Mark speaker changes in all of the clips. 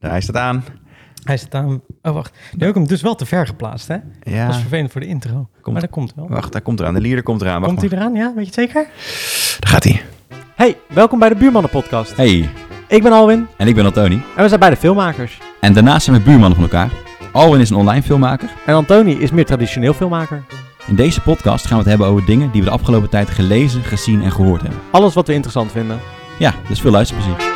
Speaker 1: Nou, Hij staat aan.
Speaker 2: Hij staat aan. Oh, wacht. Nu heb ik hem dus wel te ver geplaatst, hè? Dat is
Speaker 1: Ja,
Speaker 2: vervelend voor de intro. Maar dat komt wel.
Speaker 1: wacht, hij komt eraan. De leader komt eraan. Wacht
Speaker 2: komt hij eraan? Ja, weet je het zeker?
Speaker 1: maar. Daar gaat hij.
Speaker 3: Hey, welkom bij de Buurmannen Podcast.
Speaker 4: Hey,
Speaker 3: Ik ben Alwin
Speaker 4: en ik ben Antoni.
Speaker 3: en we zijn beide filmmakers.
Speaker 4: En daarnaast zijn we buurmannen van elkaar. Alwin is een online filmmaker.
Speaker 3: En Antoni is meer traditioneel filmmaker.
Speaker 4: In deze podcast gaan we het hebben over dingen die we de afgelopen tijd gelezen, gezien en gehoord hebben.
Speaker 3: Alles wat we interessant vinden.
Speaker 4: Ja, dus veel luisterplezier.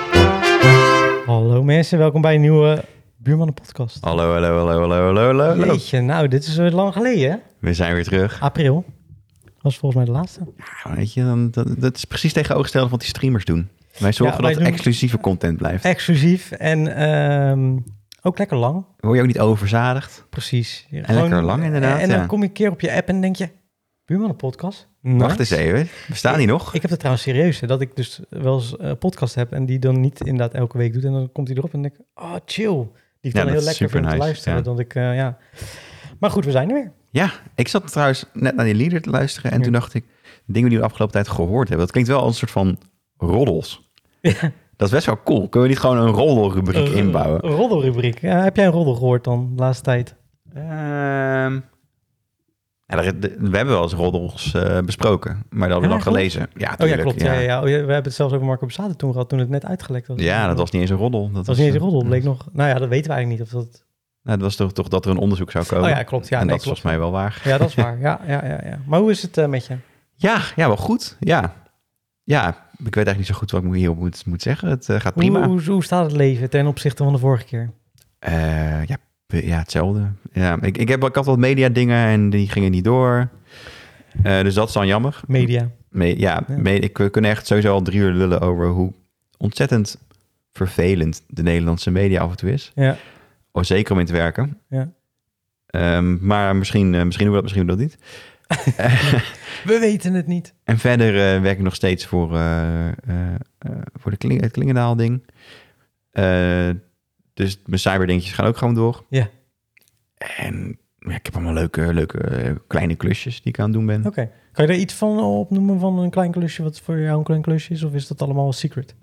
Speaker 2: Hallo mensen, welkom bij een nieuwe Buurmannen Podcast.
Speaker 1: Hallo, hallo, hallo, hallo, hallo, hallo, hallo.
Speaker 2: Jeetje, nou, dit is weer lang geleden, hè?
Speaker 1: We zijn weer terug.
Speaker 2: April. Was volgens mij de laatste.
Speaker 1: Ja, weet je, dan, dat, dat is precies tegenovergestelde van wat die streamers doen. Wij zorgen
Speaker 2: Ja, wij
Speaker 1: dat er
Speaker 2: doen-
Speaker 1: exclusieve content blijft.
Speaker 2: Exclusief en ehm, ook lekker lang.
Speaker 1: Word je ook niet overzadigd?
Speaker 2: Precies. En
Speaker 1: lekker lang inderdaad,
Speaker 2: En dan
Speaker 1: ja.
Speaker 2: kom je een keer op je app en denk je, Buurmannen Podcast?
Speaker 1: Wacht eens even. We staan hier nog.
Speaker 2: Ik heb het trouwens serieus, hè, dat ik dus wel eens eh, een podcast heb en die dan niet inderdaad elke week doet. En dan komt hij erop en denk ik, oh chill. Die
Speaker 1: Ja,
Speaker 2: vind ik
Speaker 1: dat
Speaker 2: heel
Speaker 1: is
Speaker 2: lekker vind om te
Speaker 1: supernice,
Speaker 2: luisteren.
Speaker 1: ja.
Speaker 2: Dat ik, eh, ja. Maar goed, we zijn er weer.
Speaker 1: Ja, ik zat trouwens net naar die leader te luisteren. En
Speaker 2: Ja.
Speaker 1: toen dacht ik, dingen die we de afgelopen tijd gehoord hebben. Dat klinkt wel als een soort van roddels. Dat is best wel cool. Kunnen we niet gewoon een roddelrubriek
Speaker 2: Een-
Speaker 1: inbouwen?
Speaker 2: Eh, Een roddelrubriek. Ja, heb jij een roddel gehoord dan, de laatste tijd? Oh,
Speaker 1: Ehm, ja, er- de- we hebben wel eens roddels eh, besproken, maar dat hadden we
Speaker 2: Ja,
Speaker 1: dan
Speaker 2: klopt.
Speaker 1: gelezen. Ja,
Speaker 2: Oh ja,
Speaker 1: tuurlijk,
Speaker 2: klopt. Ja. Ja, ja. Oh, ja, we hebben het zelfs over Marco Borsato toen gehad, toen het net uitgelekt was.
Speaker 1: Ja, dat was niet eens een roddel.
Speaker 2: Dat was niet eens een
Speaker 1: eh,
Speaker 2: roddel, bleek nog. Nou ja, dat weten we eigenlijk niet. Of dat...
Speaker 1: Nou, het was toch, toch dat er een onderzoek zou komen.
Speaker 2: Oh ja, klopt. Ja,
Speaker 1: en
Speaker 2: nee,
Speaker 1: dat is
Speaker 2: klopt.
Speaker 1: volgens mij wel waar.
Speaker 2: Ja, dat is waar. Ja, ja, ja, ja. Maar hoe is het eh, met je?
Speaker 1: Ja, ja, wel goed. Ja. ja, ik weet eigenlijk niet zo goed wat ik hierop moet, moet zeggen. Het eh, gaat prima.
Speaker 2: Hoe, hoe, hoe staat het leven ten opzichte van de vorige keer?
Speaker 1: Eh, ja, p- ja, hetzelfde. Ja, ik, ik, heb, ik had wat media dingen en die gingen niet door. Eh, dus dat is dan jammer.
Speaker 2: Media.
Speaker 1: Me- ja,
Speaker 2: Ja.
Speaker 1: me- ik, we kunnen echt sowieso al drie uur lullen over hoe ontzettend vervelend de Nederlandse media af en toe is.
Speaker 2: Ja.
Speaker 1: Oh, zeker om in te werken.
Speaker 2: Ja.
Speaker 1: Ehm, maar misschien, eh, misschien doen we dat, misschien doen we dat niet. Eh,
Speaker 2: We weten het niet.
Speaker 1: En verder eh, werk ik nog steeds voor, eh, eh, eh, voor de Kling- het Klingendaal-ding. Eh, dus mijn cyberdingetjes gaan ook gewoon door.
Speaker 2: Ja.
Speaker 1: En ja, ik heb allemaal leuke, leuke eh, kleine klusjes die ik aan het doen ben.
Speaker 2: Oké. Kan je daar iets van opnoemen van een klein klusje wat voor jou een klein klusje is? Of is dat allemaal wel secret?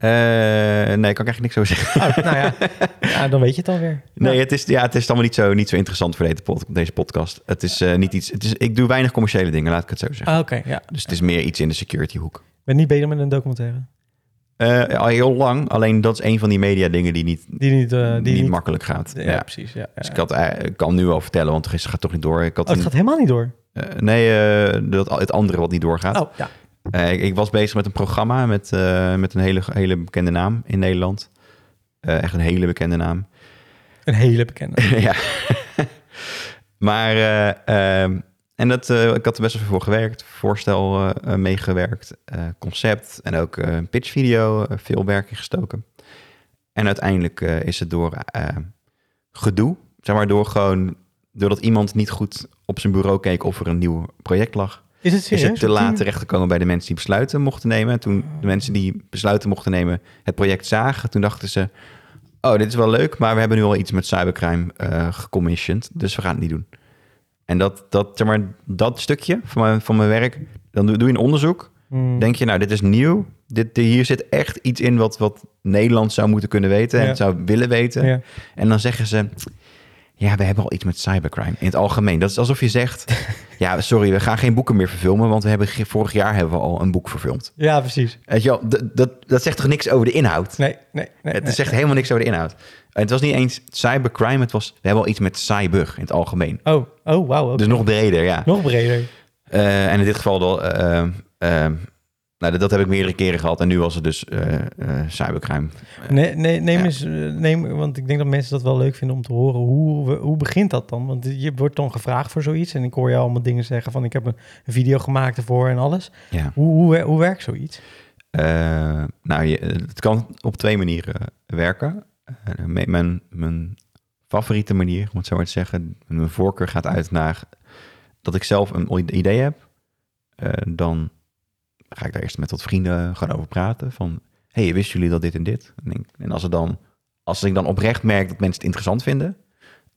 Speaker 1: Eh, nee, kan ik eigenlijk niks over zeggen.
Speaker 2: Oh, nou ja. ja, dan weet je het alweer.
Speaker 1: Nee,
Speaker 2: Ja.
Speaker 1: het is, ja, het is allemaal niet zo, niet zo interessant voor deze, pod- deze podcast. Het is eh, niet iets. Het is, ik doe weinig commerciële dingen, laat ik het zo zeggen.
Speaker 2: Ah, Oké, ja.
Speaker 1: Dus het is meer iets in de security hoek.
Speaker 2: Ik ben niet bezig met een documentaire.
Speaker 1: Eh, al heel lang, alleen dat is een van die media dingen die niet,
Speaker 2: Die niet... eh, die
Speaker 1: die niet
Speaker 2: niet
Speaker 1: makkelijk gaat.
Speaker 2: ja,
Speaker 1: Ja.
Speaker 2: precies. Ja, ja.
Speaker 1: Dus ik had, eh, ik kan nu al vertellen, want het gaat toch niet door. Ik had
Speaker 2: Oh, het
Speaker 1: een-
Speaker 2: gaat helemaal niet door.
Speaker 1: eh, nee, eh, dat, het andere wat niet doorgaat.
Speaker 2: Oh, ja.
Speaker 1: Eh, ik, ik was bezig met een programma met, eh, met een hele, hele bekende naam in Nederland. Eh, echt een hele bekende naam.
Speaker 2: Een hele bekende.
Speaker 1: ja. maar, eh, ehm, en dat, eh, ik had er best wel veel voor gewerkt. Voorstel eh, eh, meegewerkt, eh, concept en ook eh, een pitchvideo, eh, veel werk in gestoken. En uiteindelijk eh, is het door eh, gedoe, zeg maar door gewoon, doordat iemand niet goed op zijn bureau keek of er een nieuw project lag,
Speaker 2: Is het
Speaker 1: is
Speaker 2: serieus?
Speaker 1: het te laat
Speaker 2: Tien-
Speaker 1: terechtgekomen bij de mensen die besluiten mochten nemen. En toen de mensen die besluiten mochten nemen het project zagen, toen dachten ze... Oh, dit is wel leuk, maar we hebben nu al iets met cybercrime eh gecommissioned. Dus we gaan het niet doen. En dat, dat, zeg maar, dat stukje van mijn, van mijn werk, dan doe, doe je een onderzoek.
Speaker 2: Hmm.
Speaker 1: Denk je, nou, dit is nieuw. Dit, hier zit echt iets in wat, wat Nederland zou moeten kunnen weten en
Speaker 2: Ja.
Speaker 1: zou willen weten.
Speaker 2: Ja.
Speaker 1: En dan zeggen ze, ja, we hebben al iets met cybercrime in het algemeen. Dat is alsof je zegt, ja, sorry, we gaan geen boeken meer verfilmen, want we hebben ge- vorig jaar hebben we al een boek verfilmd.
Speaker 2: ja, precies.
Speaker 1: Weet je wel, d- dat, dat zegt toch niks over de inhoud?
Speaker 2: Nee, nee, nee.
Speaker 1: Het
Speaker 2: nee.
Speaker 1: zegt helemaal niks over de inhoud. En het was niet eens cybercrime, het was, we hebben al iets met cyber in het algemeen.
Speaker 2: Oh, oh wauw. oké.
Speaker 1: Dus nog breder, ja.
Speaker 2: Nog breder.
Speaker 1: Eh, en in dit geval, wel, eh, eh, eh, nou, dat, dat heb ik meerdere keren gehad. En nu was het dus eh, eh, cybercrime.
Speaker 2: Nee, nee, neem
Speaker 1: Ja.
Speaker 2: eens, eh, neem, want ik denk dat mensen dat wel leuk vinden om te horen. Hoe, hoe begint dat dan? Want je wordt dan gevraagd voor zoiets. En ik hoor jou allemaal dingen zeggen van ik heb een video gemaakt ervoor en alles.
Speaker 1: Ja.
Speaker 2: Hoe, hoe, hoe werkt zoiets?
Speaker 1: Eh, nou, je, het kan op twee manieren werken. Eh, me- mijn, mijn favoriete manier, om het zo maar te zeggen, mijn voorkeur gaat uit naar dat ik zelf een i- idee heb. Eh, dan ga ik daar eerst met wat vrienden gewoon over praten. Van, hey, wisten jullie dat dit en dit? En, ik- en als, het dan, als ik dan oprecht merk dat mensen het interessant vinden,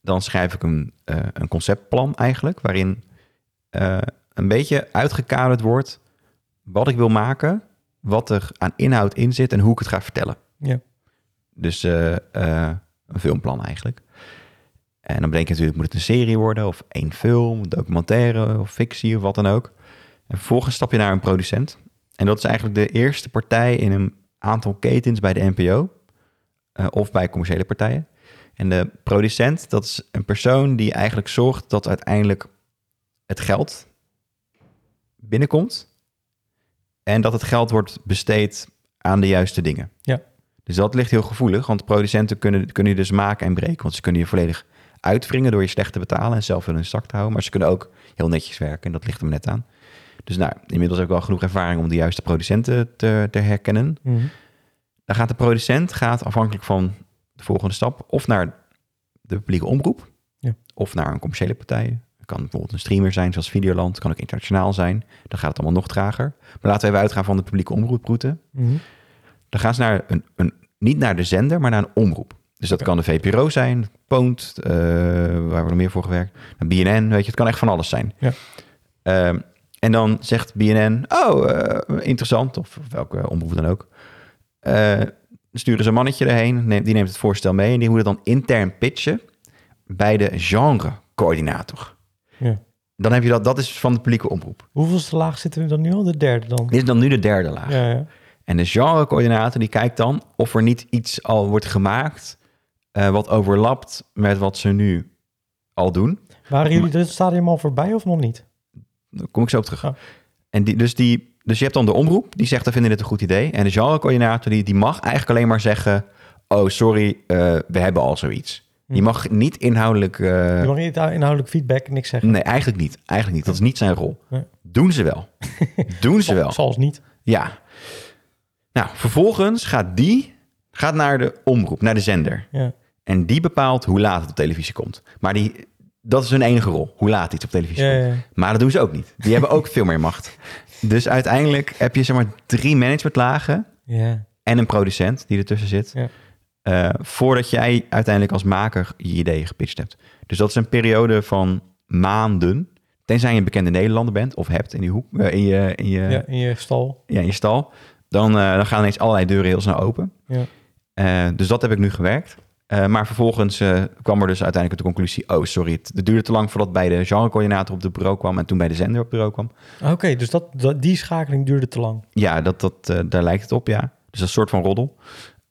Speaker 1: dan schrijf ik een, eh, een conceptplan eigenlijk, waarin eh, een beetje uitgekaderd wordt wat ik wil maken wat er aan inhoud in zit en hoe ik het ga vertellen.
Speaker 2: Ja.
Speaker 1: Dus eh, eh, een filmplan eigenlijk. En dan bedenk je natuurlijk, moet het een serie worden of één film, een documentaire of fictie of wat dan ook. En vervolgens stap je naar een producent. En dat is eigenlijk de eerste partij in een aantal ketens bij de NPO eh, of bij commerciële partijen. En de producent, dat is een persoon die eigenlijk zorgt dat uiteindelijk het geld binnenkomt. En dat het geld wordt besteed aan de juiste dingen.
Speaker 2: Ja.
Speaker 1: Dus dat ligt heel gevoelig, want producenten kunnen, kunnen je dus maken en breken. Want ze kunnen je volledig uitwringen door je slecht te betalen en zelf in hun zak te houden. Maar ze kunnen ook heel netjes werken en dat ligt hem net aan. Dus nou, inmiddels heb ik wel genoeg ervaring om de juiste producenten te, te herkennen.
Speaker 2: Mhm.
Speaker 1: Dan gaat de producent, gaat afhankelijk van de volgende stap, of naar de publieke omroep,
Speaker 2: Ja.
Speaker 1: of naar een commerciële partij. Het kan bijvoorbeeld een streamer zijn, zoals Videoland, het kan ook internationaal zijn. Dan gaat het allemaal nog trager. Maar laten we even uitgaan van de publieke omroeproute.
Speaker 2: Mhm.
Speaker 1: Dan gaan ze naar een, een, niet naar de zender, maar naar een omroep. Dus dat
Speaker 2: Oké.
Speaker 1: kan de VPRO zijn, Poont, eh, waar hebben we nog meer voor gewerkt? Nou, BNN, weet je, het kan echt van alles zijn.
Speaker 2: Ja.
Speaker 1: Ehm, en dan zegt BNN, oh, eh, interessant, of welke omroep dan ook. Eh, sturen ze een mannetje erheen, neemt- die neemt het voorstel mee... en die moet het dan intern pitchen bij de genrecoördinator.
Speaker 2: Ja.
Speaker 1: Dan heb je dat, dat is van de publieke omroep.
Speaker 2: Hoeveelste laag zitten we dan nu al? De derde dan?
Speaker 1: Dit is dan nu de derde laag.
Speaker 2: Ja, ja.
Speaker 1: En de genrecoördinator die kijkt dan of er niet iets al wordt gemaakt eh, wat overlapt met wat ze nu al doen.
Speaker 2: Waren jullie dit stadium al voorbij of nog niet?
Speaker 1: Daar kom ik zo op terug.
Speaker 2: Ja.
Speaker 1: En die, dus, die, dus je hebt dan de omroep, die zegt, we vinden dit een goed idee. En de genrecoördinator die, die mag eigenlijk alleen maar zeggen, oh sorry, eh, we hebben al zoiets. Je
Speaker 2: Hm.
Speaker 1: mag niet inhoudelijk... eh,
Speaker 2: Je mag niet inhoudelijk feedback, niks zeggen.
Speaker 1: nee, eigenlijk niet. Eigenlijk niet. Dat is niet zijn rol.
Speaker 2: Nee.
Speaker 1: Doen ze wel. doen ze wel.
Speaker 2: Zoals niet.
Speaker 1: Ja. Nou, vervolgens gaat die gaat naar de omroep, naar de zender.
Speaker 2: Ja.
Speaker 1: En die bepaalt hoe laat het op televisie komt. Maar die, dat is hun enige rol, hoe laat iets op televisie
Speaker 2: Ja,
Speaker 1: komt.
Speaker 2: ja, ja.
Speaker 1: Maar dat doen ze ook niet. Die hebben ook veel meer macht. Dus uiteindelijk heb je zeg maar drie managementlagen
Speaker 2: Ja.
Speaker 1: en een producent die ertussen zit.
Speaker 2: Ja.
Speaker 1: eh, voordat jij uiteindelijk als maker je ideeën gepitcht hebt. Dus dat is een periode van maanden. Tenzij je een bekende Nederlander bent of hebt in, die hoek, eh, in, je, in, je,
Speaker 2: Ja, in je stal.
Speaker 1: ja, in je stal. Dan, eh, dan gaan ineens allerlei deuren heel snel open.
Speaker 2: Ja.
Speaker 1: Eh, dus dat heb ik nu gewerkt. Eh, maar vervolgens eh, kwam er dus uiteindelijk de conclusie... oh, sorry, het, het duurde te lang voordat bij de genrecoördinator op het bureau kwam... en toen bij de zender op het bureau kwam.
Speaker 2: Oké, dus dat, dat, die schakeling duurde te lang.
Speaker 1: Ja, dat, dat, eh, daar lijkt het op, ja. Dus dat is een soort van roddel.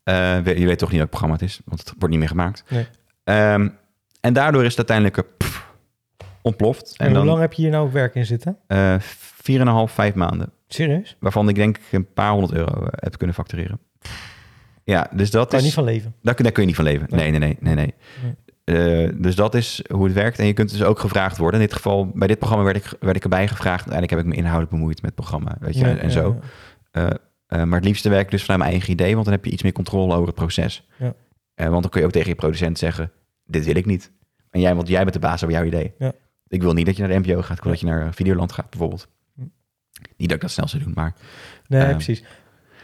Speaker 1: Eh, we- je weet toch niet welk programma het is, want het wordt niet meer gemaakt.
Speaker 2: Nee.
Speaker 1: Ehm, en daardoor is het uiteindelijk eh, pff, ontploft.
Speaker 2: En,
Speaker 1: En
Speaker 2: hoe lang
Speaker 1: dan
Speaker 2: heb je hier nou werk in zitten?
Speaker 1: eh 4,5, 5 maanden.
Speaker 2: Serieus?
Speaker 1: Waarvan ik denk een paar honderd euro eh, heb kunnen factureren. Ja, dus dat
Speaker 2: Kan
Speaker 1: is...
Speaker 2: je niet van leven.
Speaker 1: Daar, kun- daar kun je niet van leven. Nee,
Speaker 2: Nee.
Speaker 1: nee, nee, nee. nee.
Speaker 2: Nee.
Speaker 1: Eh, dus dat is hoe het werkt. En je kunt dus ook gevraagd worden. In dit geval, bij dit programma werd ik, werd ik erbij gevraagd. Uiteindelijk heb ik me inhoudelijk bemoeid met het programma. Weet je,
Speaker 2: Ja,
Speaker 1: en, en
Speaker 2: ja,
Speaker 1: zo.
Speaker 2: ja.
Speaker 1: Eh, maar het liefste werk ik dus vanuit mijn eigen idee, want dan heb je iets meer controle over het proces.
Speaker 2: Ja.
Speaker 1: Eh, want dan kun je ook tegen je producent zeggen: Dit wil ik niet. En jij, want jij bent de baas over jouw idee.
Speaker 2: Ja.
Speaker 1: Ik wil niet dat je naar de NPO gaat, ik wil dat je naar eh, Videoland gaat, bijvoorbeeld.
Speaker 2: Hm.
Speaker 1: Niet dat ik dat snel zou doen, maar
Speaker 2: Nee,
Speaker 1: Ehm.
Speaker 2: precies.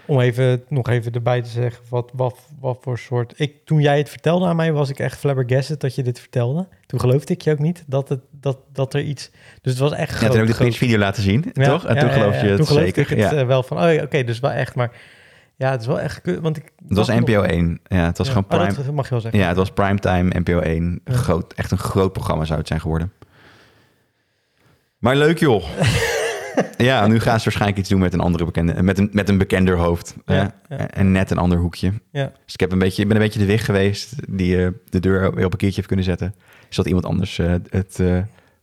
Speaker 2: Om even, nog even erbij te zeggen, wat, wat, wat voor soort... Ik, toen jij het vertelde aan mij, was ik echt flabbergasted dat je dit vertelde. Toen geloofde ik je ook niet dat, het, dat, dat er iets... Dus het was echt
Speaker 1: ja,
Speaker 2: groot.
Speaker 1: toen heb ik de
Speaker 2: groot.
Speaker 1: pitchvideo laten zien,
Speaker 2: Ja,
Speaker 1: toch? En
Speaker 2: ja,
Speaker 1: toen
Speaker 2: ja,
Speaker 1: geloof
Speaker 2: ja.
Speaker 1: je
Speaker 2: Toen
Speaker 1: het
Speaker 2: geloofde
Speaker 1: zeker.
Speaker 2: ik het
Speaker 1: ja.
Speaker 2: eh, wel van, oh, ja, oké, dus wel echt. Maar ja, het is wel echt... kut, Want ik
Speaker 1: Het was
Speaker 2: dacht nog-
Speaker 1: NPO 1. Ja, het was
Speaker 2: Ja.
Speaker 1: gewoon
Speaker 2: Oh,
Speaker 1: prime.
Speaker 2: dat mag je wel zeggen.
Speaker 1: Ja, het was primetime, NPO 1.
Speaker 2: Ja.
Speaker 1: Groot, echt een groot programma zou het zijn geworden. Maar leuk joh. ja, nu gaan ze waarschijnlijk iets doen met een andere bekende, met een, met een bekender hoofd.
Speaker 2: Ja,
Speaker 1: hè?
Speaker 2: ja.
Speaker 1: En net een ander hoekje.
Speaker 2: Ja.
Speaker 1: Dus ik, heb een beetje, ik ben een beetje de weg geweest die eh, de deur weer op een keertje heeft kunnen zetten. Zodat iemand anders eh, het, eh,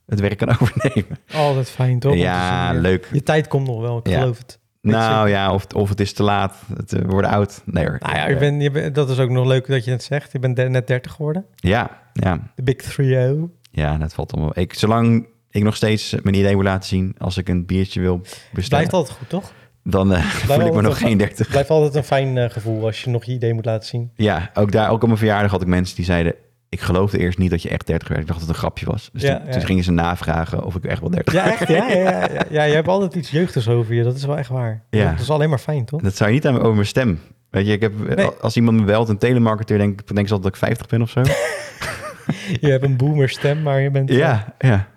Speaker 1: het werk kan overnemen.
Speaker 2: Altijd Oh, fijn, toch? om te
Speaker 1: ja,
Speaker 2: zien.
Speaker 1: leuk.
Speaker 2: Je tijd komt nog wel, ik
Speaker 1: Ja.
Speaker 2: geloof het.
Speaker 1: Nou ja, of, of het is te laat. Het eh, wordt oud. Nee hoor.
Speaker 2: Nou ja, je bent, je bent- dat is ook nog leuk dat je het zegt. Je bent de- net 30 geworden.
Speaker 1: ja, ja.
Speaker 2: De Big 3-0.
Speaker 1: Ja, dat valt allemaal. Ik, zolang ik nog steeds mijn idee wil laten zien als ik een biertje wil bestellen,
Speaker 2: Blijft altijd goed, toch?
Speaker 1: dan eh, voel ik me
Speaker 2: altijd
Speaker 1: nog
Speaker 2: wel-
Speaker 1: geen 30.
Speaker 2: Blijft altijd een fijn eh, gevoel als je nog je idee moet laten zien.
Speaker 1: Ja, ook daar, ook op mijn verjaardag had ik mensen die zeiden: Ik geloofde eerst niet dat je echt 30 werd. Ik dacht dat het een grapje was. Dus
Speaker 2: Ja,
Speaker 1: toen,
Speaker 2: ja.
Speaker 1: toen gingen ze navragen of ik echt wel 30
Speaker 2: Ja, echt? Ja, ja, ja, ja. ja je hebt altijd iets jeugdigs over je. Dat is wel echt waar.
Speaker 1: Ja.
Speaker 2: Dat is alleen maar fijn, toch?
Speaker 1: Dat zou je niet aan me- over mijn stem. Weet je, ik heb, eh,
Speaker 2: Nee.
Speaker 1: als iemand me belt, een telemarketeer, denk, ik- denk ze altijd dat ik 50 ben of zo.
Speaker 2: Je hebt een boomer stem, maar je bent... eh,
Speaker 1: ja, ja.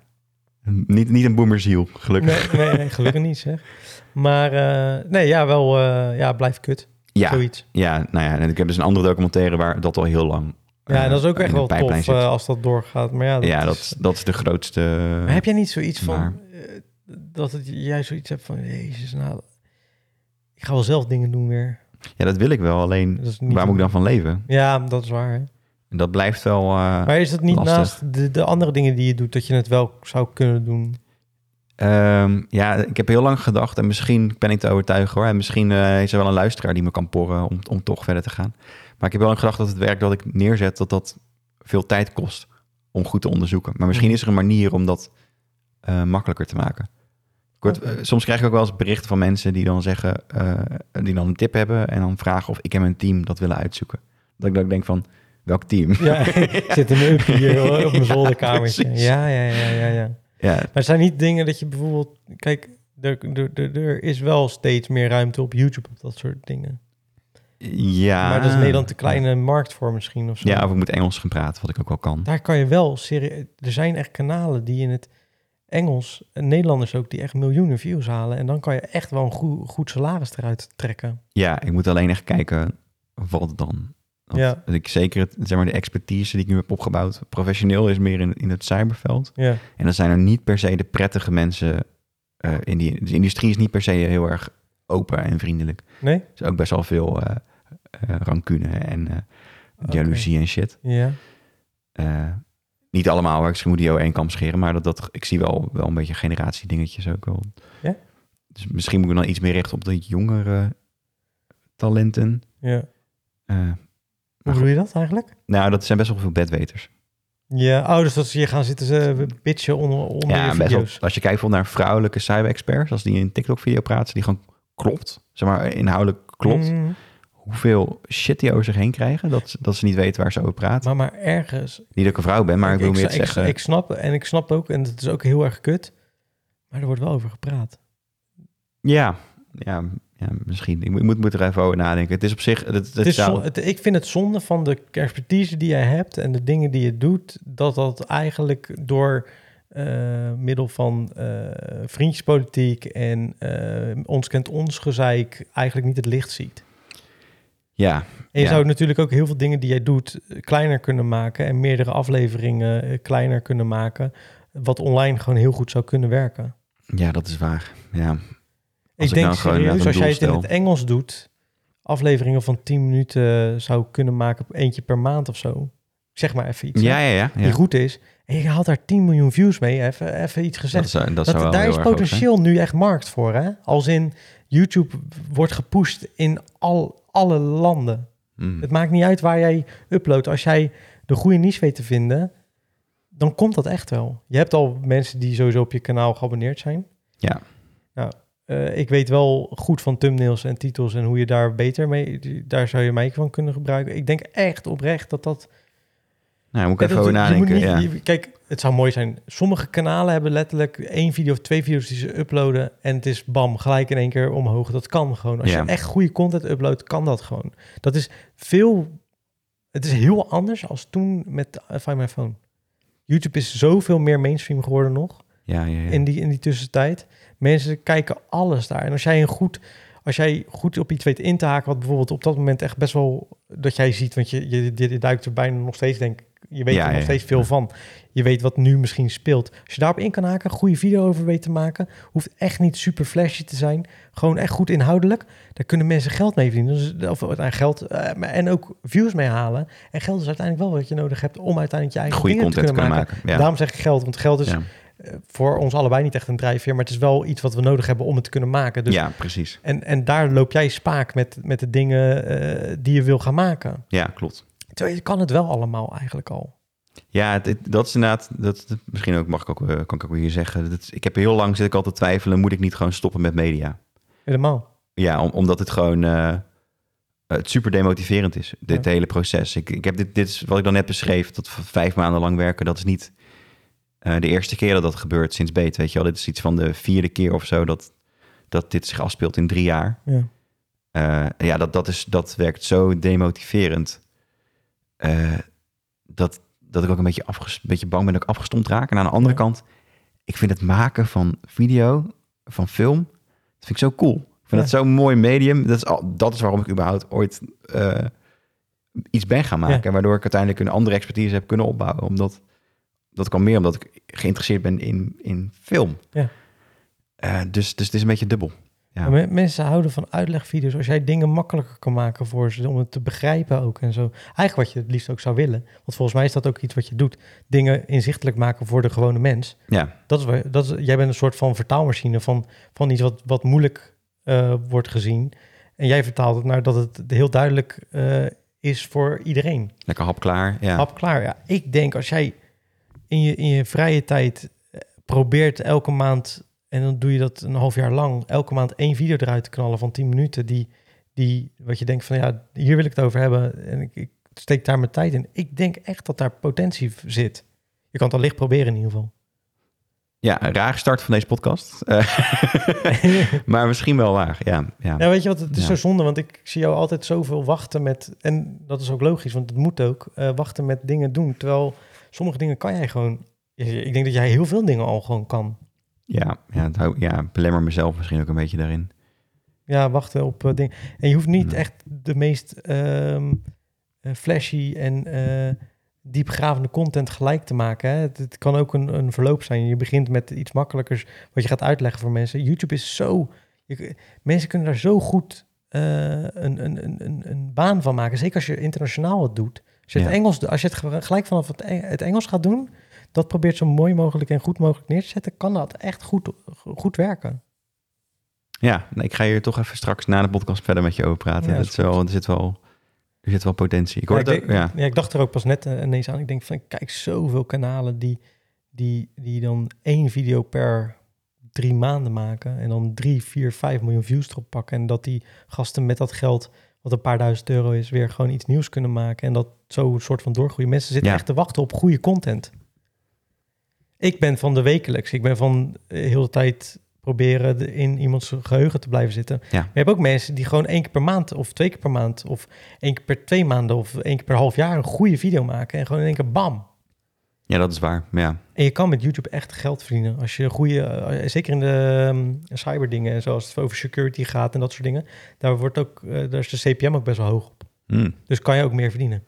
Speaker 1: Niet, niet een boomerziel, gelukkig.
Speaker 2: Nee, nee, nee, gelukkig niet, zeg. Maar eh, nee, ja, wel... eh, ja, blijf kut.
Speaker 1: Ja,
Speaker 2: Zoiets.
Speaker 1: ja, nou ja, en ik heb dus een andere documentaire waar dat al heel lang.
Speaker 2: Ja,
Speaker 1: eh,
Speaker 2: en dat is ook
Speaker 1: in
Speaker 2: echt
Speaker 1: de
Speaker 2: wel tof
Speaker 1: pijplijn zit.
Speaker 2: eh, als dat doorgaat. Maar ja, Oh, dat
Speaker 1: ja,
Speaker 2: is-
Speaker 1: dat, dat is de grootste.
Speaker 2: Maar heb jij niet zoiets van
Speaker 1: maar-
Speaker 2: eh, dat het, jij zoiets hebt van Jezus, nou, ik ga wel zelf dingen doen weer.
Speaker 1: Ja, dat wil ik wel. Alleen
Speaker 2: Dat is niet
Speaker 1: waar moet ik dan van leven?
Speaker 2: Ja, dat is waar. Hè?
Speaker 1: En dat blijft wel. eh,
Speaker 2: Maar is dat niet
Speaker 1: lastig.
Speaker 2: naast de, de andere dingen die je doet, dat je het wel zou kunnen doen?
Speaker 1: Ehm, ja, ik heb heel lang gedacht en misschien ben ik te overtuigen hoor. En misschien eh, is er wel een luisteraar die me kan porren om, om toch verder te gaan. Maar ik heb wel lang gedacht dat het werk dat ik neerzet, dat dat veel tijd kost om goed te onderzoeken. Maar
Speaker 2: Mm.
Speaker 1: misschien is er een manier om dat eh, makkelijker te maken. Ik word- eh, soms krijg ik ook wel eens berichten van mensen die dan zeggen, eh, die dan een tip hebben en dan vragen of ik en mijn team dat willen uitzoeken. Dat ik dan denk van, welk team?
Speaker 2: Ja, ik zit in mijn uppie hier hoor, op mijn zolderkamertje.
Speaker 1: precies.
Speaker 2: Ja, ja, ja, ja, ja. Maar
Speaker 1: Ja,
Speaker 2: het zijn niet dingen dat je bijvoorbeeld... Kijk, er, er, er, er is wel steeds meer ruimte op YouTube op dat soort dingen.
Speaker 1: ja.
Speaker 2: Maar dat is Nederland te kleine markt voor misschien of zo.
Speaker 1: Ah. Ja, of ik moet Engels gaan praten, wat ik ook wel kan.
Speaker 2: Daar kan je wel serieus... Er zijn echt kanalen die in het Engels... en Nederlanders ook, die echt miljoenen views halen. En dan kan je echt wel een goed, goed salaris eruit trekken.
Speaker 1: Ja, ik moet alleen echt kijken wat dan. Want
Speaker 2: Ja.
Speaker 1: Ik zeker het, zeg maar, de expertise die ik nu heb opgebouwd, professioneel is meer in, in het cyberveld.
Speaker 2: Ja,
Speaker 1: En dan zijn er niet per se de prettige mensen eh, in die. De industrie is niet per se heel erg open en vriendelijk.
Speaker 2: nee?
Speaker 1: Er is ook best wel veel eh eh, rancune en eh, jaloezie en shit.
Speaker 2: Ja.
Speaker 1: Eh, niet allemaal, hoor. ik schiet moet die over één kam scheren, maar dat, dat, ik zie wel, wel een beetje generatiedingetjes ook wel.
Speaker 2: Ja?
Speaker 1: Dus misschien moet ik me dan iets meer richten op de jongere talenten.
Speaker 2: ja.
Speaker 1: Eh,
Speaker 2: Hoe bedoel je dat eigenlijk?
Speaker 1: Nou, dat zijn best wel veel bedweters.
Speaker 2: Ja, ouders dat ze hier gaan zitten ze bitchen onder, onder je
Speaker 1: ja, best wel.
Speaker 2: video's.
Speaker 1: Als je kijkt bijvoorbeeld naar vrouwelijke cyber-experts, als die in een TikTok-video praten, die gewoon klopt, zeg maar inhoudelijk klopt,
Speaker 2: Mm.
Speaker 1: hoeveel shit die over zich heen krijgen, dat, ze- dat ze niet weten waar ze over praten.
Speaker 2: Maar, maar ergens.
Speaker 1: niet dat ik een vrouw ben, maar ik, wil meer
Speaker 2: ik,
Speaker 1: zeggen.
Speaker 2: Ik snap en ik snap ook, en het is ook heel erg kut. Maar er wordt wel over gepraat.
Speaker 1: ja, ja, ja, misschien. Ik moet, ik moet- moet er even over nadenken. Het is op zich. Het, het,
Speaker 2: Het is
Speaker 1: zou-
Speaker 2: zo- het- ik vind het zonde van de expertise die jij hebt en de dingen die je doet, dat dat eigenlijk door eh, middel van eh, vriendjespolitiek en eh, ons kent ons gezeik eigenlijk niet het licht ziet.
Speaker 1: ja,
Speaker 2: En je
Speaker 1: Ja.
Speaker 2: zou natuurlijk ook heel veel dingen die jij doet eh, kleiner kunnen maken en meerdere afleveringen eh, kleiner kunnen maken, wat online gewoon heel goed zou kunnen werken.
Speaker 1: ja, dat is waar. Ja. ik
Speaker 2: ik denk
Speaker 1: nou gewoon
Speaker 2: serieus,
Speaker 1: inderdaad
Speaker 2: als
Speaker 1: een
Speaker 2: jij het in
Speaker 1: doel
Speaker 2: het Engels doet, afleveringen van 10 minuten zou kunnen maken, eentje per maand of zo. Ik zeg maar even iets
Speaker 1: Ja,
Speaker 2: hè,
Speaker 1: ja, ja. ja.
Speaker 2: die goed is. En je haalt daar 10 miljoen views mee, even, even iets gezegd.
Speaker 1: dat zou, dat
Speaker 2: Dat-
Speaker 1: zou wel
Speaker 2: daar
Speaker 1: heel
Speaker 2: is
Speaker 1: erg hoog zijn.
Speaker 2: potentieel nu echt markt voor, hè? Als in YouTube wordt gepusht in al, alle landen.
Speaker 1: Mm.
Speaker 2: Het maakt niet uit waar jij uploadt. Als jij de goede niche weet te vinden, dan komt dat echt wel. Je hebt al mensen die sowieso op je kanaal geabonneerd zijn.
Speaker 1: Ja.
Speaker 2: Nou, eh, ik weet wel goed van thumbnails en titels en hoe je daar beter mee... Daar zou je mij van kunnen gebruiken. Ik denk echt oprecht dat dat...
Speaker 1: Nou, moet ik even
Speaker 2: dat-
Speaker 1: over
Speaker 2: je moet
Speaker 1: nadenken. ja.
Speaker 2: niet- je- kijk, het zou mooi zijn. Sommige kanalen hebben letterlijk één video of twee video's die ze uploaden... en het is bam, gelijk in één keer omhoog. Dat kan gewoon. Als
Speaker 1: Ja.
Speaker 2: je echt goede content uploadt, kan dat gewoon. Dat is veel... Het is heel anders als toen met eh, Find My Phone. YouTube is zoveel meer mainstream geworden nog
Speaker 1: Ja, ja, ja.
Speaker 2: in, die, in die tussentijd. Mensen kijken alles daar. En als jij een goed, als jij goed op iets weet in te haken, wat bijvoorbeeld op dat moment echt best wel dat jij ziet, want je, je, je duikt er bijna nog steeds, denk ik. Je weet
Speaker 1: Ja,
Speaker 2: er nog
Speaker 1: ja,
Speaker 2: steeds
Speaker 1: ja.
Speaker 2: veel van. Je weet wat nu misschien speelt. Als je daarop in kan haken, goede video over weet te maken, hoeft echt niet super flashy te zijn. Gewoon echt goed inhoudelijk. Daar kunnen mensen geld mee verdienen. Dus, of aan geld eh, maar- en ook views mee halen. En geld is uiteindelijk wel wat je nodig hebt om uiteindelijk je eigen
Speaker 1: Goede
Speaker 2: dingen
Speaker 1: content
Speaker 2: te kunnen maken.
Speaker 1: Ja.
Speaker 2: Daarom zeg ik geld, want geld is
Speaker 1: ja.
Speaker 2: eh, voor ons allebei niet echt een drijfveer, maar het is wel iets wat we nodig hebben om het te kunnen maken. Dus,
Speaker 1: ja, precies.
Speaker 2: en, en daar loop jij spaak met, met de dingen eh, die je wil gaan maken.
Speaker 1: Ja, klopt.
Speaker 2: Terwijl je kan het wel allemaal eigenlijk al.
Speaker 1: Ja, het- het- dat is inderdaad, dat, dat- misschien ook, mag ik ook, eh, kan ik ook hier zeggen. Dat, is- ik heb heel lang zit ik al te twijfelen, moet ik niet gewoon stoppen met media?
Speaker 2: Helemaal.
Speaker 1: Ja, om- omdat het gewoon eh, het super demotiverend is, dit
Speaker 2: Ja.
Speaker 1: hele proces. Ik, ik heb dit, dit is wat ik dan net beschreef, dat v- vijf maanden lang werken, dat is niet eh, de eerste keer dat dat gebeurt sinds Beet, weet je wel. Dit is iets van de vierde keer of zo dat, dat dit zich afspeelt in drie jaar.
Speaker 2: Ja.
Speaker 1: Eh, ja, dat, dat, is, dat werkt zo demotiverend. eh, dat, dat ik ook een beetje, afges, een beetje bang ben dat ik afgestomd raak. En aan de andere
Speaker 2: Ja.
Speaker 1: kant, ik vind het maken van video, van film, dat vind ik zo cool. Ik vind dat zo'n mooi medium. Dat is, al, dat is waarom ik überhaupt ooit eh, iets ben gaan maken. Waardoor ik uiteindelijk een andere expertise heb kunnen opbouwen. Omdat, dat kwam meer omdat ik geïnteresseerd ben in, in film.
Speaker 2: Ja.
Speaker 1: Eh, dus, dus het is een beetje dubbel. Ja.
Speaker 2: Maar men- Mensen houden van uitlegvideo's. Als jij dingen makkelijker kan maken voor ze, om het te begrijpen ook en zo. Eigenlijk wat je het liefst ook zou willen. Want volgens mij is dat ook iets wat je doet. Dingen inzichtelijk maken voor de gewone mens.
Speaker 1: Ja,
Speaker 2: Dat is, wa- dat is, jij bent een soort van vertaalmachine van, van iets wat, wat moeilijk eh, wordt gezien. En jij vertaalt het naar dat het heel duidelijk eh, is voor iedereen.
Speaker 1: lekker hap klaar. Ja.
Speaker 2: Hap klaar. Ja, ik denk als jij in je, in je vrije tijd eh, probeert elke maand, en dan doe je dat een half jaar lang, elke maand één video eruit te knallen van 10 minuten, die, die wat je denkt van ja, hier wil ik het over hebben en ik, ik steek daar mijn tijd in. Ik denk echt dat daar potentie v- zit. Je kan het al licht proberen in ieder geval.
Speaker 1: ja, een raar start van deze podcast. Eh, maar misschien wel waar. Ja, ja.
Speaker 2: Ja, weet je wat, het is
Speaker 1: Ja.
Speaker 2: zo zonde, want ik zie jou altijd zoveel wachten met, en dat is ook logisch, want het moet ook, eh, wachten met dingen doen. Terwijl sommige dingen kan jij gewoon, ik denk dat jij heel veel dingen al gewoon kan.
Speaker 1: Ja, ja, het hou- ja, belemmer mezelf misschien ook een beetje daarin.
Speaker 2: Ja, wachten op eh, dingen. En je hoeft niet
Speaker 1: Ja.
Speaker 2: echt de meest ehm, eh, flashy en eh diepgravende content gelijk te maken. Hè? Het, het kan ook een, een verloop zijn. Je begint met iets makkelijkers wat je gaat uitleggen voor mensen. YouTube is zo... je- mensen kunnen daar zo goed eh, een, een, een, een, een baan van maken. Zeker als je internationaal het doet. Als je, het,
Speaker 1: Ja.
Speaker 2: Engels, doet- als je het ge- gelijk vanaf het, Eng- het Engels gaat doen... dat probeert zo mooi mogelijk en goed mogelijk neer te zetten... kan dat echt goed, goed werken.
Speaker 1: Ja, nou, ik ga hier toch even straks na de podcast verder met je over praten.
Speaker 2: Ja,
Speaker 1: dat
Speaker 2: is
Speaker 1: is wel, er, zit wel, er zit wel potentie. Ik hoor
Speaker 2: Ja,
Speaker 1: het
Speaker 2: ik,
Speaker 1: ook-
Speaker 2: denk-
Speaker 1: ja.
Speaker 2: ja, ik dacht er ook pas net eh, ineens aan. Ik denk van, ik kijk zoveel kanalen die, die, die dan één video per drie maanden maken. En dan drie, vier, vijf miljoen views erop pakken. En dat die gasten met dat geld, wat een paar duizend euro is, weer gewoon iets nieuws kunnen maken. En dat zo een soort van doorgroeien. Mensen zitten
Speaker 1: Ja.
Speaker 2: echt te wachten op goede content. Ik ben van de wekelijks. Ik ben van eh, heel de tijd proberen de- in iemands geheugen te blijven zitten.
Speaker 1: Ja.
Speaker 2: Maar je hebt ook mensen die gewoon één keer per maand of twee keer per maand of één keer per twee maanden of één keer per half jaar een goede video maken en gewoon in één keer bam.
Speaker 1: ja, dat is waar. Maar Ja.
Speaker 2: En je kan met YouTube echt geld verdienen. Als je goede, eh, zeker in de ehm, cyberdingen en zoals het over security gaat en dat soort dingen, daar, wordt ook, eh, daar is de CPM ook best wel hoog op.
Speaker 1: Hm. Ik
Speaker 2: Dus kan je ook meer verdienen.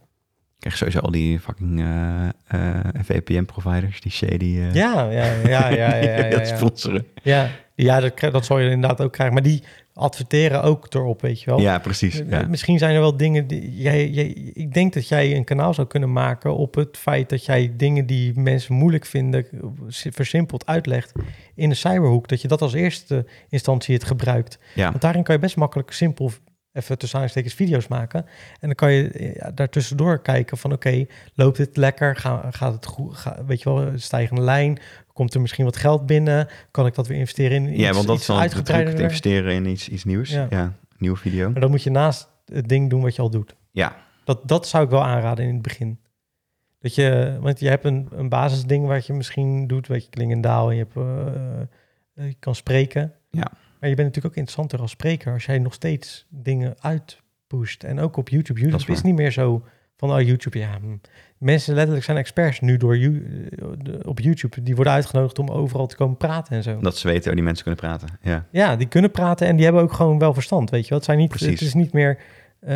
Speaker 1: krijg sowieso al die fucking eh, eh, VPN-providers, die shady... eh,
Speaker 2: Ja, ja, ja, ja, ja. ja, ja,
Speaker 1: dat
Speaker 2: ja.
Speaker 1: sponsoren.
Speaker 2: Ja, ja dat, krijg- dat zal je inderdaad ook krijgen. Maar die adverteren ook erop, weet je wel.
Speaker 1: Ja, precies.
Speaker 2: Eh,
Speaker 1: Ja.
Speaker 2: Misschien zijn er wel dingen die jij, jij. Ik denk dat jij een kanaal zou kunnen maken op het feit dat jij dingen die mensen moeilijk vinden, eh, versimpeld uitlegt in de cyberhoek. Dat je dat als eerste instantie het gebruikt.
Speaker 1: Ja.
Speaker 2: Want daarin kan je best makkelijk simpel even tussen aanstekens video's maken. En dan kan je eh, daartussendoor kijken van oké, loopt dit lekker? Ga, gaat het goed? Ga, weet je wel, een stijgende lijn? Komt er misschien wat geld binnen? Kan ik dat weer investeren in iets,
Speaker 1: ja, want dat is
Speaker 2: iets
Speaker 1: dan de truc,
Speaker 2: uitgebreider?
Speaker 1: het investeren in iets, iets nieuws.
Speaker 2: Ja.
Speaker 1: Ja. nieuwe video.
Speaker 2: Maar dan moet je naast het ding doen wat je al doet.
Speaker 1: Ja.
Speaker 2: Dat, dat zou ik wel aanraden in het begin. Dat je, want je hebt een, een basisding wat je misschien doet, weet je, klingendaal en je, hebt, eh, eh, je kan spreken.
Speaker 1: Ja.
Speaker 2: Maar je bent natuurlijk ook interessanter als spreker als jij nog steeds dingen uitpusht. En ook op YouTube.
Speaker 1: Dat
Speaker 2: YouTube
Speaker 1: is
Speaker 2: is,
Speaker 1: waar.
Speaker 2: niet meer zo van, oh YouTube, ja. hm. Mensen letterlijk zijn experts nu door, you- eh, de- op YouTube. Die worden uitgenodigd om overal te komen praten en zo.
Speaker 1: Dat ze weten, oh, die mensen kunnen praten. Ja.
Speaker 2: Ja, die kunnen praten en die hebben ook gewoon wel verstand, weet je wel. Het, zijn niet,
Speaker 1: Precies.
Speaker 2: het is niet meer eh,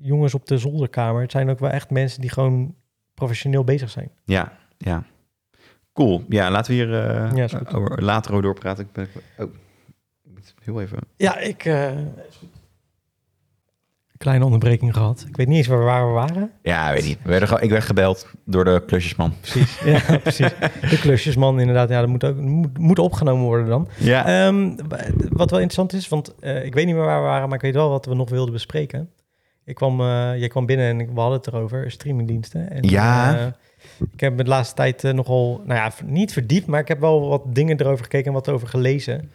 Speaker 2: jongens op de zolderkamer. Het zijn ook wel echt mensen die gewoon professioneel bezig zijn.
Speaker 1: Ja, ja. Cool. Ja, laten we hier eh,
Speaker 2: Ja, is goed.
Speaker 1: over, later over doorpraten. Ik ben, oh, ik moet heel even.
Speaker 2: Ja, ik... eh, Kleine onderbreking gehad. Ik weet niet eens waar, waar we waren.
Speaker 1: Ja, weet niet. We werden ge- ik werd gebeld door de klusjesman.
Speaker 2: Precies. Ja, precies. De klusjesman inderdaad. Ja, dat moet, ook, moet, moet opgenomen worden dan.
Speaker 1: Ja.
Speaker 2: Ehm, b- wat wel interessant is, want eh, ik weet niet meer waar we waren, maar ik weet wel wat we nog wilden bespreken. Ik kwam, eh, jij kwam binnen en ik- we hadden het erover, streamingdiensten. En,
Speaker 1: Ja.
Speaker 2: eh, ik heb me de laatste tijd eh, nogal, nou ja, v- niet verdiept, maar ik heb wel wat dingen erover gekeken en wat over gelezen.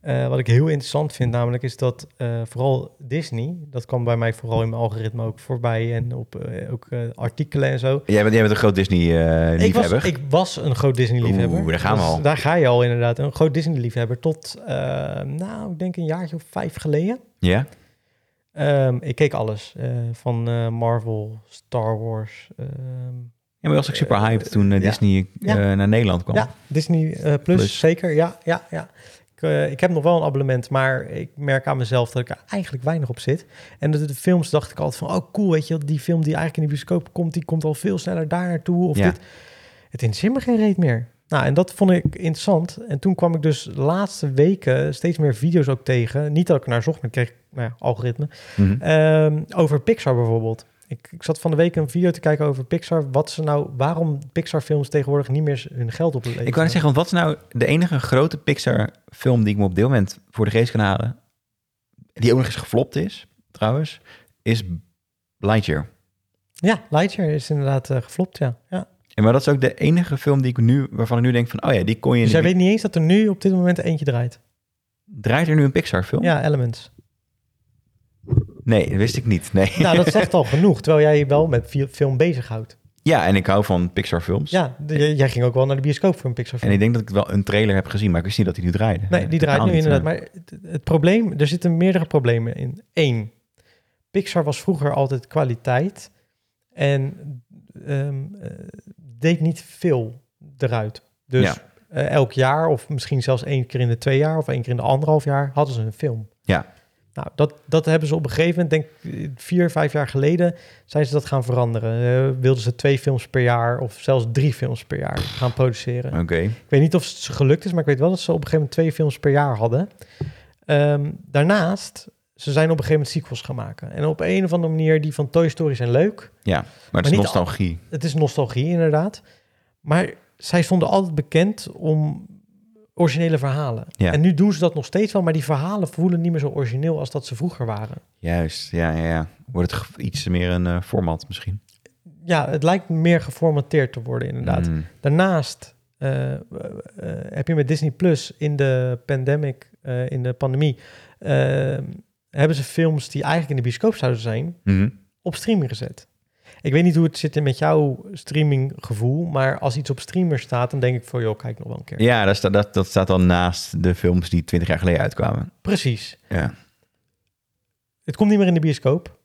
Speaker 2: Eh, wat ik heel interessant vind namelijk is dat eh, vooral Disney, dat kwam bij mij vooral in mijn algoritme ook voorbij en op eh, ook eh, artikelen en zo.
Speaker 1: Jij bent, jij bent een groot eh,
Speaker 2: Ik was,
Speaker 1: Disney-liefhebber.
Speaker 2: ik was een groot Disney-liefhebber.
Speaker 1: Oeh, daar gaan we
Speaker 2: Dus
Speaker 1: al.
Speaker 2: Daar ga je al inderdaad. Een groot Disney-liefhebber tot, eh, nou, ik denk een jaartje of vijf geleden.
Speaker 1: ja?
Speaker 2: Ehm, ik keek alles. eh, van eh, Marvel, Star Wars. ehm,
Speaker 1: Ja, maar was ik super hyped toen eh,
Speaker 2: Ja.
Speaker 1: Disney eh,
Speaker 2: Ja.
Speaker 1: naar Nederland kwam.
Speaker 2: ja, Disney eh, Plus,
Speaker 1: Plus.
Speaker 2: zeker. Ja, ja, ja. Ik eh, ik heb nog wel een abonnement, maar ik merk aan mezelf dat ik er eigenlijk weinig op zit. En de, de films dacht ik altijd van, oh cool, weet je wel, die film die eigenlijk in de bioscoop komt, die komt al veel sneller daar naartoe of
Speaker 1: Ja.
Speaker 2: dit. Het interesseert me geen reet meer. Nou, en dat vond ik interessant. En toen kwam ik dus de laatste weken steeds meer video's ook tegen. Niet dat ik naar zocht, maar ik kreeg nou ja, algoritme.
Speaker 1: Mhm.
Speaker 2: Ehm, over Pixar bijvoorbeeld. Ik, ik zat van de week een video te kijken over Pixar. Wat ze nou, waarom Pixar-films tegenwoordig niet meer hun geld opleveren.
Speaker 1: Ik wou net zeggen, want wat is nou de enige grote Pixar-film die ik me op dit moment voor de geest kan halen, die ook nog eens geflopt is, trouwens, is Lightyear.
Speaker 2: Ja, Lightyear is inderdaad eh, geflopt, ja. ja.
Speaker 1: En maar dat is ook de enige film die ik nu, waarvan ik nu denk van, oh ja, die kon je...
Speaker 2: Dus
Speaker 1: niet.
Speaker 2: jij weet niet eens dat er nu op dit moment eentje draait.
Speaker 1: Draait er nu een Pixar-film?
Speaker 2: Ja, Elements.
Speaker 1: Nee, dat wist ik niet. Nee.
Speaker 2: Nou, dat zegt al genoeg, terwijl jij je wel met vi- film bezighoudt.
Speaker 1: Ja, en ik hou van Pixar-films.
Speaker 2: Ja, de- j- jij ging ook wel naar de bioscoop voor een
Speaker 1: En
Speaker 2: Pixar-film.
Speaker 1: ik denk dat ik wel een trailer heb gezien, maar ik wist niet dat hij nu draaide.
Speaker 2: Nee, die draait
Speaker 1: Totaal
Speaker 2: nu
Speaker 1: niet,
Speaker 2: inderdaad.
Speaker 1: ja.
Speaker 2: Maar het, het probleem, er zitten meerdere problemen in. Eén, Pixar was vroeger altijd kwaliteit en ehm, eh, deed niet veel eruit. Dus
Speaker 1: Ja.
Speaker 2: eh, elk jaar, of misschien zelfs één keer in de twee jaar of één keer in de anderhalf jaar, hadden ze een film.
Speaker 1: Ja.
Speaker 2: Nou, dat, dat hebben ze op een gegeven moment, denk ik, vier, vijf jaar geleden, zijn ze dat gaan veranderen. Eh, wilden ze twee films per jaar of zelfs drie films per jaar gaan produceren.
Speaker 1: Oké.
Speaker 2: Ik weet niet of het ze gelukt is, maar ik weet wel dat ze op een gegeven moment twee films per jaar hadden. Ehm, daarnaast, ze zijn op een gegeven moment sequels gaan maken. En op een of andere manier, die van Toy Story zijn leuk.
Speaker 1: Maar het
Speaker 2: niet
Speaker 1: is
Speaker 2: al-
Speaker 1: nostalgie.
Speaker 2: Het is nostalgie inderdaad. Maar zij stonden altijd bekend om originele verhalen.
Speaker 1: Ja.
Speaker 2: En nu doen ze dat nog steeds wel, maar die verhalen voelen niet meer zo origineel als dat ze vroeger waren.
Speaker 1: Juist, ja, ja, ja. Wordt het ge- iets meer een eh, format misschien.
Speaker 2: Ja, het lijkt meer geformateerd te worden inderdaad.
Speaker 1: Mm.
Speaker 2: Daarnaast eh, eh, heb je met Disney Plus in de pandemic, eh, in de pandemie, eh, hebben ze films die eigenlijk in de bioscoop zouden zijn,
Speaker 1: Mhm.
Speaker 2: op streaming gezet. Ik weet niet hoe het zit met jouw streaminggevoel, maar als iets op streamer staat, dan denk ik voor joh, kijk nog wel een keer.
Speaker 1: Ja, dat, sta- dat, dat staat dan naast de films die 20 jaar geleden uitkwamen.
Speaker 2: Precies.
Speaker 1: Ja.
Speaker 2: Het komt niet meer in de bioscoop.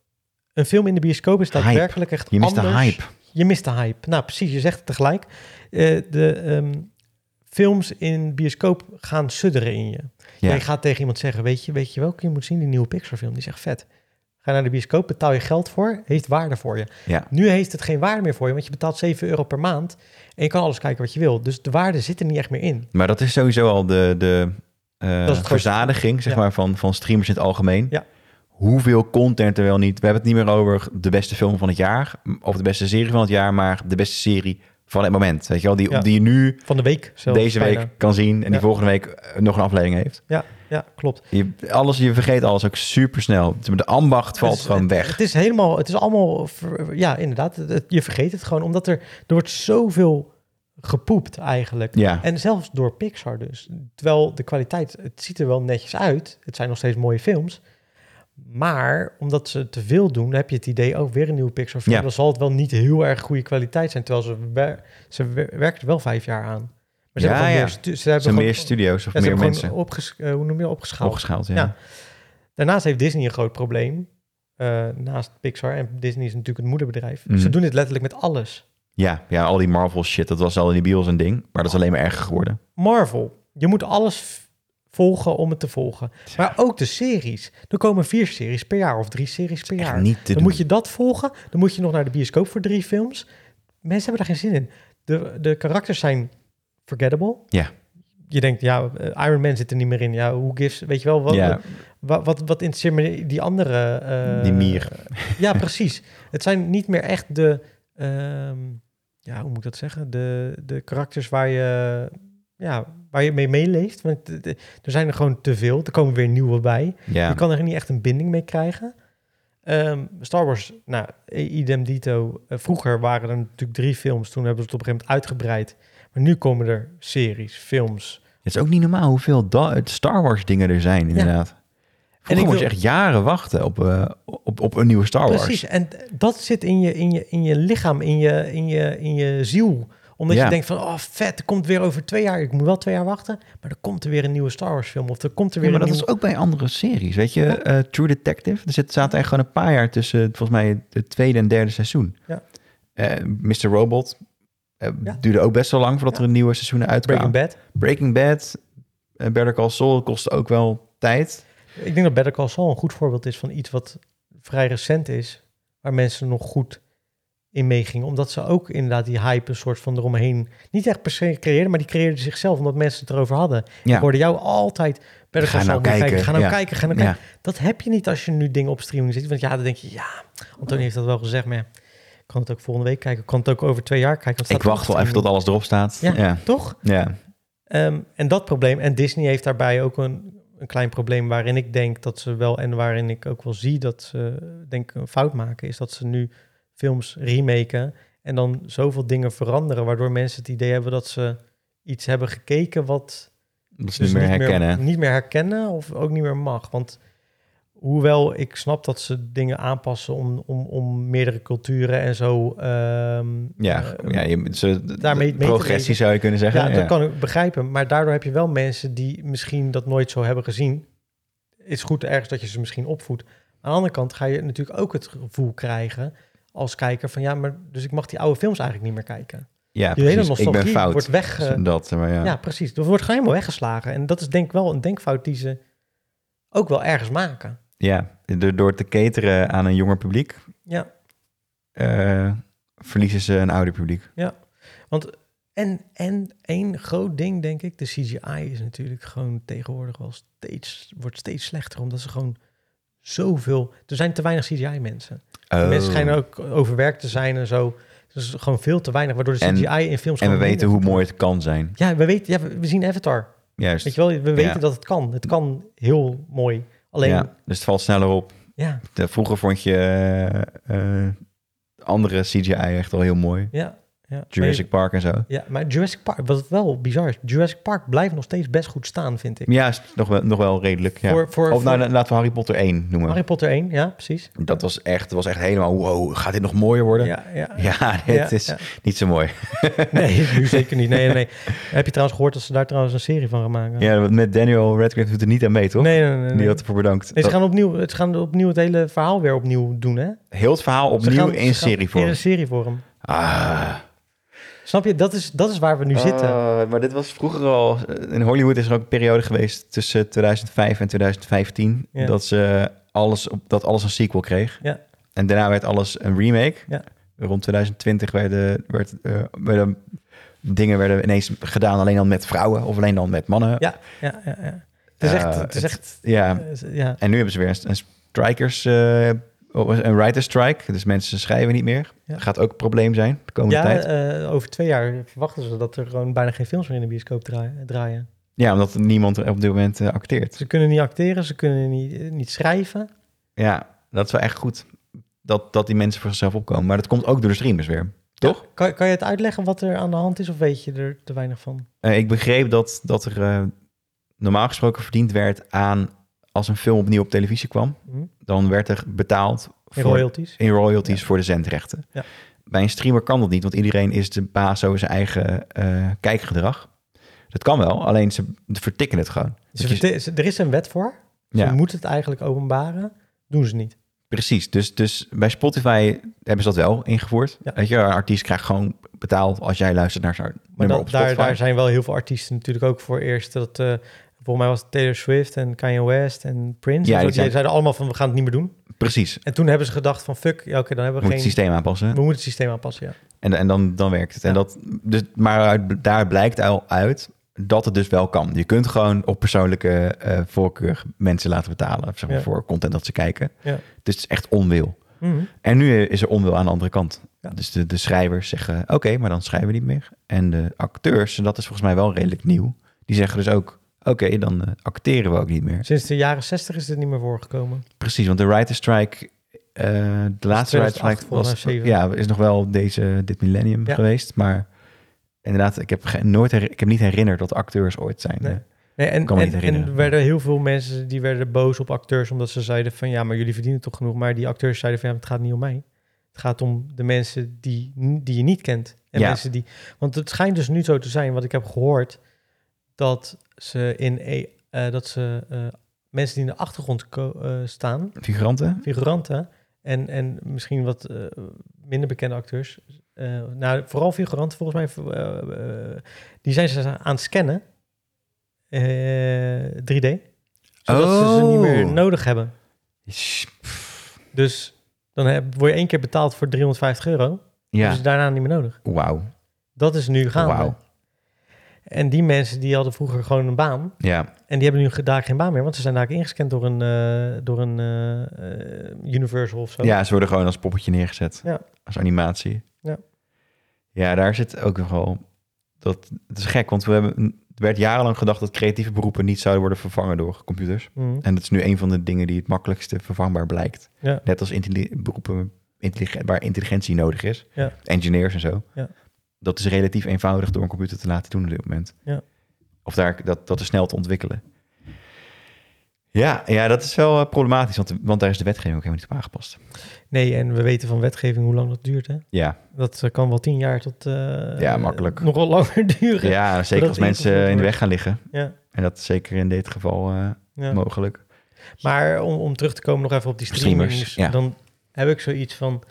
Speaker 2: Een film in de bioscoop is
Speaker 1: Hype.
Speaker 2: daadwerkelijk echt
Speaker 1: Je mist de
Speaker 2: anders.
Speaker 1: hype.
Speaker 2: Je mist de hype. Nou, precies, je zegt het tegelijk. Eh, de ehm, films in bioscoop gaan sudderen in je.
Speaker 1: Ja.
Speaker 2: Je gaat tegen iemand zeggen, weet je, weet je welke je moet zien? Die nieuwe Pixar film, die is echt vet. Ga naar de bioscoop, betaal je geld voor, heeft waarde voor je.
Speaker 1: Ja.
Speaker 2: Nu heeft het geen waarde meer voor je, want je betaalt 7 euro per maand en je kan alles kijken wat je wil. Dus de waarde zit er niet echt meer in.
Speaker 1: Maar dat is sowieso al de, de eh,
Speaker 2: het grootste.
Speaker 1: verzadiging zeg
Speaker 2: Ja.
Speaker 1: maar, van, van streamers in het algemeen.
Speaker 2: Ja.
Speaker 1: Hoeveel content er wel niet. We hebben het niet meer over de beste film van het jaar. Of de beste serie van het jaar. Maar de beste serie van het moment. Weet je wel, die,
Speaker 2: Ja.
Speaker 1: die je nu
Speaker 2: Van de week zelfs.
Speaker 1: deze week
Speaker 2: bijna.
Speaker 1: kan zien. En die
Speaker 2: Ja.
Speaker 1: volgende week eh, nog een aflevering heeft.
Speaker 2: Ja, klopt.
Speaker 1: Je, alles, je vergeet alles ook super snel. De ambacht valt
Speaker 2: Het is-
Speaker 1: gewoon
Speaker 2: Dus Het
Speaker 1: weg.
Speaker 2: is helemaal, het is allemaal, ver- ja inderdaad, het- het- je vergeet het gewoon, omdat er, er wordt zoveel gepoept eigenlijk.
Speaker 1: Ja.
Speaker 2: En zelfs door Pixar dus. Terwijl de kwaliteit, het ziet er wel netjes uit. Het zijn nog steeds mooie films. Maar omdat ze te veel doen, heb je het idee, oh, weer een nieuwe Pixar film.
Speaker 1: Ja.
Speaker 2: Dan zal het wel niet heel erg goede kwaliteit zijn. Terwijl ze, wer- ze wer- werken er wel vijf jaar aan. Maar
Speaker 1: Ja,
Speaker 2: ze hebben gewoon
Speaker 1: ja.
Speaker 2: meer, stu-
Speaker 1: Er
Speaker 2: ze hebben
Speaker 1: zijn
Speaker 2: gewoon,
Speaker 1: meer studio's of
Speaker 2: ja, ze
Speaker 1: meer
Speaker 2: hebben
Speaker 1: mensen.
Speaker 2: gewoon opges- eh, hoe noem je dat? opgeschaald.
Speaker 1: Opgeschaald, ja.
Speaker 2: Ja. Daarnaast heeft Disney een groot probleem. eh, naast Pixar. En Disney is natuurlijk het moederbedrijf.
Speaker 1: Mhm.
Speaker 2: Ze doen dit letterlijk met alles.
Speaker 1: Ja, ja, al die Marvel shit, dat was al in die bios een ding. Maar dat is alleen maar erger geworden.
Speaker 2: Marvel. Je moet alles v- volgen om het te volgen. Maar ook de series. Er komen vier series per jaar of drie series per
Speaker 1: Echt
Speaker 2: jaar.
Speaker 1: niet te
Speaker 2: Dan
Speaker 1: doen.
Speaker 2: moet je dat volgen. Dan moet je nog naar de bioscoop voor drie films. Mensen hebben daar geen zin in. De, de karakters zijn forgettable.
Speaker 1: Ja.
Speaker 2: Je denkt, ja, eh, Iron Man zit er niet meer in. Ja, hoe gives? Weet je wel, wat,
Speaker 1: ja,
Speaker 2: wat, wat, wat interesseert me die andere... eh,
Speaker 1: die mier.
Speaker 2: ja, precies. Het zijn niet meer echt de, ehm, ja, hoe moet ik dat zeggen? De, de karakters waar je, ja, waar je mee meeleeft. Want de- de- er zijn er gewoon te veel. Er komen weer nieuwe bij.
Speaker 1: Ja.
Speaker 2: Je kan er niet echt een binding mee krijgen. Ehm, Star Wars, nou, i- idem dito. Eh, vroeger waren er natuurlijk drie films. Toen hebben ze het op een gegeven moment uitgebreid. Maar nu komen er series, films.
Speaker 1: Het is ook niet normaal hoeveel da- het Star Wars dingen er zijn, inderdaad. Vroeger
Speaker 2: ik
Speaker 1: moest je
Speaker 2: wil-
Speaker 1: echt jaren wachten op, eh, op, op een nieuwe Star Wars.
Speaker 2: Precies, en dat zit in je, in je, in je lichaam, in je, in je, in je ziel. Omdat
Speaker 1: Ja.
Speaker 2: je denkt van, oh vet, er komt weer over twee jaar. Ik moet wel twee jaar wachten, maar er komt er weer een nieuwe Star Wars film. Of er komt er
Speaker 1: Ja,
Speaker 2: weer
Speaker 1: maar
Speaker 2: een
Speaker 1: dat
Speaker 2: nieuwe...
Speaker 1: is ook bij andere series. Weet je, eh, True Detective, er zit, zaten echt gewoon een paar jaar tussen, volgens mij, het tweede en derde seizoen.
Speaker 2: Ja.
Speaker 1: Eh, Mr. Robot eh,
Speaker 2: Ja.
Speaker 1: duurde ook best wel lang voordat
Speaker 2: Ja.
Speaker 1: er een nieuwe seizoen uitkwam.
Speaker 2: Breaking Bad.
Speaker 1: Breaking Bad, eh, Better Call Saul kostte ook wel tijd.
Speaker 2: Ik denk dat Better Call Saul een goed voorbeeld is van iets wat vrij recent is, waar mensen nog goed in meegingen. Omdat ze ook inderdaad die hype een soort van eromheen, niet echt per se creëerden, maar die creëerden zichzelf omdat mensen het erover hadden. Ik
Speaker 1: Ja,
Speaker 2: hoorde jou altijd Better
Speaker 1: Ga
Speaker 2: Call Saul
Speaker 1: nou
Speaker 2: moet kijken,
Speaker 1: kijken,
Speaker 2: Ga nou
Speaker 1: ja.
Speaker 2: kijken, ga nou
Speaker 1: ja.
Speaker 2: kijken. Dat heb je niet als je nu dingen op streaming ziet. Want ja, dan denk je, ja, Antonie heeft dat wel gezegd, maar ja, ik kan het ook volgende week kijken. Ik kan het ook over twee jaar kijken. want het
Speaker 1: ik
Speaker 2: staat
Speaker 1: wacht
Speaker 2: op
Speaker 1: wel even tot
Speaker 2: streaming.
Speaker 1: alles erop staat. Ja, ja.
Speaker 2: Toch? Ehm, en dat probleem. En Disney heeft daarbij ook een, een klein probleem waarin ik denk dat ze wel en waarin ik ook wel zie dat ze eh, denk ik, een fout maken, is dat ze nu films remaken en dan zoveel dingen veranderen, waardoor mensen het idee hebben dat ze iets hebben gekeken wat
Speaker 1: dat ze
Speaker 2: dus
Speaker 1: niet meer herkennen.
Speaker 2: niet meer herkennen of ook niet meer mag. Want hoewel ik snap dat ze dingen aanpassen om, om, om meerdere culturen en zo. ehm,
Speaker 1: ja,
Speaker 2: eh,
Speaker 1: ja je, ze,
Speaker 2: daarmee
Speaker 1: de
Speaker 2: mee te
Speaker 1: progressie
Speaker 2: leven.
Speaker 1: zou je kunnen zeggen.
Speaker 2: ja, dat kan ik begrijpen. Maar daardoor heb je wel mensen die misschien dat nooit zo hebben gezien. Is goed ergens dat je ze misschien opvoedt. Aan de andere kant ga je natuurlijk ook het gevoel krijgen als kijker van ja, maar dus ik mag die oude films eigenlijk niet meer kijken.
Speaker 1: Ja,
Speaker 2: Die hele
Speaker 1: precies. Ik ben
Speaker 2: nostalgie
Speaker 1: fout.
Speaker 2: wordt weg. eh,
Speaker 1: dat, maar ja.
Speaker 2: ja. precies. Dat wordt gewoon helemaal weggeslagen. En dat is denk ik wel een denkfout die ze ook wel ergens maken.
Speaker 1: Ja, door, door te cateren aan een jonger publiek
Speaker 2: Ja,
Speaker 1: eh, verliezen ze een ouder publiek.
Speaker 2: want en, en één groot ding denk ik, de CGI is natuurlijk gewoon tegenwoordig wel steeds, wordt steeds slechter, omdat ze gewoon zoveel, er zijn te weinig CGI mensen.
Speaker 1: Oh.
Speaker 2: Mensen schijnen ook overwerkt te zijn en zo. Dus gewoon veel te weinig, waardoor de
Speaker 1: En-
Speaker 2: CGI in films
Speaker 1: En we
Speaker 2: gewoon
Speaker 1: weten hoe
Speaker 2: minder
Speaker 1: mooi
Speaker 2: goed
Speaker 1: het kan zijn.
Speaker 2: wordt. Ja, we weten, ja, we we zien Avatar.
Speaker 1: Juist.
Speaker 2: Weet je wel, we weten dat het kan. Het kan heel mooi. Alleen, ja,
Speaker 1: Ja, dus het valt sneller op.
Speaker 2: ja,
Speaker 1: De- Vroeger vond je eh, eh, andere CGI echt al heel mooi.
Speaker 2: ja. ja.
Speaker 1: Jurassic Park en zo.
Speaker 2: Ja, maar Jurassic Park, wat wel bizar is, Jurassic Park blijft nog steeds best goed staan, vind ik.
Speaker 1: Ja, is nog wel, nog wel redelijk. Ja.
Speaker 2: Voor, voor,
Speaker 1: of nou,
Speaker 2: voor
Speaker 1: la- laten we Harry Potter 1 noemen.
Speaker 2: Harry Potter 1, ja, precies.
Speaker 1: Dat was echt, was echt helemaal, wow, gaat dit nog mooier worden? Ja,
Speaker 2: ja.
Speaker 1: het
Speaker 2: Ja,
Speaker 1: is
Speaker 2: ja.
Speaker 1: niet zo mooi.
Speaker 2: Nee, nu zeker niet. Nee, nee, nee. Heb je trouwens gehoord dat ze daar trouwens een serie van gaan maken?
Speaker 1: Ja, met Daniel Radcliffe doet er niet aan mee, toch?
Speaker 2: Nee, nee, nee. nee.
Speaker 1: Die had ervoor bedankt.
Speaker 2: Nee, ze,
Speaker 1: Dat-
Speaker 2: gaan opnieuw, ze gaan opnieuw het hele verhaal weer opnieuw doen, hè?
Speaker 1: heel het verhaal
Speaker 2: Ze
Speaker 1: opnieuw
Speaker 2: gaan-
Speaker 1: in
Speaker 2: ze gaan
Speaker 1: serie voor.
Speaker 2: In een serie voor hem.
Speaker 1: Ah.
Speaker 2: Snap je? Dat is, dat is waar we nu zitten.
Speaker 1: Ah, maar dit was vroeger al... In Hollywood is er ook een periode geweest tussen 2005 en 2015...
Speaker 2: Ja.
Speaker 1: dat, ze alles, op- dat alles een sequel kreeg.
Speaker 2: Ja.
Speaker 1: En daarna werd alles een remake.
Speaker 2: Ja.
Speaker 1: Rond 2020 werden, werd, eh, werden dingen werden ineens gedaan... alleen dan met vrouwen of alleen dan met mannen.
Speaker 2: Ja, ja, ja. ja. Het is
Speaker 1: Eh,
Speaker 2: echt... Het is echt
Speaker 1: Ja.
Speaker 2: eh, ja.
Speaker 1: En nu hebben ze weer een, een strikers... eh, een writer strike, dus mensen schrijven niet meer.
Speaker 2: Ja.
Speaker 1: Dat gaat ook een probleem zijn de komende
Speaker 2: Ja,
Speaker 1: tijd.
Speaker 2: eh, over twee jaar verwachten ze dat er gewoon bijna geen films meer in de bioscoop draai- draaien.
Speaker 1: Ja, omdat niemand er op dit moment eh, acteert.
Speaker 2: Ze kunnen niet acteren, ze kunnen niet, eh, niet schrijven.
Speaker 1: Ja, dat is wel echt goed. Dat, dat die mensen voor zichzelf opkomen. Maar dat komt ook door de streamers weer. Toch?
Speaker 2: Kan, kan je het uitleggen wat er aan de hand is of weet je er te weinig van?
Speaker 1: Eh, ik begreep dat, dat er eh, normaal gesproken verdiend werd aan... als een film opnieuw op televisie kwam...
Speaker 2: Hm?
Speaker 1: dan werd er betaald
Speaker 2: In
Speaker 1: voor,
Speaker 2: royalties?
Speaker 1: in royalties voor de zendrechten.
Speaker 2: Ja.
Speaker 1: Bij een streamer kan dat niet, want iedereen is de baas over zijn eigen eh, kijkgedrag. Dat kan wel, alleen ze vertikken het gewoon.
Speaker 2: Ze
Speaker 1: Dus je-
Speaker 2: verte- ze- er is een wet voor. Ze
Speaker 1: ja,
Speaker 2: moeten het eigenlijk openbaren. Doen ze niet.
Speaker 1: precies. Dus, dus bij Spotify hebben ze dat wel ingevoerd.
Speaker 2: Ja.
Speaker 1: Weet je, een artiest krijgt gewoon betaald als jij luistert naar zijn
Speaker 2: Maar
Speaker 1: nummer
Speaker 2: dan-
Speaker 1: op Spotify.
Speaker 2: daar, daar zijn wel heel veel artiesten natuurlijk ook voor eerst. Dat, eh, volgens mij was het Taylor Swift en Kanye West en Prince.
Speaker 1: Ja,
Speaker 2: en
Speaker 1: die
Speaker 2: zo. die
Speaker 1: zijn-
Speaker 2: zeiden allemaal van we gaan het niet meer doen.
Speaker 1: Precies. We
Speaker 2: En toen hebben ze gedacht van fuck, ja, oké, dan hebben we
Speaker 1: moeten het
Speaker 2: geen...
Speaker 1: systeem aanpassen.
Speaker 2: We moeten het systeem aanpassen, ja.
Speaker 1: En, en dan, dan werkt het. En
Speaker 2: Ja.
Speaker 1: dat, dus, maar uit- daar blijkt al uit dat het dus wel kan. Je kunt gewoon op persoonlijke eh, voorkeur mensen laten betalen. Zeg maar,
Speaker 2: Ja.
Speaker 1: Voor content dat ze kijken.
Speaker 2: Ja.
Speaker 1: Dus het is echt onwil.
Speaker 2: Mhm.
Speaker 1: En nu is er onwil aan de andere kant.
Speaker 2: Ja.
Speaker 1: Dus de, de schrijvers zeggen, oké, maar dan schrijven we niet meer. En de acteurs, en dat is volgens mij wel redelijk nieuw. Die zeggen dus ook, oké, dan eh, acteren we ook niet meer.
Speaker 2: Sinds de jaren zestig is dit niet meer voorgekomen.
Speaker 1: Precies, want de writer strike, eh, de laatste writer
Speaker 2: 2008
Speaker 1: strike
Speaker 2: volgens
Speaker 1: was,
Speaker 2: mij, zeven.
Speaker 1: ja, is nog wel deze, dit millennium
Speaker 2: Ja.
Speaker 1: geweest. Maar inderdaad, ik heb, ge- nooit her- ik heb niet herinnerd dat acteurs ooit zijn.
Speaker 2: Nee.
Speaker 1: eh,
Speaker 2: Nee, en,
Speaker 1: Kan me
Speaker 2: en,
Speaker 1: niet herinneren.
Speaker 2: en werden heel veel mensen die werden boos op acteurs omdat ze zeiden van ja, maar jullie verdienen toch genoeg. Maar die acteurs zeiden van ja, maar het gaat niet om mij. Het gaat om de mensen die, die je niet kent. En
Speaker 1: Ja.
Speaker 2: mensen die. Want het schijnt dus nu zo te zijn, wat ik heb gehoord, dat ze in e- eh, dat ze eh, mensen die in de achtergrond ko- eh, staan,
Speaker 1: Figuranten?
Speaker 2: figuranten en, en misschien wat eh, minder bekende acteurs. eh, nou, vooral figuranten volgens mij, eh, eh, die zijn ze aan het scannen. eh, 3D. Zodat ze ze niet meer
Speaker 1: Oh.
Speaker 2: nodig hebben.
Speaker 1: Sh-
Speaker 2: Dus dan heb, word je één keer betaald voor 350 euro.
Speaker 1: Ja,
Speaker 2: Dus daarna niet meer nodig.
Speaker 1: wauw.
Speaker 2: Dat is nu gaande.
Speaker 1: Wauw.
Speaker 2: En die mensen die hadden vroeger gewoon een baan.
Speaker 1: Ja,
Speaker 2: En die hebben nu ge- daar geen baan meer. Want ze zijn daar ingescand door een, eh, door een eh, eh, Universal of zo.
Speaker 1: ja, ze worden gewoon als poppetje neergezet.
Speaker 2: Ja.
Speaker 1: Als animatie.
Speaker 2: Ja.
Speaker 1: Ja, daar zit ook nogal... Dat, het is gek, want we hebben, er werd jarenlang gedacht dat creatieve beroepen niet zouden worden vervangen door computers.
Speaker 2: Mhm.
Speaker 1: En dat is nu een van de dingen die het makkelijkste vervangbaar blijkt.
Speaker 2: Ja.
Speaker 1: Net als intelli- beroepen intelligen- waar intelligentie nodig is.
Speaker 2: Ja.
Speaker 1: Engineers en zo.
Speaker 2: Ja.
Speaker 1: Dat is relatief eenvoudig door een computer te laten doen op dit moment.
Speaker 2: Ja.
Speaker 1: Of daar, dat, dat is snel te ontwikkelen. Ja, ja dat is wel eh, problematisch, want, want daar is de wetgeving ook helemaal niet op aangepast.
Speaker 2: Nee, en we weten van wetgeving hoe lang dat duurt. Hè?
Speaker 1: Ja,
Speaker 2: Dat eh, kan wel tien jaar tot. eh,
Speaker 1: Ja, makkelijk.
Speaker 2: Nogal langer duren.
Speaker 1: ja zeker als
Speaker 2: het ingevoerd
Speaker 1: mensen in de
Speaker 2: wordt.
Speaker 1: weg gaan liggen.
Speaker 2: Ja.
Speaker 1: En dat is zeker in dit geval eh,
Speaker 2: Ja.
Speaker 1: mogelijk.
Speaker 2: Maar om, om terug te komen nog even op die
Speaker 1: Streamers,
Speaker 2: streamers,
Speaker 1: ja.
Speaker 2: dan heb ik zoiets van...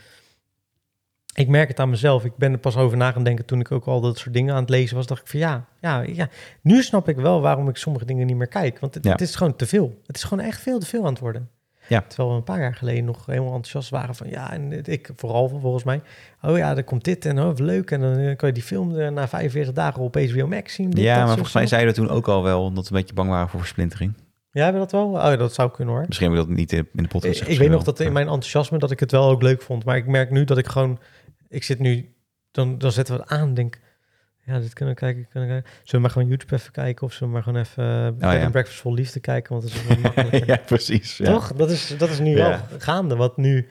Speaker 2: Ik merk het aan mezelf. Ik ben er pas over na gaan denken toen ik ook al dat soort dingen aan het lezen was. Dacht ik van ja, ja, ja. Nu snap ik wel waarom ik sommige dingen niet meer kijk. Want het,
Speaker 1: Ja.
Speaker 2: het is gewoon te veel. Het is gewoon echt veel te veel aan het worden.
Speaker 1: Ja.
Speaker 2: Terwijl we een paar jaar geleden nog helemaal enthousiast waren van ja, en het- ik vooral volgens mij. Oh ja, er komt dit en oh, wat leuk. En dan eh, kan je die film eh, na 45 dagen op HBO Max zien. dit,
Speaker 1: Ja,
Speaker 2: dat,
Speaker 1: maar
Speaker 2: zo,
Speaker 1: volgens mij
Speaker 2: zo.
Speaker 1: zeiden we toen ook al wel dat we een beetje bang waren voor versplintering.
Speaker 2: Ja, hebben we dat wel? Oh, ja, dat zou kunnen hoor.
Speaker 1: Misschien hebben we dat niet in in de podcast
Speaker 2: Ik, ik
Speaker 1: gezegd,
Speaker 2: weet nog
Speaker 1: misschien
Speaker 2: dat in
Speaker 1: wel.
Speaker 2: mijn enthousiasme dat ik het wel ook leuk vond. Maar ik merk nu dat ik gewoon... Ik zit nu... Dan, dan zetten we het aan en denk... Ja, dit kunnen we kijken, kunnen we kijken. Zullen we maar gewoon YouTube even kijken? Of zullen we maar gewoon even eh, Bed
Speaker 1: Oh, ja.
Speaker 2: and Breakfast Vol Liefde kijken? Want dat is wel makkelijker.
Speaker 1: ja, precies. Ja.
Speaker 2: Toch? Dat is, dat is nu
Speaker 1: Ja.
Speaker 2: wel gaande. Wat nu...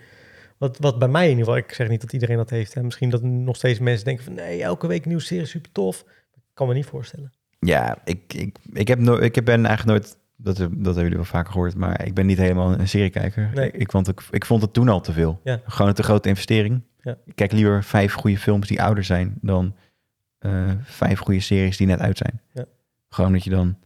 Speaker 2: Wat, wat bij mij in ieder geval... Ik zeg niet dat iedereen dat heeft. En misschien dat nog steeds mensen denken van... Nee, elke week een nieuwe serie, super tof. Ik kan me niet voorstellen.
Speaker 1: Ja, ik, ik, ik, heb no ik heb- ben eigenlijk nooit... Dat, dat hebben jullie wel vaker gehoord, maar ik ben niet helemaal een seriekijker.
Speaker 2: Nee.
Speaker 1: Ik, ik, vond, ik, ik vond het toen al te veel.
Speaker 2: Ja.
Speaker 1: Gewoon een te grote investering.
Speaker 2: Ja.
Speaker 1: Ik kijk liever vijf goede films die ouder zijn... dan eh, vijf goede series die net uit zijn.
Speaker 2: Ja.
Speaker 1: Gewoon dat je dan...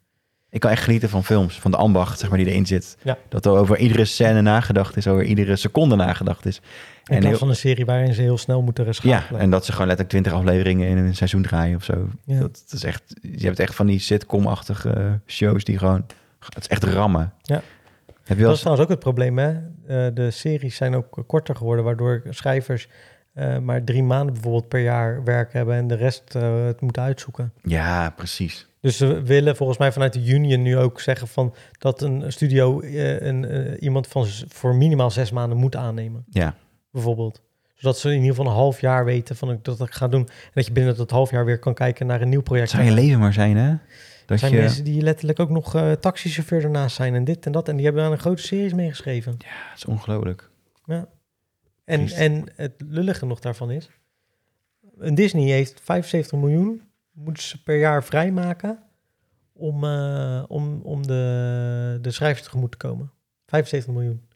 Speaker 1: Ik kan echt genieten van films, van de ambacht zeg maar, die erin zit.
Speaker 2: Ja.
Speaker 1: Dat er over iedere scène nagedacht is, over iedere seconde nagedacht is.
Speaker 2: In
Speaker 1: En
Speaker 2: plaats
Speaker 1: heel-
Speaker 2: van een serie waarin ze heel snel moeten
Speaker 1: Ja,
Speaker 2: schakelen.
Speaker 1: en dat ze gewoon letterlijk twintig afleveringen in een seizoen draaien of zo.
Speaker 2: Ja.
Speaker 1: Dat, dat is echt, je hebt echt van die sitcom-achtige eh, shows die gewoon... Het is echt rammen.
Speaker 2: Ja.
Speaker 1: Heb je wel
Speaker 2: Dat is
Speaker 1: eens...
Speaker 2: trouwens ook het probleem, hè? Eh, de series zijn ook korter geworden, waardoor schrijvers eh, maar drie maanden bijvoorbeeld per jaar werk hebben en de rest eh, het moeten uitzoeken.
Speaker 1: Ja, precies.
Speaker 2: Dus ze willen volgens mij vanuit de union nu ook zeggen van dat een studio eh, een, eh, iemand van z- voor minimaal zes maanden moet aannemen,
Speaker 1: Ja,
Speaker 2: bijvoorbeeld. Zodat ze in ieder geval een half jaar weten van ik- dat ik ga doen. En dat je binnen dat half jaar weer kan kijken naar een nieuw
Speaker 1: het
Speaker 2: project.
Speaker 1: zou je leven maar zijn, hè? Dat
Speaker 2: Er zijn
Speaker 1: je...
Speaker 2: mensen die letterlijk ook nog eh taxichauffeur ernaast zijn en dit en dat. En die hebben aan een grote series meegeschreven.
Speaker 1: Ja, het is ongelooflijk.
Speaker 2: En,
Speaker 1: Triest.
Speaker 2: en het lullige nog daarvan is... Een Disney heeft 75 miljoen... moeten ze per jaar vrijmaken... om, eh, om, om de, de schrijvers tegemoet te komen. 75 miljoen.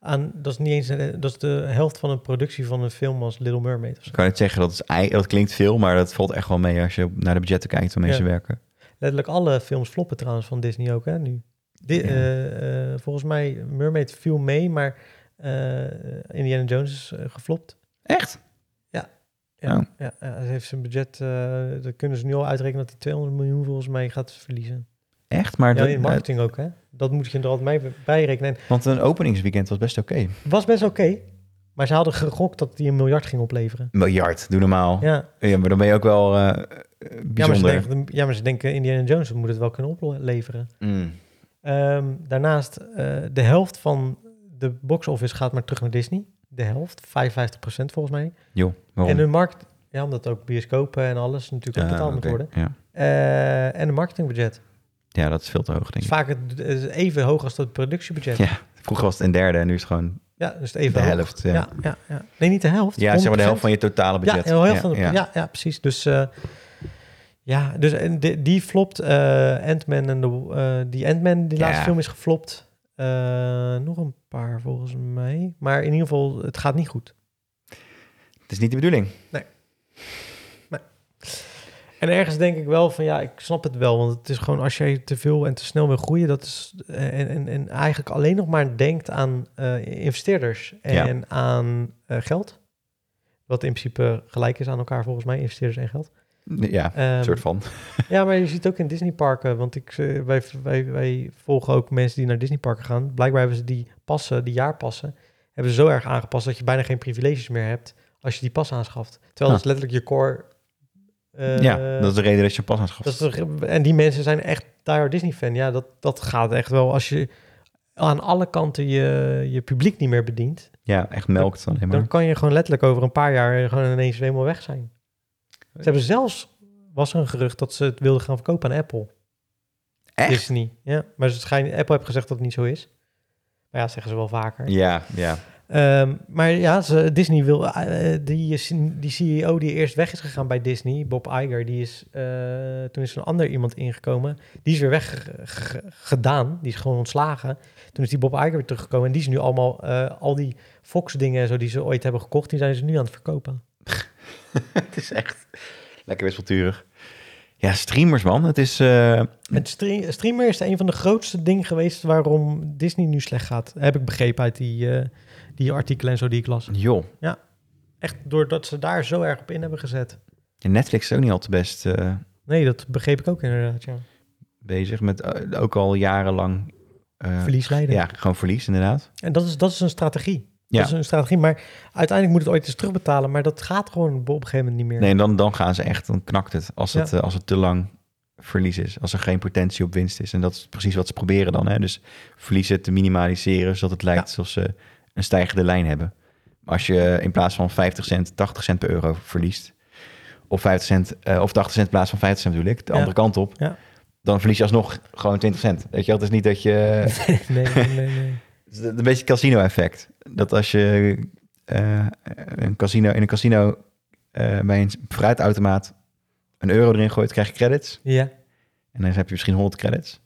Speaker 2: Aan, dat, is niet eens, eh, dat is de helft van een productie van een film als Little Mermaid. Of zo.
Speaker 1: Ik kan niet zeggen, dat, is, ei- dat klinkt veel, maar dat valt echt wel mee als je naar de budgetten kijkt waar mensen
Speaker 2: Ja.
Speaker 1: werken.
Speaker 2: Letterlijk alle films floppen trouwens van Disney ook, hè, nu. Di-
Speaker 1: Ja.
Speaker 2: eh, eh, volgens mij, Mermaid viel mee, maar eh, Indiana Jones is eh, geflopt.
Speaker 1: Echt?
Speaker 2: Ja,
Speaker 1: Oh.
Speaker 2: ja, ja, ze heeft zijn budget, eh dat kunnen ze nu al uitrekenen dat hij 200 miljoen volgens mij gaat verliezen.
Speaker 1: Echt? Maar
Speaker 2: Ja,
Speaker 1: dat- eh,
Speaker 2: in marketing ook, hè? Dat moet je er altijd mee bij rekenen. En
Speaker 1: want een openingsweekend was best oké.
Speaker 2: het was best oké, maar ze hadden gegokt dat hij een miljard ging
Speaker 1: Oh,
Speaker 2: opleveren.
Speaker 1: Miljard, doe normaal. Ja.
Speaker 2: Ja,
Speaker 1: maar dan ben je ook wel eh, eh,
Speaker 2: ja, maar, ze
Speaker 1: bijzonder.
Speaker 2: denken, ja maar ze denken Indiana Jones moet het wel kunnen opleveren.
Speaker 1: Mm.
Speaker 2: Ehm, daarnaast, eh, de helft van de box office gaat maar terug naar Disney. De helft, 55% volgens mij.
Speaker 1: Joh, waarom?
Speaker 2: En hun markt, ja, omdat ook bioscopen en alles natuurlijk ook
Speaker 1: Oh. Ah,
Speaker 2: betaald moet
Speaker 1: oké,
Speaker 2: worden.
Speaker 1: Ja.
Speaker 2: Eh, en een marketingbudget.
Speaker 1: ja, dat is veel te hoog, denk
Speaker 2: Het
Speaker 1: ik.
Speaker 2: is vaak het, het is even hoog als dat productiebudget.
Speaker 1: Ja.
Speaker 2: Ja,
Speaker 1: Vroeger was het een derde en nu is het gewoon
Speaker 2: dus het even
Speaker 1: de
Speaker 2: hoog.
Speaker 1: helft. Ja,
Speaker 2: Ja. Ja, ja, Nee, niet de helft.
Speaker 1: Ja, zeg maar de helft
Speaker 2: 100%.
Speaker 1: van je totale budget.
Speaker 2: Ja, de helft van de-
Speaker 1: ja.
Speaker 2: ja. Ja, precies. Dus, eh, ja, dus en die, die flopt. eh Ant-Man en de, eh, die Ant-Man, die
Speaker 1: Ja.
Speaker 2: laatste film is geflopt. Eh, nog een paar volgens mij. Maar in ieder geval, het gaat niet goed.
Speaker 1: Het is niet de bedoeling.
Speaker 2: En ergens denk ik wel van ja, ik snap het wel. Want het is gewoon als jij te veel en te snel wil groeien, dat is. eh, En, en, en eigenlijk alleen nog maar denkt aan eh, investeerders en aan eh, geld. Wat in principe gelijk is aan elkaar volgens mij, investeerders en geld.
Speaker 1: Ja,
Speaker 2: Ehm,
Speaker 1: een soort van.
Speaker 2: Ja, maar je ziet het ook in Disneyparken. Want ik, eh, wij, wij, wij volgen ook mensen die naar Disneyparken gaan. Blijkbaar hebben ze die passen, die jaarpassen, hebben ze zo erg aangepast dat je bijna geen privileges meer hebt als je die pas aanschaft. Terwijl dat is letterlijk je core. eh,
Speaker 1: ja, dat is de reden dat je een pas aanschaft.
Speaker 2: dat is toch- en die mensen zijn echt daar Disney-fan. Ja, dat, dat gaat echt wel. Als je aan alle kanten je, je publiek niet meer bedient,
Speaker 1: Ja, echt melkt alleen maar.
Speaker 2: dan kan je gewoon letterlijk over een paar jaar gewoon ineens helemaal weg zijn. Ze hebben zelfs, was er een gerucht dat ze het wilden gaan verkopen aan Apple.
Speaker 1: Echt?
Speaker 2: Disney. Ja, maar ze schijn, Apple heeft gezegd dat het niet zo is. Maar ja, dat zeggen ze wel vaker.
Speaker 1: Ja, ja.
Speaker 2: Ehm, maar ja, ze- Disney wil... eh, eh, die, is- die CEO die eerst weg is gegaan bij Disney, Bob Iger, die is... eh, toen is er een ander iemand ingekomen. Die is weer weggedaan. Die is gewoon ontslagen. Toen is die Bob Iger weer teruggekomen. En die is nu allemaal... eh, al die Fox-dingen en zo die ze ooit hebben gekocht, die zijn ze nu aan het verkopen.
Speaker 1: het is echt lekker wispelturig. Ja, streamers man, het is... eh,
Speaker 2: Het stre- streamer is een van de grootste dingen geweest waarom Disney nu slecht gaat. Heb ik begrepen uit die, eh, die artikelen en zo die ik las.
Speaker 1: joh,
Speaker 2: Echt doordat ze daar zo erg op in hebben gezet.
Speaker 1: en Netflix is ook niet al te best eh,
Speaker 2: Nee, dat begreep ik ook inderdaad, ja.
Speaker 1: bezig met eh, ook al jarenlang... eh,
Speaker 2: Verlies leiden.
Speaker 1: Ja, gewoon verlies inderdaad.
Speaker 2: En dat is, dat is een strategie.
Speaker 1: Ja.
Speaker 2: Dat is een strategie, maar uiteindelijk moet het ooit eens terugbetalen. Maar dat gaat gewoon op een gegeven moment niet meer.
Speaker 1: Nee, en dan, dan gaan ze echt, dan knakt het als het,
Speaker 2: Ja.
Speaker 1: eh, als het te lang verlies is. Als er geen potentie op winst is. En dat is precies wat ze proberen dan. Hè? Dus verliezen te minimaliseren, zodat het lijkt alsof ze een stijgende lijn hebben. Maar als je eh, in plaats van 50 cent, 80 cent per euro verliest, of 50 cent, eh, of 80 cent in plaats van 50 cent bedoel ik, de
Speaker 2: Ja.
Speaker 1: andere kant op,
Speaker 2: Ja.
Speaker 1: dan verlies je alsnog gewoon 20 cent. Weet je wel, het is niet dat je...
Speaker 2: nee, nee, nee, nee.
Speaker 1: Het is Een beetje casino-effect. Dat als je eh, een casino, in een casino eh, bij een fruitautomaat een euro erin gooit, krijg je credits.
Speaker 2: Ja,
Speaker 1: En dan heb je misschien 100 credits.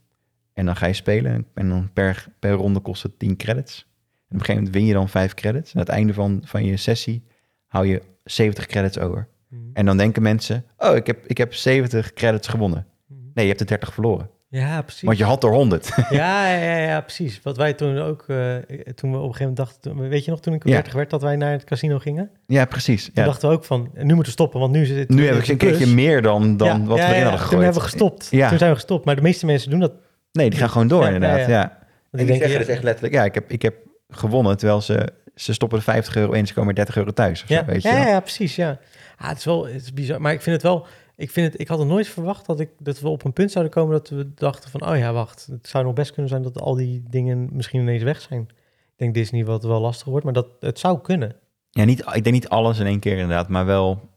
Speaker 1: En dan ga je spelen. En dan per, per ronde kost het 10 credits. En op een gegeven moment win je dan 5 credits. En aan het einde van, van je sessie hou je 70 credits over. En dan denken mensen: Oh, ik heb, ik heb 70 credits gewonnen. Nee, je hebt er 30 verloren.
Speaker 2: ja precies.
Speaker 1: Want je had er 100.
Speaker 2: Ja, ja, ja, ja, precies. Wat wij toen ook, eh, toen we op een gegeven moment dachten, toen- weet je nog, toen ik
Speaker 1: Ja.
Speaker 2: 40 werd, dat wij naar het casino gingen.
Speaker 1: ja, precies.
Speaker 2: Toen
Speaker 1: Ja.
Speaker 2: dachten we ook van, nu moeten we stoppen, want nu zit
Speaker 1: Nu heb ik een keertje meer dan, dan
Speaker 2: Ja,
Speaker 1: wat
Speaker 2: ja,
Speaker 1: we erin
Speaker 2: ja,
Speaker 1: hadden gegooid.
Speaker 2: Toen hebben we gestopt.
Speaker 1: Ja.
Speaker 2: Toen zijn we gestopt. Maar de meeste mensen doen dat. Want
Speaker 1: Nee, die gaan gewoon door
Speaker 2: Ja,
Speaker 1: inderdaad.
Speaker 2: ja,
Speaker 1: Ja,
Speaker 2: ja.
Speaker 1: En die zeggen dus echt letterlijk, ja, ik heb, ik heb gewonnen. Terwijl ze, ze stoppen er 50 euro in, ze komen er 30 euro thuis. Of
Speaker 2: ja,
Speaker 1: zo, weet je
Speaker 2: ja,
Speaker 1: wel.
Speaker 2: ja, ja, precies. Ja. Ah, het is wel het is bizar. Maar ik vind het wel. Ik, vind het, ik had het nooit verwacht dat, ik, dat we op een punt zouden komen dat we dachten van, oh ja, wacht, het zou nog best kunnen zijn dat al die dingen misschien ineens weg zijn. Ik denk Disney wat wel lastig wordt, maar dat, het zou kunnen.
Speaker 1: Ja, niet, ik denk niet alles in één keer inderdaad, maar wel...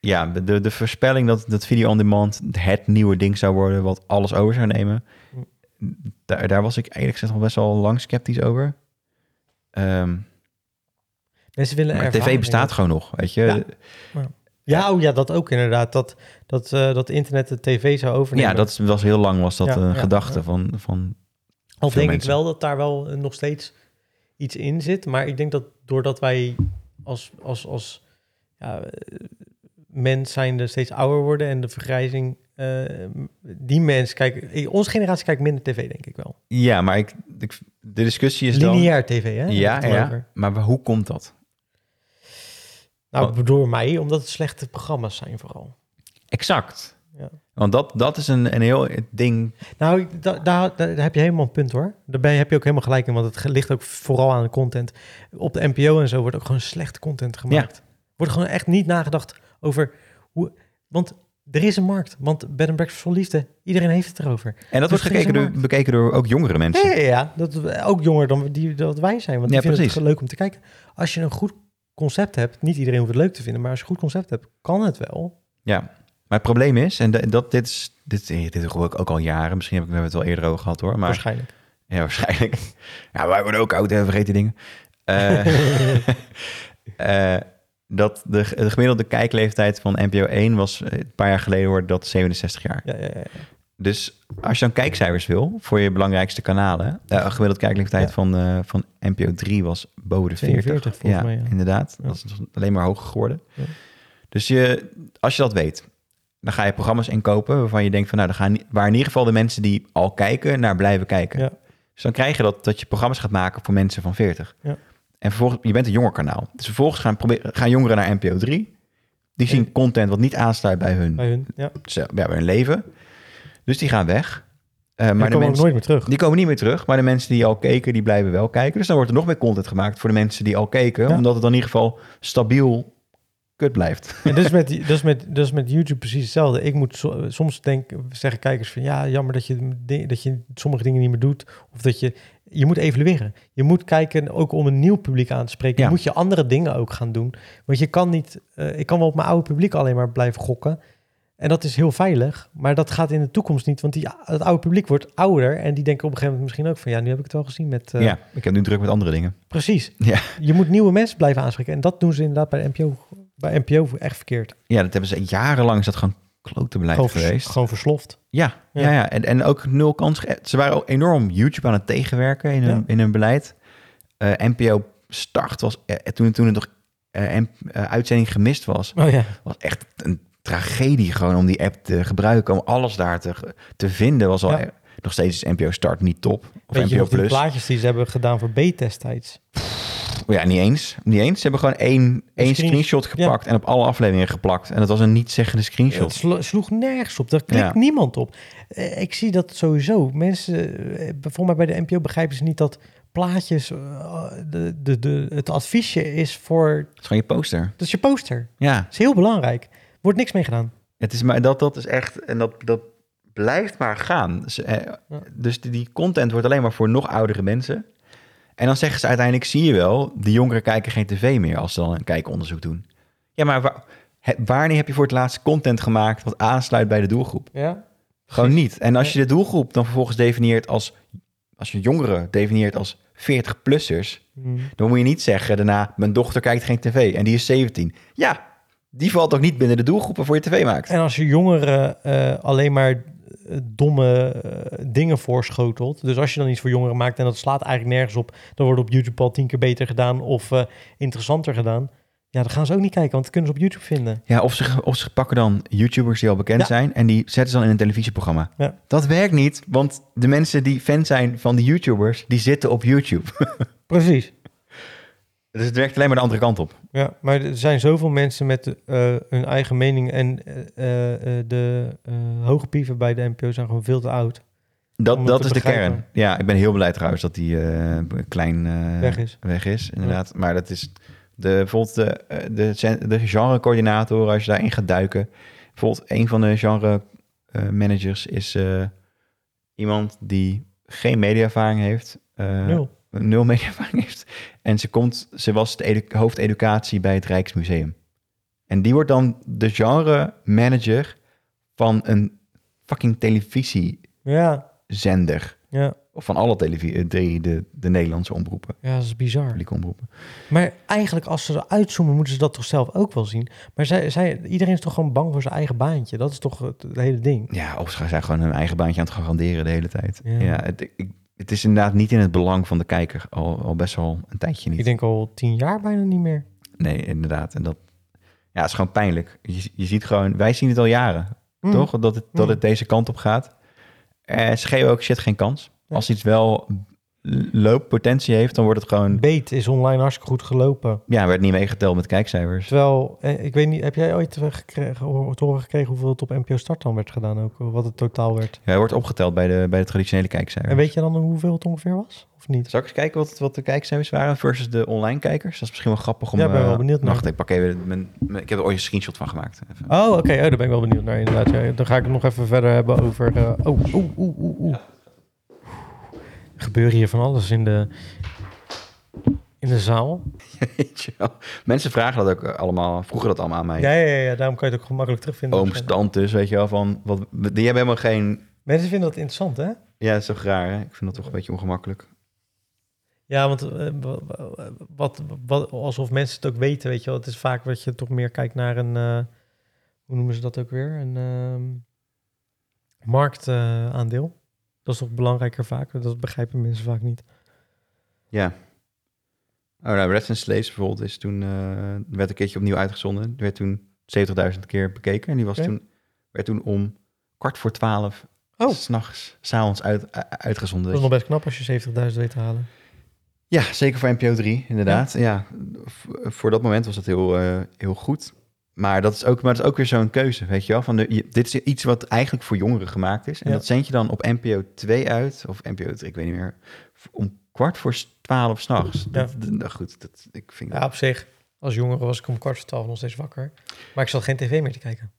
Speaker 1: Ja, de, de voorspelling dat, dat video on demand het nieuwe ding zou worden... wat alles over zou nemen... Daar, daar was ik eigenlijk gezegd nog best wel lang sceptisch over. Ehm,
Speaker 2: Mensen willen
Speaker 1: maar tv
Speaker 2: ervaring.
Speaker 1: bestaat gewoon nog, weet je.
Speaker 2: Ja. Ja, oh ja, dat ook inderdaad. Dat, dat, eh, dat internet de tv zou overnemen.
Speaker 1: Ja, dat was heel lang was dat
Speaker 2: Ja,
Speaker 1: een
Speaker 2: ja,
Speaker 1: gedachte
Speaker 2: ja.
Speaker 1: Van, van...
Speaker 2: Al
Speaker 1: Veel
Speaker 2: denk
Speaker 1: mensen.
Speaker 2: ik wel dat daar wel eh, nog steeds iets in zit. Maar ik denk dat doordat wij als, als, als ja, eh, mens zijnde steeds ouder worden en de vergrijzing... eh, die mensen kijken... eh, Onze generatie kijkt minder tv, denk ik wel.
Speaker 1: Ja, maar ik, ik- de discussie is dan...
Speaker 2: Lineair tv, hè? heb ik
Speaker 1: Ja,
Speaker 2: het dan
Speaker 1: ja,
Speaker 2: over.
Speaker 1: maar wa- hoe komt dat? Oh.
Speaker 2: Nou, door mij, omdat het slechte programma's zijn vooral.
Speaker 1: Exact.
Speaker 2: Ja.
Speaker 1: Want dat, dat is een, een heel ding.
Speaker 2: Nou, ik- da- daar daar heb je helemaal een punt hoor. Daar ben je- heb je ook helemaal gelijk in, want het ge- ligt ook vooral aan de content. Op de NPO en zo wordt ook gewoon slecht content gemaakt. Wordt gewoon echt niet nagedacht over hoe. Want er is een markt. Want Bed and Breakfast voor Liefde, iedereen heeft het erover.
Speaker 1: En dat
Speaker 2: Dus
Speaker 1: wordt gekeken
Speaker 2: geen
Speaker 1: door, bekeken door ook jongere mensen.
Speaker 2: Ja, ja, ja. Dat, we- ook jonger dan die, dat wij zijn. Want
Speaker 1: Ja,
Speaker 2: die vinden
Speaker 1: precies.
Speaker 2: het leuk om te kijken. Als je een goed concept hebt, niet iedereen hoeft het leuk te vinden, maar als je een goed concept hebt, kan het wel.
Speaker 1: Maar het probleem is, en da- dat, dit, is, dit, eh, dit hoor ik ook al jaren. Misschien heb ik we hebben het wel eerder over gehad hoor. Maar
Speaker 2: waarschijnlijk.
Speaker 1: Ja, waarschijnlijk. Ja, wij worden ook oud en vergeten dingen. Eh, eh, dat de, de gemiddelde kijkleeftijd van NPO 1 was eh, een paar jaar geleden hoorde dat 67 jaar.
Speaker 2: Ja, ja, ja.
Speaker 1: Dus als je dan kijkcijfers wil voor je belangrijkste kanalen, eh gemiddeld kijkleeftijd
Speaker 2: Ja.
Speaker 1: van, eh, van NPO 3 was boven de 40.
Speaker 2: 42 volgens
Speaker 1: ja,
Speaker 2: mij, ja.
Speaker 1: inderdaad.
Speaker 2: Ja.
Speaker 1: Dat is alleen maar hoger geworden.
Speaker 2: Ja.
Speaker 1: Dus je, als je dat weet, dan ga je programma's inkopen waarvan je denkt van nou, dan gaan, waar in ieder geval de mensen die al kijken naar blijven kijken.
Speaker 2: Ja.
Speaker 1: Dus dan krijg je dat, dat je programma's gaat maken voor mensen van 40.
Speaker 2: Ja.
Speaker 1: En vervolgens, je bent een jonger kanaal. Dus vervolgens gaan, probeer- gaan jongeren naar NPO 3. Die zien content wat niet aansluit bij hun,
Speaker 2: bij hun. Ja.
Speaker 1: ze- ja, bij hun leven. Dus die gaan weg. Eh, maar
Speaker 2: Maar
Speaker 1: de
Speaker 2: die komen ook
Speaker 1: mensen,
Speaker 2: nooit meer terug.
Speaker 1: die komen niet meer terug. Maar de mensen die al keken, die blijven wel kijken. Dus dan wordt er nog meer content gemaakt voor de mensen die al keken.
Speaker 2: Ja.
Speaker 1: Omdat het dan in ieder geval stabiel kut blijft.
Speaker 2: En dat is, met, die- dat, is met, dat is met YouTube precies hetzelfde. Ik moet so- soms denk, zeggen kijkers van ja, jammer dat je, di- dat je sommige dingen niet meer doet. Of dat je. Je moet evalueren. Je moet kijken, ook om een nieuw publiek aan te spreken,
Speaker 1: Ja.
Speaker 2: moet je andere dingen ook gaan doen. Want je kan niet. eh, ik kan wel op mijn oude publiek alleen maar blijven gokken. En dat is heel veilig. Maar dat gaat in de toekomst niet. Want die, het oude publiek wordt ouder. En die denken op een gegeven moment misschien ook van ja, nu heb ik het wel gezien met. eh,
Speaker 1: ja, ik heb nu druk met andere dingen.
Speaker 2: Precies.
Speaker 1: Ja.
Speaker 2: Je moet nieuwe mensen blijven aanspreken. En dat doen ze inderdaad bij NPO, bij NPO echt verkeerd.
Speaker 1: Ja, dat hebben ze jarenlang is dat gewoon klote beleid
Speaker 2: Gewoon, vers-
Speaker 1: geweest.
Speaker 2: gewoon versloft.
Speaker 1: Ja, ja.
Speaker 2: Ja.
Speaker 1: ja, En, en ook nul kans. ge- Ze waren ook enorm YouTube aan het tegenwerken in hun,
Speaker 2: Ja.
Speaker 1: in hun beleid. Eh, NPO start was, eh, toen, toen het nog eh, en- eh, uitzending gemist was,
Speaker 2: Oh ja.
Speaker 1: was echt een tragedie gewoon om die app te gebruiken. Om alles daar te, te vinden was al... e-
Speaker 2: Ja.
Speaker 1: Nog steeds is NPO Start niet top. Of
Speaker 2: Weet je
Speaker 1: NPO
Speaker 2: nog die
Speaker 1: Plus.
Speaker 2: plaatjes die ze hebben gedaan voor B-testijds?
Speaker 1: Oh ja, niet eens. Niet eens. Ze hebben gewoon één, één
Speaker 2: screen-
Speaker 1: screenshot gepakt en op alle afleveringen geplakt. En dat was een niet-zeggende
Speaker 2: Het
Speaker 1: screenshot.
Speaker 2: slo- sloeg nergens op. Daar klikt
Speaker 1: Ja.
Speaker 2: niemand op. Eh, ik zie dat sowieso. Mensen, eh, volgens mij bij de NPO begrijpen ze niet dat plaatjes eh, de, de, de, het adviesje is voor...
Speaker 1: Het is gewoon je poster.
Speaker 2: Dat is je poster.
Speaker 1: Ja.
Speaker 2: Dat is heel belangrijk. Wordt niks mee gedaan.
Speaker 1: Het is maar dat, dat is echt, en dat, dat blijft maar gaan. Dus, eh,
Speaker 2: Ja.
Speaker 1: dus die, die content wordt alleen maar voor nog oudere mensen. En dan zeggen ze uiteindelijk, zie je wel, de jongeren kijken geen tv meer als ze dan een kijkonderzoek doen. Ja, maar wa- he- wanneer heb je voor het laatst content gemaakt wat aansluit bij de doelgroep?
Speaker 2: Ja.
Speaker 1: Gewoon niet. En als je de doelgroep dan vervolgens definieert als, als je jongeren definieert als 40-plussers,
Speaker 2: Hmm.
Speaker 1: dan moet je niet zeggen daarna, mijn dochter kijkt geen tv en die is 17. Ja, die valt ook niet binnen de doelgroepen voor je tv maakt.
Speaker 2: En als je jongeren eh, alleen maar eh, domme eh, dingen voorschotelt. Dus als je dan iets voor jongeren maakt en dat slaat eigenlijk nergens op. Dan wordt op YouTube al tien keer beter gedaan of eh, interessanter gedaan. Ja, dan gaan ze ook niet kijken, want dat kunnen ze op YouTube vinden.
Speaker 1: Ja, of ze, of ze pakken dan YouTubers die al bekend
Speaker 2: Ja.
Speaker 1: zijn en die zetten ze dan in een televisieprogramma.
Speaker 2: Ja.
Speaker 1: Dat werkt niet, want de mensen die fan zijn van die YouTubers, die zitten op YouTube.
Speaker 2: Precies.
Speaker 1: dus het werkt alleen maar de andere kant op.
Speaker 2: Ja, maar er zijn zoveel mensen met eh, hun eigen mening. En eh, eh, eh, de eh, hoge pieven bij de NPO zijn gewoon veel te oud. Om
Speaker 1: Dat,
Speaker 2: het
Speaker 1: dat
Speaker 2: te
Speaker 1: is de
Speaker 2: begrijpen.
Speaker 1: kern. Ja, ik ben heel blij trouwens dat die eh, klein eh,
Speaker 2: Weg is.
Speaker 1: weg is, inderdaad. Maar dat is de, bijvoorbeeld de, eh, de, gen- de genrecoördinator, als je daarin gaat duiken. Bijvoorbeeld een van de genre eh, managers is eh, iemand die geen mediaervaring heeft. eh,
Speaker 2: Nul.
Speaker 1: nul mediaervaring heeft. En ze, komt, ze was de edu- hoofdeducatie bij het Rijksmuseum. En die wordt dan de genre manager van een fucking televisiezender.
Speaker 2: Ja, ja.
Speaker 1: Of van alle televi- eh, drie de, de Nederlandse omroepen,
Speaker 2: ja, dat is bizar.
Speaker 1: publieke omroepen.
Speaker 2: Maar eigenlijk, als ze eruit zoomen, moeten ze dat toch zelf ook wel zien. Maar zij, zij, iedereen is toch gewoon bang voor zijn eigen baantje. Dat is toch het, het hele ding.
Speaker 1: Ja, of ze zijn gewoon hun eigen baantje aan het garanderen de hele tijd. Ja,
Speaker 2: Ja.
Speaker 1: het, ik- het is inderdaad niet in het belang van de kijker, al, al best wel een tijdje niet.
Speaker 2: Ik denk al tien jaar bijna niet meer.
Speaker 1: Nee, inderdaad. En dat ja, het is gewoon pijnlijk. Je, je ziet gewoon, wij zien het al jaren,
Speaker 2: Mm.
Speaker 1: toch? Dat het, dat het deze kant op gaat. Eh, ze geven ook shit geen kans.
Speaker 2: Ja.
Speaker 1: Als iets wel l- looppotentie heeft, dan wordt het gewoon...
Speaker 2: Mm. Beet is online hartstikke goed gelopen.
Speaker 1: Ja, werd niet meegeteld met kijkcijfers.
Speaker 2: Terwijl, eh, ik weet niet, heb jij ooit eh, gekregen, gehoor- te horen gekregen hoeveel het op NPO Start dan werd gedaan ook? Wat het totaal werd?
Speaker 1: Hij wordt opgeteld bij de, bij de traditionele kijkcijfers.
Speaker 2: En weet je dan hoeveel het ongeveer was? Of niet?
Speaker 1: Zal ik eens kijken wat, wat de kijkcijfers waren versus de online kijkers? Dat is misschien wel grappig om...
Speaker 2: Ja, ik ben wel
Speaker 1: eh,
Speaker 2: benieuwd naar.
Speaker 1: Wacht, ik pak even... Mijn, mijn- ik heb er ooit een screenshot van gemaakt. Even.
Speaker 2: Oh, oké. Oh, daar ben ik wel benieuwd naar inderdaad. Ja, dan ga ik het nog even verder hebben over... eh, oh, oeh, oeh, oeh, oeh. Er gebeurt hier van alles in de, in de zaal.
Speaker 1: Weet je wel. Mensen vragen dat ook eh, allemaal, vroegen dat allemaal aan mij.
Speaker 2: Ja, ja, ja, ja, daarom kan je het ook gemakkelijk terugvinden.
Speaker 1: Ooms, tantes, weet je wel, van... Wat, die hebben helemaal geen...
Speaker 2: Mensen vinden dat interessant, hè?
Speaker 1: Ja, dat is toch raar, hè? Ik vind dat toch een beetje ongemakkelijk.
Speaker 2: Ja, want eh, wa- wa- wat, wat, alsof mensen het ook weten, weet je wel. Het is vaak dat je toch meer kijkt naar een... eh, hoe noemen ze dat ook weer? Een ehm, marktaandeel. dat is toch belangrijker vaak? Dat begrijpen mensen vaak niet.
Speaker 1: Ja. Oh, nou, Rats and Slaves bijvoorbeeld is toen... eh, werd een keertje opnieuw uitgezonden. Die werd toen 70.000 keer bekeken. En die was
Speaker 2: Oké.
Speaker 1: toen, werd toen om kwart voor twaalf...
Speaker 2: Oh.
Speaker 1: S'nachts, s'avonds uit, u- uitgezonden. Dus
Speaker 2: Dat is nog best knap als je 70.000 weet te halen.
Speaker 1: Ja, zeker voor NPO 3, inderdaad. Ja, v- voor dat moment was dat heel, eh, heel goed. Maar dat is ook, maar dat is ook weer zo'n keuze, weet je wel? Van de, je- dit is iets wat eigenlijk voor jongeren gemaakt is. En
Speaker 2: Ja.
Speaker 1: dat zend je dan op NPO 2 uit, of NPO 3, ik weet niet meer, om kwart voor s- 12 s'nachts.
Speaker 2: Ja.
Speaker 1: Nou goed, dat, ik vind
Speaker 2: Ja, op zich. Als jongere was ik om kwart voor twaalf nog steeds wakker. Maar ik zat geen tv meer te kijken.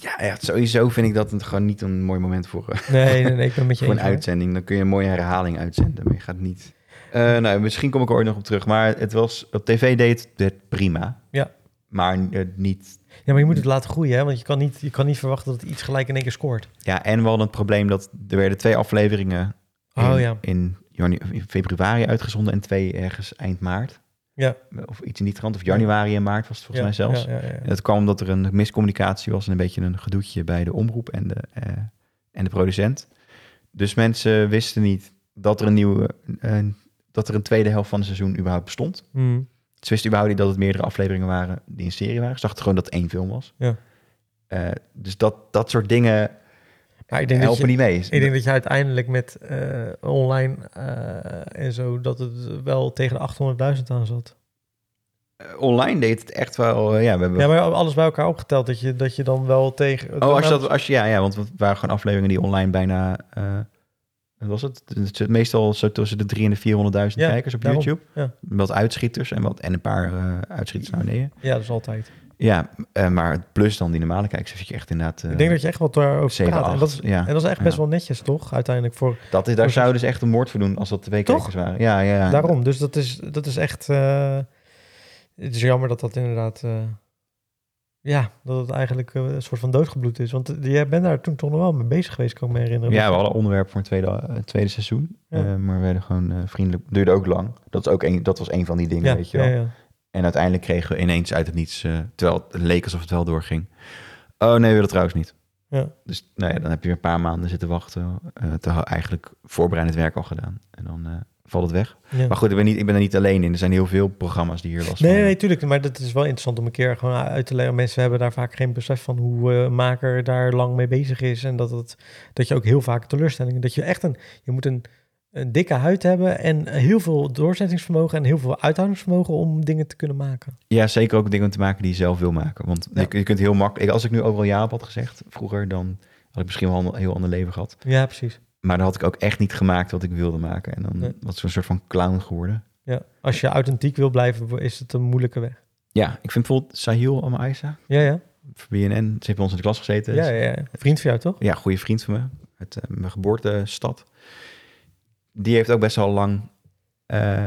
Speaker 1: Ja, echt, sowieso vind ik dat een- gewoon niet een mooi moment voor, eh,
Speaker 2: Nee, nee, nee ik ben met je
Speaker 1: voor
Speaker 2: eens.
Speaker 1: een
Speaker 2: hoor.
Speaker 1: uitzending. Dan kun je een mooie herhaling uitzenden, maar je gaat niet... Eh, nou, misschien kom ik er ooit nog op terug, maar het was, op tv deed het- het prima.
Speaker 2: Ja.
Speaker 1: Maar eh, niet...
Speaker 2: Ja, maar je moet het laten groeien, hè? want je kan, niet, je kan niet verwachten dat het iets gelijk in één keer scoort.
Speaker 1: Ja, en we hadden het probleem dat er werden twee afleveringen in,
Speaker 2: Oh ja.
Speaker 1: in, janu- in februari uitgezonden en twee ergens eind maart.
Speaker 2: Ja.
Speaker 1: Of iets in die trant, of januari en maart was het volgens mij zelfs.
Speaker 2: Ja, ja, ja.
Speaker 1: En dat kwam omdat er een miscommunicatie was en een beetje een gedoetje bij de omroep en de, eh, en de producent. Dus mensen wisten niet dat er een nieuwe, eh, dat er een tweede helft van het seizoen überhaupt bestond.
Speaker 2: Mm.
Speaker 1: Ze wisten überhaupt niet dat het meerdere afleveringen waren die een serie waren. Ze dachten gewoon dat het één film was.
Speaker 2: Ja.
Speaker 1: Eh, dus dat, dat soort dingen
Speaker 2: Maar ik denk, dat
Speaker 1: helpen
Speaker 2: je,
Speaker 1: niet mee.
Speaker 2: ik denk dat je uiteindelijk met eh, online eh, en zo, dat het wel tegen de 800.000 aan zat.
Speaker 1: Eh, Online deed het echt wel. eh, ja, we hebben
Speaker 2: Ja, maar alles bij elkaar opgeteld, dat je, dat je dan wel tegen...
Speaker 1: Oh, als je dat, als je, ja, ja, want het waren gewoon afleveringen die online bijna, eh, wat was het? Het zit meestal zo tussen de 300.000 en de 400.000
Speaker 2: Ja,
Speaker 1: kijkers op
Speaker 2: daarom,
Speaker 1: YouTube.
Speaker 2: ja.
Speaker 1: Wat uitschieters en, wat, en een paar eh, uitschieters naar beneden.
Speaker 2: Ja, dat is altijd.
Speaker 1: Ja, eh, maar het plus dan die normale kijkers, dat je echt inderdaad... eh,
Speaker 2: ik denk dat je echt wat daarover
Speaker 1: zeven,
Speaker 2: praat. En dat, is,
Speaker 1: acht, ja.
Speaker 2: en dat is echt best
Speaker 1: Ja.
Speaker 2: wel netjes, toch? Uiteindelijk voor...
Speaker 1: dat is, daar zou dus echt een moord voor doen als dat twee
Speaker 2: Toch?
Speaker 1: kijkers waren. Ja, ja, ja.
Speaker 2: Daarom, dus dat is, dat is echt... eh, het is jammer dat dat inderdaad... eh, ja, dat het eigenlijk eh, een soort van doodgebloed is. Want eh, jij bent daar toen toch nog wel mee bezig geweest, kan ik me herinneren.
Speaker 1: Ja, we hadden onderwerp voor een tweede, eh, tweede seizoen.
Speaker 2: Ja.
Speaker 1: eh, maar we werden gewoon eh, vriendelijk. Duurde ook lang. Dat, is ook een, dat was een van die dingen,
Speaker 2: ja,
Speaker 1: weet je wel.
Speaker 2: ja, ja.
Speaker 1: En uiteindelijk kregen we ineens uit het niets, eh, terwijl het leek alsof het wel doorging. Oh nee, we willen trouwens niet.
Speaker 2: Ja.
Speaker 1: Dus nou ja, dan heb je weer een paar maanden zitten wachten. eh terwijl eigenlijk voorbereidend werk al gedaan. En dan eh, valt het weg.
Speaker 2: Ja.
Speaker 1: Maar goed, ik ben, niet, ik ben er niet alleen in. Er zijn heel veel programma's die hier last
Speaker 2: Nee,
Speaker 1: van
Speaker 2: nee,
Speaker 1: hebben.
Speaker 2: natuurlijk. Maar dat is wel interessant om een keer gewoon uit te leggen. Mensen hebben daar vaak geen besef van hoe eh, een maker daar lang mee bezig is. En dat, het, dat je ook heel vaak teleurstellingen... Dat je echt een... Je moet een, een dikke huid hebben en heel veel doorzettingsvermogen... en heel veel uithoudingsvermogen om dingen te kunnen maken.
Speaker 1: Ja, zeker ook dingen te maken die je zelf wil maken. Want
Speaker 2: Ja.
Speaker 1: je, je kunt heel makkelijk... Als ik nu overal ja op had gezegd vroeger, dan had ik misschien wel een heel ander leven gehad.
Speaker 2: Ja, precies.
Speaker 1: Maar dan had ik ook echt niet gemaakt wat ik wilde maken. En dan
Speaker 2: Nee.
Speaker 1: was ik een soort van clown geworden.
Speaker 2: Ja. Als je authentiek wil blijven, is het een moeilijke weg.
Speaker 1: Ja, ik vind bijvoorbeeld Sahil Amaisa
Speaker 2: Ja, ja.
Speaker 1: voor BNN. Ze heeft bij ons in de klas gezeten.
Speaker 2: ja, ja, ja. Vriend van jou, toch?
Speaker 1: ja, goede vriend van me, uit eh, mijn geboortestad. Die heeft ook best wel lang. eh,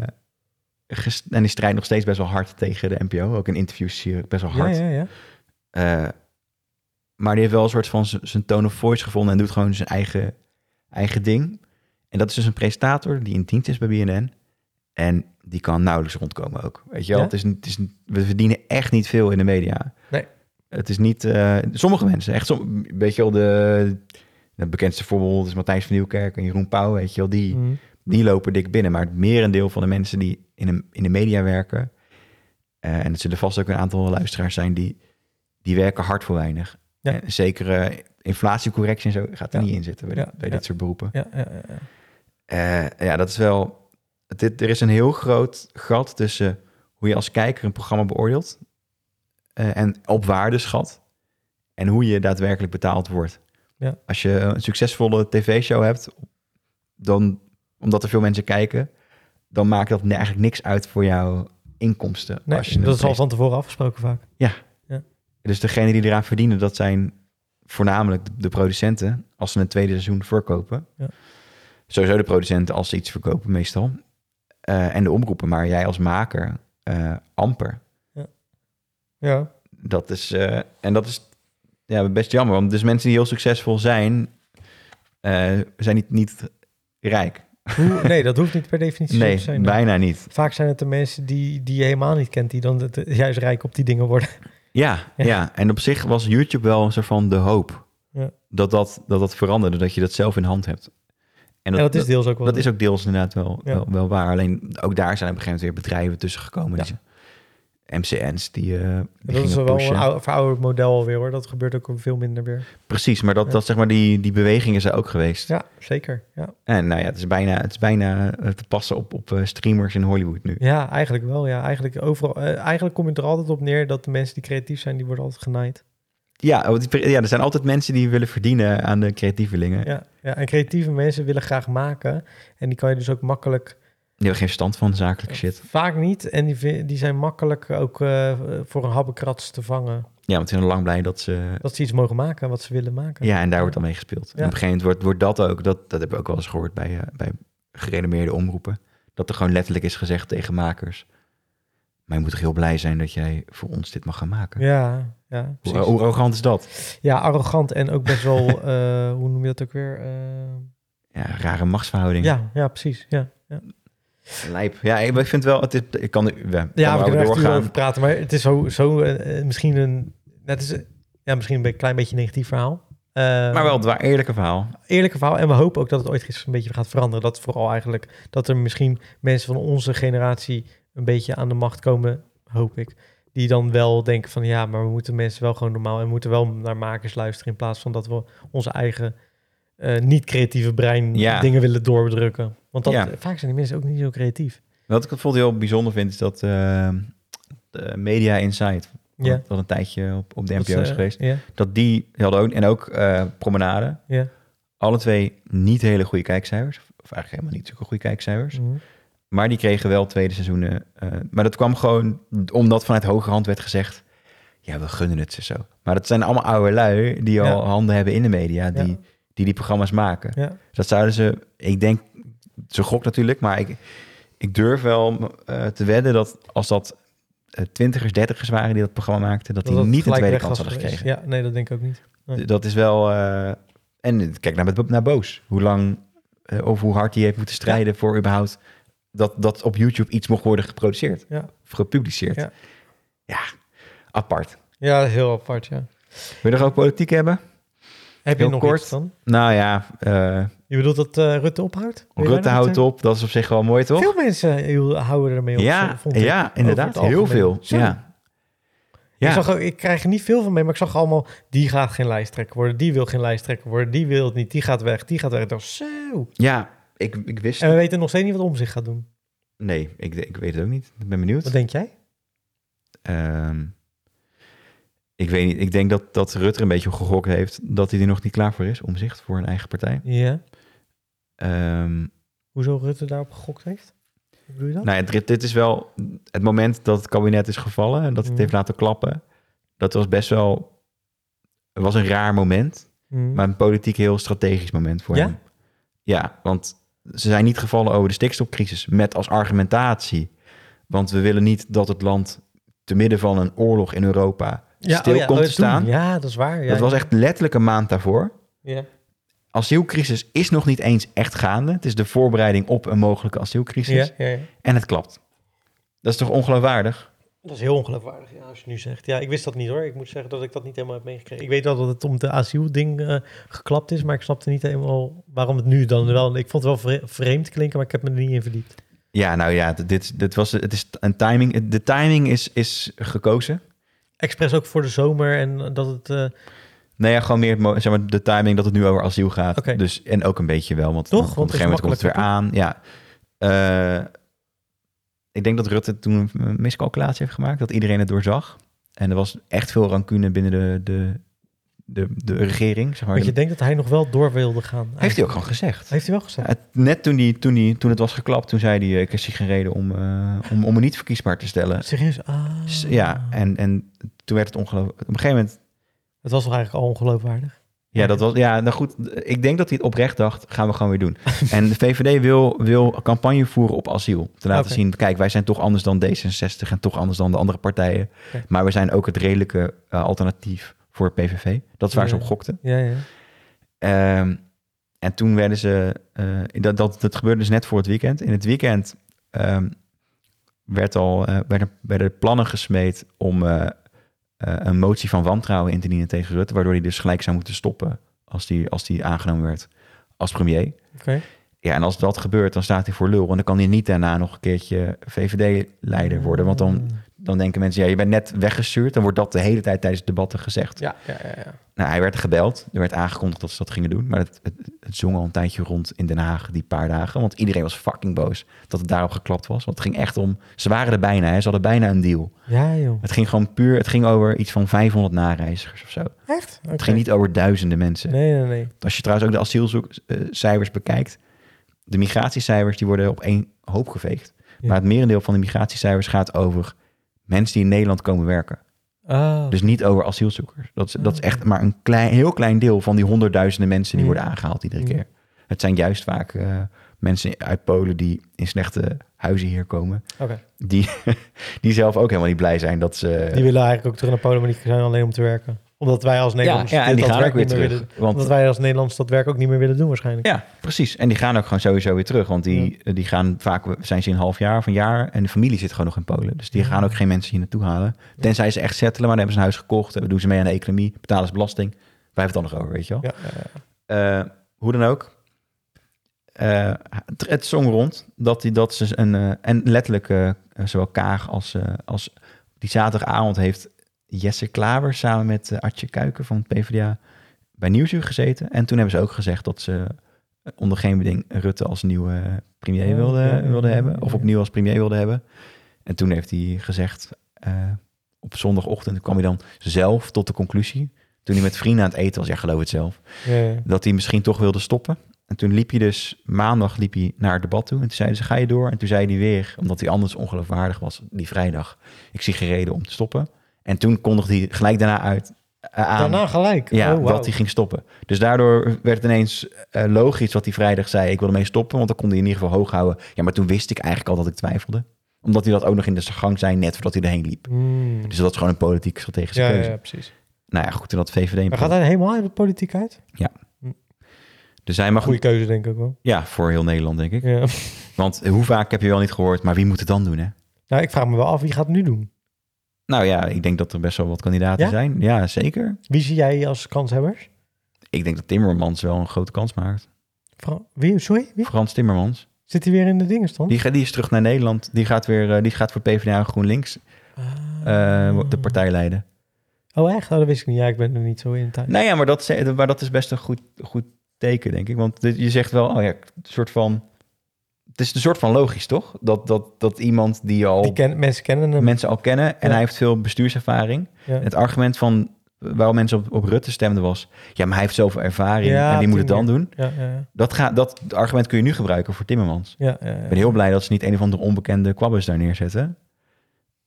Speaker 1: ges- en die strijdt nog steeds best wel hard tegen de NPO. Ook in interviews zie je best wel
Speaker 2: Ja,
Speaker 1: hard.
Speaker 2: ja, ja.
Speaker 1: Eh, maar die heeft wel een soort van z- zijn tone of voice gevonden en doet gewoon zijn eigen, eigen ding. En dat is dus een presentator die in dienst is bij BNN. En die kan nauwelijks rondkomen ook. Weet je wel,
Speaker 2: Ja?
Speaker 1: het is, niet- het is, niet- we verdienen echt niet veel in de media.
Speaker 2: Nee.
Speaker 1: Het is niet, eh, sommige mensen, echt som, weet je wel, de, het bekendste voorbeeld is Matthijs van Nieuwkerk en Jeroen Pauw, weet je wel, die,
Speaker 2: Mhm.
Speaker 1: die lopen dik binnen. Maar het merendeel van de mensen die in de, in de media werken... eh, en er zullen vast ook een aantal luisteraars zijn... die, die werken hard voor weinig.
Speaker 2: Ja.
Speaker 1: En zekere inflatiecorrectie en zo gaat er
Speaker 2: Ja.
Speaker 1: niet in zitten bij,
Speaker 2: Ja,
Speaker 1: bij
Speaker 2: ja.
Speaker 1: dit soort beroepen.
Speaker 2: Ja, ja, ja, ja.
Speaker 1: Eh, ja, dat is wel... Dit, er is een heel groot gat tussen hoe je als kijker een programma beoordeelt... eh, en op waarde schat en hoe je daadwerkelijk betaald wordt.
Speaker 2: Ja.
Speaker 1: Als je een succesvolle tv-show hebt, dan, omdat er veel mensen kijken... dan maakt dat ne- eigenlijk niks uit voor jouw inkomsten.
Speaker 2: Nee,
Speaker 1: als je
Speaker 2: dat
Speaker 1: een
Speaker 2: is al
Speaker 1: pres-
Speaker 2: van tevoren afgesproken vaak.
Speaker 1: Dus degene die eraan verdienen, dat zijn voornamelijk de producenten... als ze een tweede seizoen verkopen.
Speaker 2: Ja.
Speaker 1: Sowieso de producenten als ze iets verkopen meestal. Eh, en de omroepen, maar jij als maker eh, amper.
Speaker 2: Ja,
Speaker 1: Dat is, eh, en dat is ja, best jammer. Want dus mensen die heel succesvol zijn, eh, zijn niet, niet rijk.
Speaker 2: Hoe- nee, dat hoeft niet per definitie zo
Speaker 1: Nee,
Speaker 2: te zijn.
Speaker 1: bijna niet.
Speaker 2: Vaak zijn het de mensen die, die je helemaal niet kent, die dan het- juist rijk op die dingen worden.
Speaker 1: Ja, ja.
Speaker 2: Ja.
Speaker 1: en op zich was YouTube wel een soort van de hoop.
Speaker 2: Ja.
Speaker 1: Dat, dat, dat dat veranderde, dat je dat zelf in hand hebt.
Speaker 2: En dat, is deels ook wel.
Speaker 1: Dat is ook deels inderdaad wel,
Speaker 2: Ja.
Speaker 1: wel, wel waar. Alleen ook daar zijn op een gegeven moment weer bedrijven tussen gekomen.
Speaker 2: Ja.
Speaker 1: Die, MCN's die, eh die
Speaker 2: dat is
Speaker 1: gingen
Speaker 2: wel
Speaker 1: pushen.
Speaker 2: een ou- verouderd model alweer hoor. Dat gebeurt ook veel minder weer.
Speaker 1: Precies, maar dat,
Speaker 2: Ja.
Speaker 1: dat zeg maar die, die bewegingen zijn ook geweest.
Speaker 2: Ja, zeker. Ja,
Speaker 1: En nou ja, het is bijna, het is bijna eh, te passen op, op eh, streamers in Hollywood nu.
Speaker 2: ja eigenlijk wel. Ja. Eigenlijk, overal, eh, eigenlijk kom je er altijd op neer dat de mensen die creatief zijn, die worden altijd genaaid.
Speaker 1: Ja, want die- ja, er zijn altijd mensen die willen verdienen aan de creatievelingen. Die
Speaker 2: Ja, ja, en creatieve mensen willen graag maken. En die kan je dus ook makkelijk
Speaker 1: hebben geen verstand van zakelijke shit.
Speaker 2: Vaak niet. En die, vi- die zijn makkelijk ook eh, voor een habbekrats te vangen.
Speaker 1: Ja, want ze zijn lang blij dat ze...
Speaker 2: Dat ze iets mogen maken wat ze willen maken.
Speaker 1: Ja, en daar wordt dan mee gespeeld. En op een gegeven moment wordt, wordt dat ook, dat, dat hebben we ook wel eens gehoord bij, eh, bij gerenommeerde omroepen, dat er gewoon letterlijk is gezegd tegen makers, maar je moet toch heel blij zijn dat jij voor ons dit mag gaan maken.
Speaker 2: ja, ja,
Speaker 1: Hoe,
Speaker 2: precies.
Speaker 1: hoe arrogant is dat?
Speaker 2: ja arrogant en ook best wel, eh, hoe noem je dat ook weer? Eh,
Speaker 1: Ja, rare machtsverhouding.
Speaker 2: ja, ja, precies. Ja, ja.
Speaker 1: Lijp. Ja, ik ik vind wel, het is, ik kan er, ja,
Speaker 2: ja we
Speaker 1: we
Speaker 2: kunnen er echt uren
Speaker 1: doorgaan.
Speaker 2: over praten. Maar het is zo, zo eh, eh, misschien een, het is, eh, ja, misschien een be- klein beetje een negatief verhaal. Eh,
Speaker 1: Maar wel het waar eerlijke verhaal.
Speaker 2: eerlijke verhaal. En we hopen ook dat het ooit eens een beetje gaat veranderen. Dat vooral eigenlijk dat er misschien mensen van onze generatie een beetje aan de macht komen, hoop ik. Die dan wel denken van ja, maar we moeten mensen wel gewoon normaal en we moeten wel naar makers luisteren in plaats van dat we onze eigen eh, niet-creatieve brein
Speaker 1: Ja.
Speaker 2: dingen willen doorbedrukken. Want dat, eh,
Speaker 1: Ja.
Speaker 2: vaak zijn die mensen ook niet zo creatief.
Speaker 1: Wat ik bijvoorbeeld heel bijzonder vind, is dat eh, de Media Insight, wat,
Speaker 2: Ja.
Speaker 1: wat een tijdje op, op de
Speaker 2: Dat
Speaker 1: NPO
Speaker 2: eh, ze-
Speaker 1: is Oh, geweest,
Speaker 2: Ja,
Speaker 1: dat die hadden ook, en ook eh, Promenade,
Speaker 2: ja.
Speaker 1: alle twee niet hele goede kijkcijfers, of eigenlijk helemaal niet zulke goede kijkcijfers,
Speaker 2: Mhm.
Speaker 1: maar die kregen wel tweede seizoenen. eh, maar dat kwam gewoon omdat vanuit hoge hand werd gezegd, ja, we gunnen het ze zo. Maar dat zijn allemaal oude lui die al
Speaker 2: Ja.
Speaker 1: handen hebben in de media, die
Speaker 2: Ja.
Speaker 1: die, die programma's maken.
Speaker 2: Ja.
Speaker 1: Dat zouden ze, ik denk, ze gok natuurlijk, maar ik, ik durf wel eh, te wedden dat als dat eh, twintigers, dertigers waren die dat programma maakten, dat, die
Speaker 2: het
Speaker 1: niet een
Speaker 2: gelijk
Speaker 1: tweede
Speaker 2: weg
Speaker 1: kans
Speaker 2: was
Speaker 1: hadden
Speaker 2: geweest.
Speaker 1: gekregen.
Speaker 2: Ja, nee, dat denk ik ook niet. Nee.
Speaker 1: Dat is wel. eh, en kijk naar, met- naar Boos. Hoe lang eh, of hoe hard hij heeft moeten strijden voor überhaupt dat, dat op YouTube iets mocht worden geproduceerd
Speaker 2: Ja.
Speaker 1: of gepubliceerd. Ja,
Speaker 2: Ja.
Speaker 1: apart.
Speaker 2: Ja, heel apart, ja.
Speaker 1: Wil je nog ook politiek hebben?
Speaker 2: Heb je
Speaker 1: Heel
Speaker 2: nog
Speaker 1: kort.
Speaker 2: iets dan?
Speaker 1: Nou ja, eh,
Speaker 2: Je bedoelt dat eh, Rutte ophoudt? Wil je
Speaker 1: Rutte
Speaker 2: daar nog iets-
Speaker 1: houdt op. Dat is op zich wel mooi, toch?
Speaker 2: Veel mensen heel- houden ermee op.
Speaker 1: ja,
Speaker 2: vond ik.
Speaker 1: ja, inderdaad.
Speaker 2: Over het
Speaker 1: Heel
Speaker 2: algemeen.
Speaker 1: veel.
Speaker 2: Zo.
Speaker 1: Ja. Ja.
Speaker 2: Ik, zag ook, ik krijg er niet veel van mee, maar ik zag allemaal... die gaat geen lijsttrekker worden, die wil geen lijsttrekker worden... die wil het niet, die gaat weg, die gaat weg. Ik dacht, zo.
Speaker 1: Ja, ik, ik wist.
Speaker 2: En we weten nog steeds niet wat om zich gaat doen.
Speaker 1: Nee, ik, ik weet het ook niet. Ik ben benieuwd.
Speaker 2: Wat denk jij?
Speaker 1: Ehm, ik weet niet. Ik denk dat, dat Rutte een beetje gegokt heeft dat hij er nog niet klaar voor is. Omzicht voor een eigen partij.
Speaker 2: Ja.
Speaker 1: Ehm,
Speaker 2: Hoezo Rutte daarop gegokt heeft? Hoe bedoel je dat?
Speaker 1: nou ja, dit, dit is wel het moment dat het kabinet is gevallen en dat het
Speaker 2: Mhm.
Speaker 1: heeft laten klappen. Dat was best wel. Het was een raar moment,
Speaker 2: Hmm.
Speaker 1: maar een politiek heel strategisch moment voor
Speaker 2: Ja?
Speaker 1: hem. Ja, want ze zijn niet gevallen over de stikstofcrisis met als argumentatie. Want we willen niet dat het land te midden van een oorlog in Europa stil komt te
Speaker 2: toen.
Speaker 1: staan.
Speaker 2: oh Ja, dat is waar. Ja,
Speaker 1: dat was
Speaker 2: ja.
Speaker 1: echt letterlijk een maand daarvoor.
Speaker 2: Ja.
Speaker 1: Asielcrisis is nog niet eens echt gaande. Het is de voorbereiding op een mogelijke
Speaker 2: Ja,
Speaker 1: asielcrisis.
Speaker 2: ja, ja.
Speaker 1: En het klapt. Dat is toch ongeloofwaardig?
Speaker 2: Dat is heel ongeloofwaardig, ja, als je nu zegt. Ja, ik wist dat niet hoor. Ik moet zeggen dat ik dat niet helemaal heb meegekregen. Ik weet wel dat het om de asielding eh, geklapt is, maar ik snapte niet helemaal waarom het nu dan wel... Ik vond het wel vre- vreemd klinken, maar ik heb me er niet in verdiept.
Speaker 1: Ja, nou ja, dit- dit, dit was, het is een timing. De timing is, is gekozen.
Speaker 2: Expres ook voor de zomer en dat het... eh,
Speaker 1: Nee, Nou ja, gewoon meer het mo- zeg maar, de timing dat het nu over asiel gaat.
Speaker 2: Oké.
Speaker 1: Dus, en ook een beetje wel, want
Speaker 2: Toch?
Speaker 1: op een
Speaker 2: Want het
Speaker 1: gegeven
Speaker 2: is
Speaker 1: moment komt het weer aan. Ja. Eh, ik denk dat Rutte toen een miscalculatie heeft gemaakt, dat iedereen het doorzag. En er was echt veel rancune binnen de, de, de, de regering. Zeg maar.
Speaker 2: want je denkt dat hij nog wel door wilde gaan.
Speaker 1: Heeft hij ook
Speaker 2: eigenlijk.
Speaker 1: gewoon gezegd.
Speaker 2: Heeft hij wel gezegd?
Speaker 1: Het- net toen, die, toen, die, toen het was geklapt, toen zei hij... eh, ik zie geen reden om, eh, om, om me niet verkiesbaar te stellen.
Speaker 2: Serieus? Ah.
Speaker 1: Eh, S- Ja, en, en toen werd het ongelooflijk... Op een gegeven moment...
Speaker 2: Het was toch eigenlijk al ongeloofwaardig?
Speaker 1: Ja, dat was, ja, nou goed. Ik denk dat hij het oprecht dacht, gaan we gewoon weer doen. En de VVD wil, wil campagne voeren op asiel. Te laten
Speaker 2: Oké.
Speaker 1: zien, kijk, wij zijn toch anders dan D66... en toch anders dan de andere partijen.
Speaker 2: Oké.
Speaker 1: Maar we zijn ook het redelijke eh, alternatief voor het PVV. Dat is waar ze
Speaker 2: Ja.
Speaker 1: op gokten.
Speaker 2: Ja, ja.
Speaker 1: Ehm, en toen werden ze. eh, dat, dat, dat gebeurde dus net voor het weekend. In het weekend ehm, werd al, eh, werden, werden plannen gesmeed om eh, eh, een motie van wantrouwen in te dienen tegen Rutte. Waardoor hij dus gelijk zou moeten stoppen als die, als die aangenomen werd als premier.
Speaker 2: Oké.
Speaker 1: Ja, en als dat gebeurt, dan staat hij voor lul. En dan kan hij niet daarna nog een keertje VVD-leider worden. Want dan, dan denken mensen, ja, je bent net weggestuurd. Dan wordt dat de hele tijd tijdens debatten gezegd.
Speaker 2: Ja, ja, ja. ja.
Speaker 1: Nou, hij werd gebeld. Er werd aangekondigd dat ze dat gingen doen. Maar het, het, het zong al een tijdje rond in Den Haag, die paar dagen. Want iedereen was fucking boos dat het daarop geklapt was. Want het ging echt om... Ze waren er bijna, hè. Ze hadden bijna een deal.
Speaker 2: Ja, joh.
Speaker 1: Het ging gewoon puur... Het ging over iets van 500 nareizigers of zo.
Speaker 2: Echt?
Speaker 1: Het ging niet over duizenden mensen.
Speaker 2: Nee, nee, nee.
Speaker 1: Als je trouwens ook de asielcijfers bekijkt... De migratiecijfers, die worden op één hoop geveegd.
Speaker 2: Ja.
Speaker 1: Maar het merendeel van de migratiecijfers gaat over... mensen die in Nederland komen werken.
Speaker 2: Ah,
Speaker 1: Dus niet over asielzoekers. Dat is, dat is
Speaker 2: Mm.
Speaker 1: echt maar een klein, heel klein deel van die honderdduizenden mensen die
Speaker 2: Ja.
Speaker 1: worden aangehaald iedere
Speaker 2: Ja.
Speaker 1: keer. Het zijn juist vaak eh, mensen uit Polen die in slechte huizen hier komen.
Speaker 2: oké.
Speaker 1: Die, die zelf ook helemaal niet blij zijn dat ze...
Speaker 2: Die willen eigenlijk ook terug naar Polen, maar die zijn alleen om te werken. Omdat wij als
Speaker 1: ja,
Speaker 2: Nederlanders
Speaker 1: ja, en
Speaker 2: dit-
Speaker 1: die
Speaker 2: dat
Speaker 1: gaan ook
Speaker 2: werk
Speaker 1: weer
Speaker 2: niet meer
Speaker 1: terug.
Speaker 2: willen-
Speaker 1: Want,
Speaker 2: omdat wij als Nederlanders dat werk ook niet meer willen doen waarschijnlijk.
Speaker 1: ja, precies. En die gaan ook gewoon sowieso weer terug. Want die, eh, die gaan vaak, zijn ze in een half jaar of een jaar... en de familie zit gewoon nog in Polen. Dus die gaan ook geen mensen hier naartoe halen. Tenzij ze echt settelen, maar dan hebben ze een huis gekocht... en doen ze mee aan de economie, betalen ze belasting. Wij hebben het dan nog over, weet je wel.
Speaker 2: Ja, ja, ja.
Speaker 1: Eh, hoe dan ook. Eh, het, het zong rond dat, die, dat ze een. eh, en letterlijk, eh, zowel Kaag als, eh, als. Die zaterdagavond heeft Jesse Klaver samen met eh, Artje Kuiken van het PvdA bij Nieuwsuur gezeten. En toen hebben ze ook gezegd dat ze eh, onder geen beding Rutte als nieuwe eh, premier
Speaker 2: Ja,
Speaker 1: wilden
Speaker 2: Oh, ja, ja,
Speaker 1: wilde
Speaker 2: ja,
Speaker 1: hebben.
Speaker 2: ja,
Speaker 1: Of
Speaker 2: ja.
Speaker 1: opnieuw als premier wilden hebben. En toen heeft hij gezegd. eh, op zondagochtend kwam hij dan zelf tot de conclusie. Toen hij met vrienden aan het eten was, ja, geloof het zelf
Speaker 2: Ja, ja.
Speaker 1: dat hij misschien toch wilde stoppen. En toen liep hij dus, maandag liep hij naar het debat toe. En toen zeiden ze, ga je door? En toen zei hij weer, omdat hij anders ongeloofwaardig was die vrijdag. Ik zie geen reden om te stoppen. En toen kondigde hij gelijk daarna uit eh, aan
Speaker 2: Daarna gelijk.
Speaker 1: ja,
Speaker 2: oh,
Speaker 1: dat
Speaker 2: wauw.
Speaker 1: hij ging stoppen. Dus daardoor werd het ineens eh, logisch wat hij vrijdag zei. Ik wil ermee stoppen, want dan kon hij in ieder geval hoog houden. Ja, maar toen wist ik eigenlijk al dat ik twijfelde. Omdat hij dat ook nog in de gang zei, net voordat hij erheen liep.
Speaker 2: Hmm.
Speaker 1: Dus dat is gewoon een politiek strategische
Speaker 2: Ja, ja,
Speaker 1: keuze.
Speaker 2: ja, precies.
Speaker 1: Nou ja, goed, toen dat VVD...
Speaker 2: Maar gaat hij helemaal uit de politiek uit? Hmm.
Speaker 1: Dus hij mag...
Speaker 2: Goeie keuze denk ik ook wel.
Speaker 1: Ja, voor heel Nederland, denk ik.
Speaker 2: Ja.
Speaker 1: Want hoe vaak heb je wel niet gehoord, maar wie moet het dan doen, hè?
Speaker 2: Nou, ik vraag me wel af, wie gaat het nu doen?
Speaker 1: Nou ja, ik denk dat er best wel wat kandidaten
Speaker 2: Ja?
Speaker 1: zijn. Ja, zeker.
Speaker 2: Wie zie jij als kanshebbers?
Speaker 1: Ik denk dat Timmermans wel een grote kans maakt.
Speaker 2: Fra- wie, sorry, wie?
Speaker 1: Frans Timmermans.
Speaker 2: Zit hij weer in de dingen stand?
Speaker 1: Die, ga- die is terug naar Nederland. Die gaat, weer, eh, die gaat voor PvdA en GroenLinks eh, de partij leiden.
Speaker 2: Ah. Oh echt? Oh, dat wist ik niet. Ja, ik ben er niet zo in tijd.
Speaker 1: Nou ja, maar dat, is- maar dat is best een goed, goed teken, denk ik. Want dit- je zegt wel, oh ja, een soort van... Het is een soort van logisch, toch? Dat, dat, dat iemand die al...
Speaker 2: Die ken, mensen kennen hem.
Speaker 1: mensen al kennen en
Speaker 2: Ja.
Speaker 1: hij heeft veel bestuurservaring.
Speaker 2: Ja.
Speaker 1: Het argument van waarom mensen op, op Rutte stemden was... ja, maar hij heeft zoveel ervaring
Speaker 2: Ja,
Speaker 1: en
Speaker 2: op
Speaker 1: die moet het
Speaker 2: die
Speaker 1: dan doen.
Speaker 2: Ja, ja, ja.
Speaker 1: Dat, gaat dat argument kun je nu gebruiken voor Timmermans.
Speaker 2: ja, ja, ja.
Speaker 1: Ik ben heel blij dat ze niet een of andere onbekende kwabbers daar neerzetten.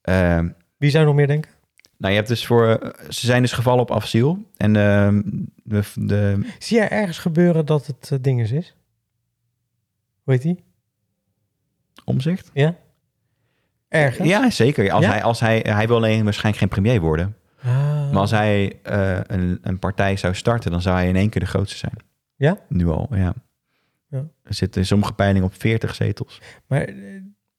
Speaker 1: Ehm,
Speaker 2: Wie zou nog meer denken?
Speaker 1: nou, je hebt dus voor... eh, Ze zijn dus gevallen op asiel. En ehm, de, de,
Speaker 2: Zie jij ergens gebeuren dat het eh, dinges is? Hoe heet die?
Speaker 1: omzicht?
Speaker 2: Ergens?
Speaker 1: Ja, zeker. Als
Speaker 2: Ja?
Speaker 1: Hij, als hij, hij wil alleen waarschijnlijk geen premier worden.
Speaker 2: Ah.
Speaker 1: Maar als hij eh, een, een partij zou starten, dan zou hij in één keer de grootste zijn.
Speaker 2: Ja?
Speaker 1: Nu al, ja.
Speaker 2: Ja.
Speaker 1: Er zitten in sommige peilingen op 40 zetels.
Speaker 2: Maar, eh,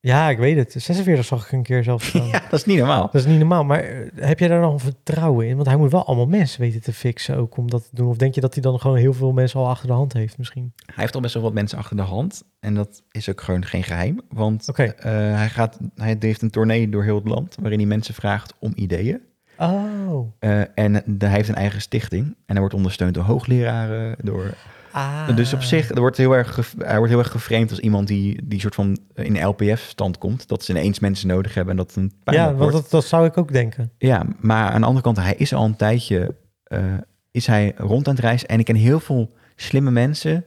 Speaker 2: ja, ik weet het. 46 zag ik een keer zelfs staan.
Speaker 1: Ja, dat is niet normaal.
Speaker 2: Dat is niet normaal. Maar eh, heb jij daar nog vertrouwen in? Want hij moet wel allemaal mensen weten te fixen ook om dat te doen. Of denk je dat hij dan gewoon heel veel mensen al achter de hand heeft misschien?
Speaker 1: Hij heeft al best wel wat mensen achter de hand. En dat is ook gewoon geen geheim. Want
Speaker 2: Oké.
Speaker 1: eh, hij, gaat, hij heeft een tournee door heel het land... waarin hij mensen vraagt om ideeën.
Speaker 2: Oh.
Speaker 1: Eh, en de- hij heeft een eigen stichting. En hij wordt ondersteund door hoogleraren. Door,
Speaker 2: Ah.
Speaker 1: Dus op zich er wordt heel erg gef- hij wordt heel erg geframed als iemand... die, die soort van in de LPF-stand komt. Dat ze ineens mensen nodig hebben en dat het een pijn
Speaker 2: Ja, want
Speaker 1: wordt.
Speaker 2: dat, dat zou ik ook denken.
Speaker 1: Ja, maar aan de andere kant, hij is al een tijdje eh, is hij rond aan het reizen. En ik ken heel veel slimme mensen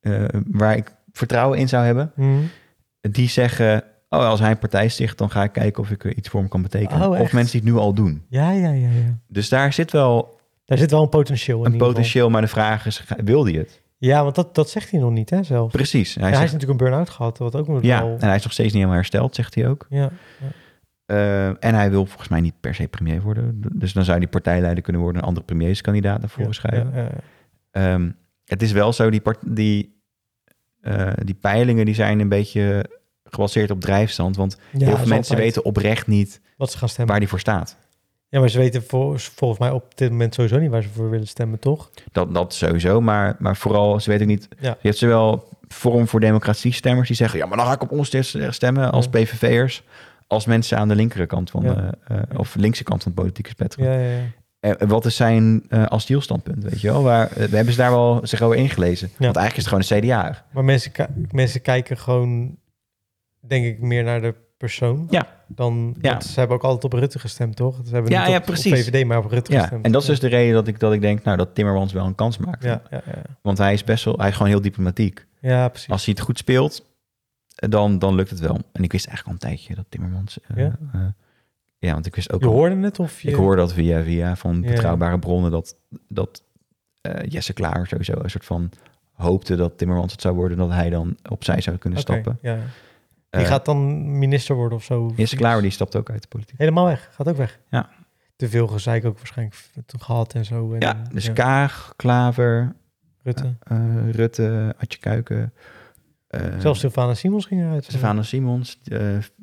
Speaker 1: eh, waar ik vertrouwen in zou hebben.
Speaker 2: Hm.
Speaker 1: Die zeggen, oh, als hij een partij sticht, dan ga ik kijken of ik er iets voor hem kan betekenen.
Speaker 2: Oh,
Speaker 1: of
Speaker 2: echt?
Speaker 1: mensen die het nu al doen.
Speaker 2: Ja, ja, ja, ja.
Speaker 1: Dus daar zit wel
Speaker 2: Daar zit wel een potentieel in.
Speaker 1: een
Speaker 2: ieder geval.
Speaker 1: potentieel, maar de vraag is, ga- wil hij het?
Speaker 2: Ja, want dat, dat zegt hij nog niet, hè, zelf.
Speaker 1: Precies. En Hij
Speaker 2: Ja, hij is
Speaker 1: zegt,
Speaker 2: natuurlijk een burn-out gehad, wat ook nog
Speaker 1: ja,
Speaker 2: wel...
Speaker 1: en hij is nog steeds niet helemaal hersteld, zegt hij ook.
Speaker 2: Ja.
Speaker 1: Eh, en hij wil volgens mij niet per se premier worden. Dus dan zou hij partijleider kunnen worden, een andere premierskandidaat naar voren
Speaker 2: ja,
Speaker 1: schrijven.
Speaker 2: ja, ja, ja.
Speaker 1: Ehm, het is wel zo, die, part- die, eh, die peilingen die zijn een beetje gebaseerd op drijfstand. Want
Speaker 2: Ja,
Speaker 1: heel
Speaker 2: dat
Speaker 1: veel
Speaker 2: is
Speaker 1: mensen
Speaker 2: altijd
Speaker 1: weten oprecht niet
Speaker 2: Wat ze gaan stemmen.
Speaker 1: waar die voor staat.
Speaker 2: Ja, maar ze weten vol- volgens mij op dit moment sowieso niet waar ze voor willen stemmen, toch?
Speaker 1: Dat, dat sowieso, maar, maar vooral, ze weten ook niet...
Speaker 2: Ja.
Speaker 1: Je hebt zowel Forum voor Democratie stemmers die zeggen... ja, maar dan ga ik op ons dus, eh, stemmen als
Speaker 2: Ja.
Speaker 1: PVV'ers... als mensen aan de linkere kant van...
Speaker 2: Ja.
Speaker 1: de, eh, of linkse kant van het politieke spectrum.
Speaker 2: Ja, ja, ja.
Speaker 1: En wat is zijn eh asielstandpunt, weet je wel? Waar, eh, we hebben ze daar wel zich over ingelezen. Want eigenlijk is het gewoon een CDA.
Speaker 2: Maar mensen, ki- mensen kijken gewoon, denk ik, meer naar de persoon.
Speaker 1: Ja.
Speaker 2: Dan,
Speaker 1: Ja.
Speaker 2: want Ze hebben ook altijd op Rutte gestemd, toch? Ze hebben
Speaker 1: Ja,
Speaker 2: niet
Speaker 1: ja,
Speaker 2: op, op
Speaker 1: precies.
Speaker 2: VVD, maar op Rutte
Speaker 1: Ja,
Speaker 2: gestemd.
Speaker 1: en dat is dus de reden dat ik, dat ik denk... nou, dat Timmermans wel een kans maakt.
Speaker 2: Ja, ja, ja.
Speaker 1: Want hij is best wel... hij is gewoon heel diplomatiek.
Speaker 2: ja precies.
Speaker 1: Als hij het goed speelt, eh, dan, dan lukt het wel. En ik wist eigenlijk al een tijdje dat Timmermans... eh,
Speaker 2: Ja?
Speaker 1: eh, ja, want ik wist ook
Speaker 2: Je
Speaker 1: al-
Speaker 2: hoorde het of je...
Speaker 1: Ik hoor dat via, via van
Speaker 2: Ja.
Speaker 1: betrouwbare bronnen dat, dat eh, Jesse Klaar sowieso een soort van hoopte dat Timmermans het zou worden, dat hij dan opzij zou kunnen
Speaker 2: Oké,
Speaker 1: stappen.
Speaker 2: ja. Die
Speaker 1: Eh,
Speaker 2: gaat dan minister worden of zo.
Speaker 1: Jesse Klaar die stapt ook uit de politiek.
Speaker 2: Helemaal weg, gaat ook weg.
Speaker 1: Ja.
Speaker 2: Te veel gezeik ook waarschijnlijk gehad en zo. En,
Speaker 1: Ja, dus Kaag, Klaver,
Speaker 2: Rutte.
Speaker 1: eh, Rutte, Adje Kuiken, eh,
Speaker 2: Zelfs Sylvana Simons ging eruit.
Speaker 1: Stefano Simons, eh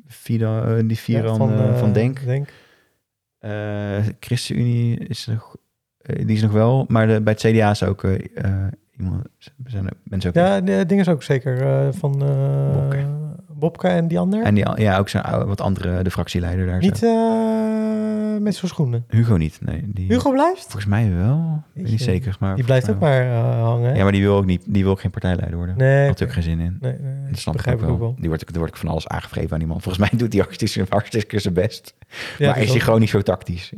Speaker 1: Fido, eh, die
Speaker 2: Ja,
Speaker 1: Viran eh, van,
Speaker 2: eh,
Speaker 1: Denk.
Speaker 2: Denk.
Speaker 1: Eh, ChristenUnie is er nog, eh, die is nog wel, maar de, bij het CDA is ook eh, eh, iemand, zijn er mensen ook.
Speaker 2: Ja, de ding is ook zeker eh, van eh
Speaker 1: Bobke.
Speaker 2: Bobka. en die ander.
Speaker 1: En die, al- ja, ook zijn oude- wat andere, de fractieleider daar. zo.
Speaker 2: Niet eh, met zijn schoenen.
Speaker 1: Hugo niet, nee. Die,
Speaker 2: Hugo blijft?
Speaker 1: Volgens mij wel. Ik
Speaker 2: Weet
Speaker 1: ben niet
Speaker 2: je,
Speaker 1: zeker. Maar
Speaker 2: Die blijft ook
Speaker 1: volgens mij
Speaker 2: maar eh, hangen. hè?
Speaker 1: wel. Ja, maar die wil ook, niet, die wil ook geen partijleider worden. Daar
Speaker 2: nee,
Speaker 1: had ik ook geen zin in.
Speaker 2: nee, nee, nee,
Speaker 1: Dat snap
Speaker 2: begrijp
Speaker 1: ik ook wel. Die wordt, ook- er wordt ook van alles aangevreven aan die man. Volgens mij doet hij hartstikke, hartstikke zijn best.
Speaker 2: Ja,
Speaker 1: maar
Speaker 2: dat
Speaker 1: is hij
Speaker 2: ook.
Speaker 1: gewoon niet zo tactisch.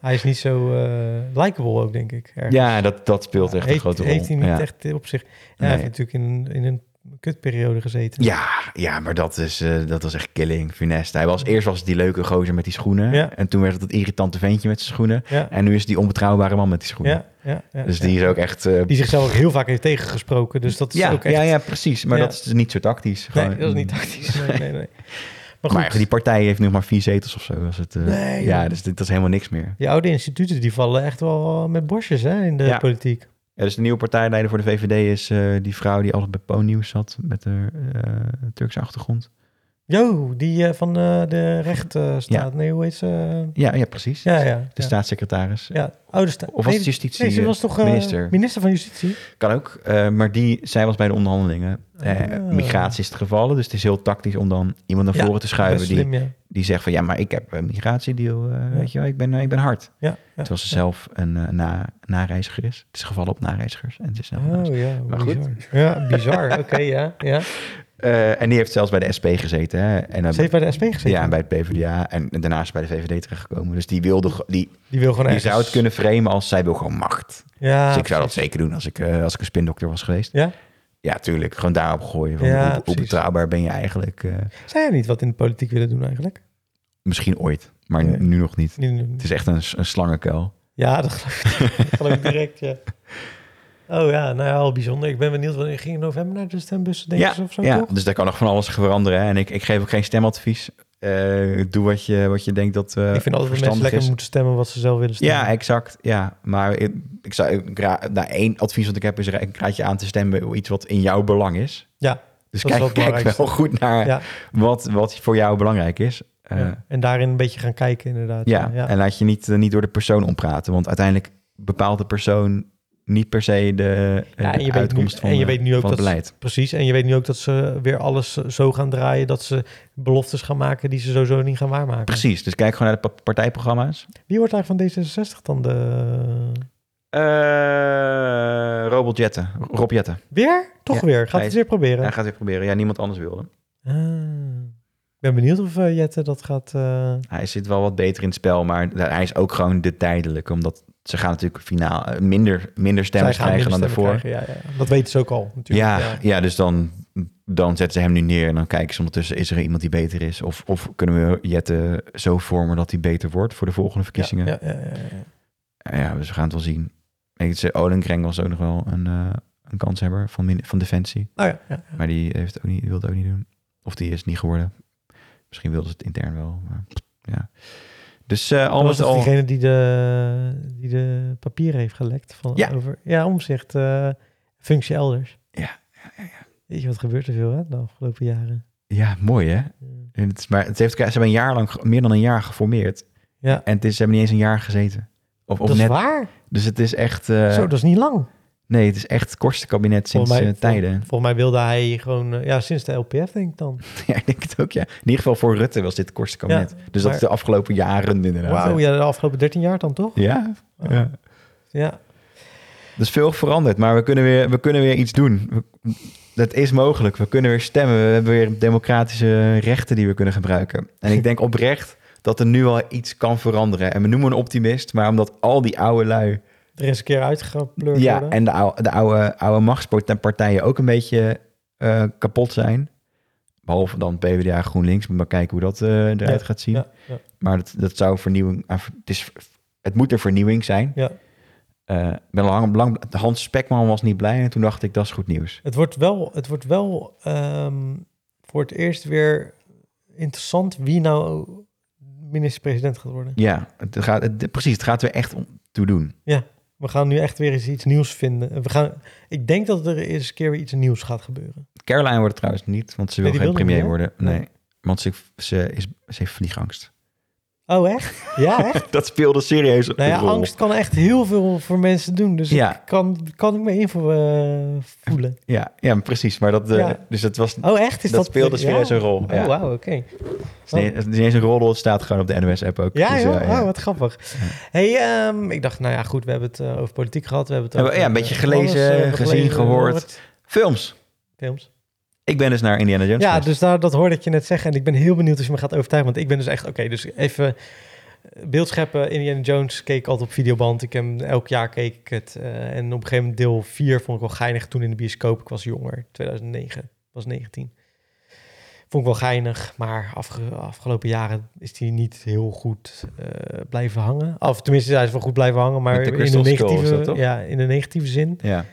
Speaker 2: Hij is niet zo eh likable ook, denk ik. ergens.
Speaker 1: Ja, dat, dat speelt echt een
Speaker 2: heeft,
Speaker 1: grote rol.
Speaker 2: Heeft hij niet
Speaker 1: ja.
Speaker 2: echt op zich... Ja,
Speaker 1: Nee.
Speaker 2: Hij heeft natuurlijk in, in een kutperiode gezeten.
Speaker 1: Ja, ja, maar dat, is, eh, dat was echt killing, finesse. Hij was, eerst was het die leuke gozer met die schoenen.
Speaker 2: Ja.
Speaker 1: En toen werd het dat irritante ventje met zijn schoenen.
Speaker 2: Ja,
Speaker 1: En nu is het die onbetrouwbare man met die schoenen.
Speaker 2: ja, ja, ja,
Speaker 1: dus
Speaker 2: ja.
Speaker 1: die is ook echt... eh,
Speaker 2: Die zichzelf ook heel vaak heeft tegengesproken. Dus dat is
Speaker 1: ja,
Speaker 2: ook echt...
Speaker 1: ja, ja, precies. Maar
Speaker 2: Ja.
Speaker 1: dat is dus niet zo tactisch.
Speaker 2: Nee,
Speaker 1: Gewoon-
Speaker 2: dat is niet tactisch. Nee, nee, nee. Maar
Speaker 1: Maar,
Speaker 2: goed,
Speaker 1: ja, die partij heeft nu maar vier zetels of zo. Was het, eh,
Speaker 2: Nee,
Speaker 1: ja,
Speaker 2: joh.
Speaker 1: dus dit- dat is helemaal niks meer.
Speaker 2: die oude instituten die vallen echt wel met borstjes hè, in de
Speaker 1: Ja.
Speaker 2: politiek.
Speaker 1: Ja, dus de nieuwe partijleider voor de VVD is eh, die vrouw die altijd bij Poonnieuws zat met haar eh, Turkse achtergrond.
Speaker 2: Jo, die eh, van eh, de recht eh, staat. Nee, hoe heet ze? Eh,
Speaker 1: Ja, ja precies.
Speaker 2: Ja, ja.
Speaker 1: De
Speaker 2: ja.
Speaker 1: staatssecretaris.
Speaker 2: Ja, oude staat.
Speaker 1: Of was
Speaker 2: nee,
Speaker 1: het justitie?
Speaker 2: nee, ze was toch eh,
Speaker 1: minister?
Speaker 2: minister. van Justitie?
Speaker 1: Kan ook. eh, maar die, zij was bij de onderhandelingen. Eh,
Speaker 2: Ah.
Speaker 1: Migratie is het gevallen. Dus het is heel tactisch om dan iemand naar
Speaker 2: Ja,
Speaker 1: voren te
Speaker 2: Best
Speaker 1: schuiven. Die,
Speaker 2: slim, ja.
Speaker 1: die zegt van ja, maar ik heb een migratiedeal. eh, Weet je wel, ik ben, ik ben hard.
Speaker 2: ja, ja.
Speaker 1: Terwijl ze zelf een eh, na, nareiziger is. Het is gevallen op nareizigers. En ze is zelf een
Speaker 2: Oh ja,
Speaker 1: Maar
Speaker 2: bizar. Ja, bizar. Oké, ja, ja.
Speaker 1: Eh, en die heeft zelfs bij de SP gezeten. Hè? En dan,
Speaker 2: Ze heeft bij de SP gezeten.
Speaker 1: ja, en bij het PvdA. En, en daarna is ze bij de VVD terechtgekomen. Dus die, wilde, ge- die,
Speaker 2: die wil gewoon
Speaker 1: die
Speaker 2: ergens...
Speaker 1: zou het kunnen framen als zij wil gewoon macht.
Speaker 2: Ja,
Speaker 1: dus ik zou dat zeker doen als ik, eh, als ik een spindokter was geweest.
Speaker 2: Ja?
Speaker 1: Ja, tuurlijk. Gewoon daarop gooien. Van
Speaker 2: Ja,
Speaker 1: hoe, hoe
Speaker 2: precies.
Speaker 1: betrouwbaar ben je eigenlijk? eh,
Speaker 2: Zou jij niet wat in de politiek willen doen eigenlijk?
Speaker 1: misschien ooit, maar
Speaker 2: Nee.
Speaker 1: nu nog niet.
Speaker 2: Niet-
Speaker 1: Het is echt een, s- een slangenkuil.
Speaker 2: Ja, dat geloof ik, dat geloof ik direct, ja. Oh ja, nou ja, wel bijzonder. Ik ben benieuwd, wanneer ging in november naar de stembussen, denk
Speaker 1: Ja,
Speaker 2: ik, of zo,
Speaker 1: ja
Speaker 2: toch?
Speaker 1: dus daar kan nog van alles veranderen. Hè? En ik, ik geef ook geen stemadvies. Eh, doe wat je, wat je denkt dat eh
Speaker 2: ik vind altijd dat mensen
Speaker 1: verstandig
Speaker 2: lekker
Speaker 1: is.
Speaker 2: moeten stemmen wat ze zelf willen stemmen.
Speaker 1: Ja, exact. Ja, maar ik, ik zou, ik ra- nou, één advies wat ik heb is: ra- ik raad je aan te stemmen op iets wat in jouw belang is.
Speaker 2: Ja,
Speaker 1: Dus
Speaker 2: dat is
Speaker 1: kijk,
Speaker 2: wel het
Speaker 1: kijk
Speaker 2: belangrijkste.
Speaker 1: wel goed naar
Speaker 2: Ja.
Speaker 1: wat, wat voor jou belangrijk is. Eh,
Speaker 2: ja. En daarin een beetje gaan kijken, inderdaad.
Speaker 1: ja.
Speaker 2: ja.
Speaker 1: en laat je niet, eh, niet door de persoon ompraten, want uiteindelijk bepaalt de persoon niet per se de, eh,
Speaker 2: Ja,
Speaker 1: de
Speaker 2: en je weet
Speaker 1: uitkomst
Speaker 2: nu-
Speaker 1: van,
Speaker 2: en je
Speaker 1: eh,
Speaker 2: weet nu ook
Speaker 1: van het
Speaker 2: dat-
Speaker 1: beleid.
Speaker 2: Precies, en je weet nu ook dat ze weer alles zo gaan draaien... dat ze beloftes gaan maken die ze sowieso niet gaan waarmaken.
Speaker 1: Precies, dus kijk gewoon naar de pa- partijprogramma's.
Speaker 2: Wie wordt eigenlijk van D66 dan de...
Speaker 1: Eh Robert Jetten, Rob Jetten.
Speaker 2: Weer? Toch
Speaker 1: Ja,
Speaker 2: weer? Gaat
Speaker 1: hij
Speaker 2: het
Speaker 1: is-
Speaker 2: weer proberen?
Speaker 1: Hij gaat weer proberen. Ja, niemand anders wilde.
Speaker 2: Ah. Ik ben benieuwd of eh, Jette dat gaat... eh,
Speaker 1: Hij zit wel wat beter in het spel, maar hij is ook gewoon de tijdelijke. Omdat ze gaan natuurlijk finaal eh, minder, minder
Speaker 2: Zij
Speaker 1: stemmers
Speaker 2: gaan
Speaker 1: krijgen dan
Speaker 2: minder stemmen
Speaker 1: daarvoor.
Speaker 2: krijgen, Ja, ja. Dat weten ze ook al natuurlijk.
Speaker 1: Ja, ja. dus dan, dan zetten ze hem nu neer en dan kijken ze ondertussen... is er iemand die beter is? Of, of kunnen we Jette zo vormen dat hij beter wordt voor de volgende verkiezingen? Ja,
Speaker 2: Ja, ja, ja, ja.
Speaker 1: dus we gaan het wel zien. Ik zei, Olenkreng was ook nog wel een, eh een kanshebber van, min- van Defensie.
Speaker 2: Oh, ja, ja.
Speaker 1: Maar die heeft ook niet, wilde het ook niet doen. Of die is het niet geworden. Misschien wilde ze het intern wel, maar ja. Dus eh al
Speaker 2: Dat was
Speaker 1: met
Speaker 2: toch
Speaker 1: al...
Speaker 2: diegene die de, die de papieren heeft gelekt? Van,
Speaker 1: Ja.
Speaker 2: Over, ja, omzicht. eh, functie elders.
Speaker 1: Ja, ja,
Speaker 2: Weet je, wat gebeurt er veel hè, de afgelopen jaren?
Speaker 1: Ja, mooi hè? En Het, is- maar het heeft, elkaar- ze hebben een jaar lang, ge- meer dan een jaar geformeerd.
Speaker 2: Ja.
Speaker 1: En het is, ze hebben niet eens een jaar gezeten. Of, of
Speaker 2: dat
Speaker 1: net.
Speaker 2: is waar.
Speaker 1: Dus het is echt. eh,
Speaker 2: Zo, dat is niet lang.
Speaker 1: Nee, het is echt het kortste kabinet sinds
Speaker 2: Volgens mij-
Speaker 1: eh, tijden.
Speaker 2: Volgens mij wilde hij gewoon, eh, ja, sinds de LPF denk ik dan.
Speaker 1: ja, ik denk het ook, ja. In ieder geval voor Rutte was dit het kortste kabinet. dus dat
Speaker 2: maar-
Speaker 1: is de afgelopen jaren inderdaad.
Speaker 2: Wauw, ja, de afgelopen 13 jaar dan toch?
Speaker 1: Ja, ja.
Speaker 2: Ja,
Speaker 1: Er is veel veranderd, maar we kunnen weer, we kunnen weer iets doen. We- dat is mogelijk. We kunnen weer stemmen. We hebben weer democratische rechten die we kunnen gebruiken. En ik denk oprecht dat er nu al iets kan veranderen. En we noemen een optimist, maar omdat al die oude lui...
Speaker 2: er is een keer uitgepleurd
Speaker 1: Ja,
Speaker 2: worden.
Speaker 1: en de oude, de oude, oude machtspartijen ook een beetje eh, kapot zijn. Behalve dan PvdA GroenLinks. Moet maar kijken hoe dat eh, eruit gaat zien.
Speaker 2: ja, ja.
Speaker 1: Maar dat, dat zou vernieuwing... ah, ver- Het, is, het moet er vernieuwing zijn.
Speaker 2: Ja.
Speaker 1: Eh, ik ben al lang, lang, Hans Spekman was niet blij en toen dacht ik, dat is goed nieuws.
Speaker 2: Het wordt wel, het wordt wel ehm, voor het eerst weer interessant wie nou minister-president gaat worden.
Speaker 1: Ja, het gaat, het, precies. Het gaat er echt om toe doen.
Speaker 2: We gaan nu echt weer eens iets nieuws vinden. We gaan, ik denk dat er eens een keer weer iets nieuws gaat gebeuren.
Speaker 1: Caroline wordt het trouwens niet, want ze wil
Speaker 2: Nee, die
Speaker 1: geen
Speaker 2: wil niet
Speaker 1: premier
Speaker 2: meer.
Speaker 1: worden. Nee,
Speaker 2: Nee.
Speaker 1: want ze, ze, is, ze heeft vliegangst.
Speaker 2: Oh, echt? Ja, echt?
Speaker 1: Dat speelde serieus
Speaker 2: nou ja, angst kan echt heel veel voor mensen doen. Dus
Speaker 1: Ja.
Speaker 2: ik kan, kan ik me in voor, eh, voelen.
Speaker 1: Ja, ja, precies. Maar dat, eh,
Speaker 2: Ja.
Speaker 1: dus dat was...
Speaker 2: Oh, echt? Is
Speaker 1: dat,
Speaker 2: dat,
Speaker 1: speelde
Speaker 2: ja?
Speaker 1: serieus een rol. Ja.
Speaker 2: Oh, wauw, oké.
Speaker 1: Het is niet- het is niet eens een rol, het staat gewoon op de NOS-app ook.
Speaker 2: Ja,
Speaker 1: Dus,
Speaker 2: joh?
Speaker 1: eh, ja.
Speaker 2: Oh, wat grappig. hey, ehm, ik dacht, nou ja, goed, we hebben het eh, over politiek gehad. We hebben het
Speaker 1: Hebben
Speaker 2: over,
Speaker 1: we- ja, een beetje
Speaker 2: eh,
Speaker 1: gelezen,
Speaker 2: eh, hebben we
Speaker 1: gezien, gehoord. Films.
Speaker 2: Films.
Speaker 1: Ik ben dus naar Indiana Jones
Speaker 2: Ja,
Speaker 1: geweest.
Speaker 2: dus daar, dat hoorde ik je net zeggen. En ik ben heel benieuwd als je me gaat overtuigen. Want ik ben dus echt, oké, dus even beeldscheppen. Indiana Jones keek ik altijd op videoband. Ik heb, hem- elk jaar keek ik het. eh, en op een gegeven moment deel 4 vond ik wel geinig toen in de bioscoop. Ik was jonger, 2009, ik was 19. Vond ik wel geinig, maar afge- afgelopen jaren is die niet heel goed eh, blijven hangen. Of tenminste, hij is wel goed blijven hangen, maar
Speaker 1: Met de
Speaker 2: in de,
Speaker 1: Crystal Skull is
Speaker 2: negatieve,
Speaker 1: dat toch?
Speaker 2: ja, in de negatieve zin.
Speaker 1: Ja.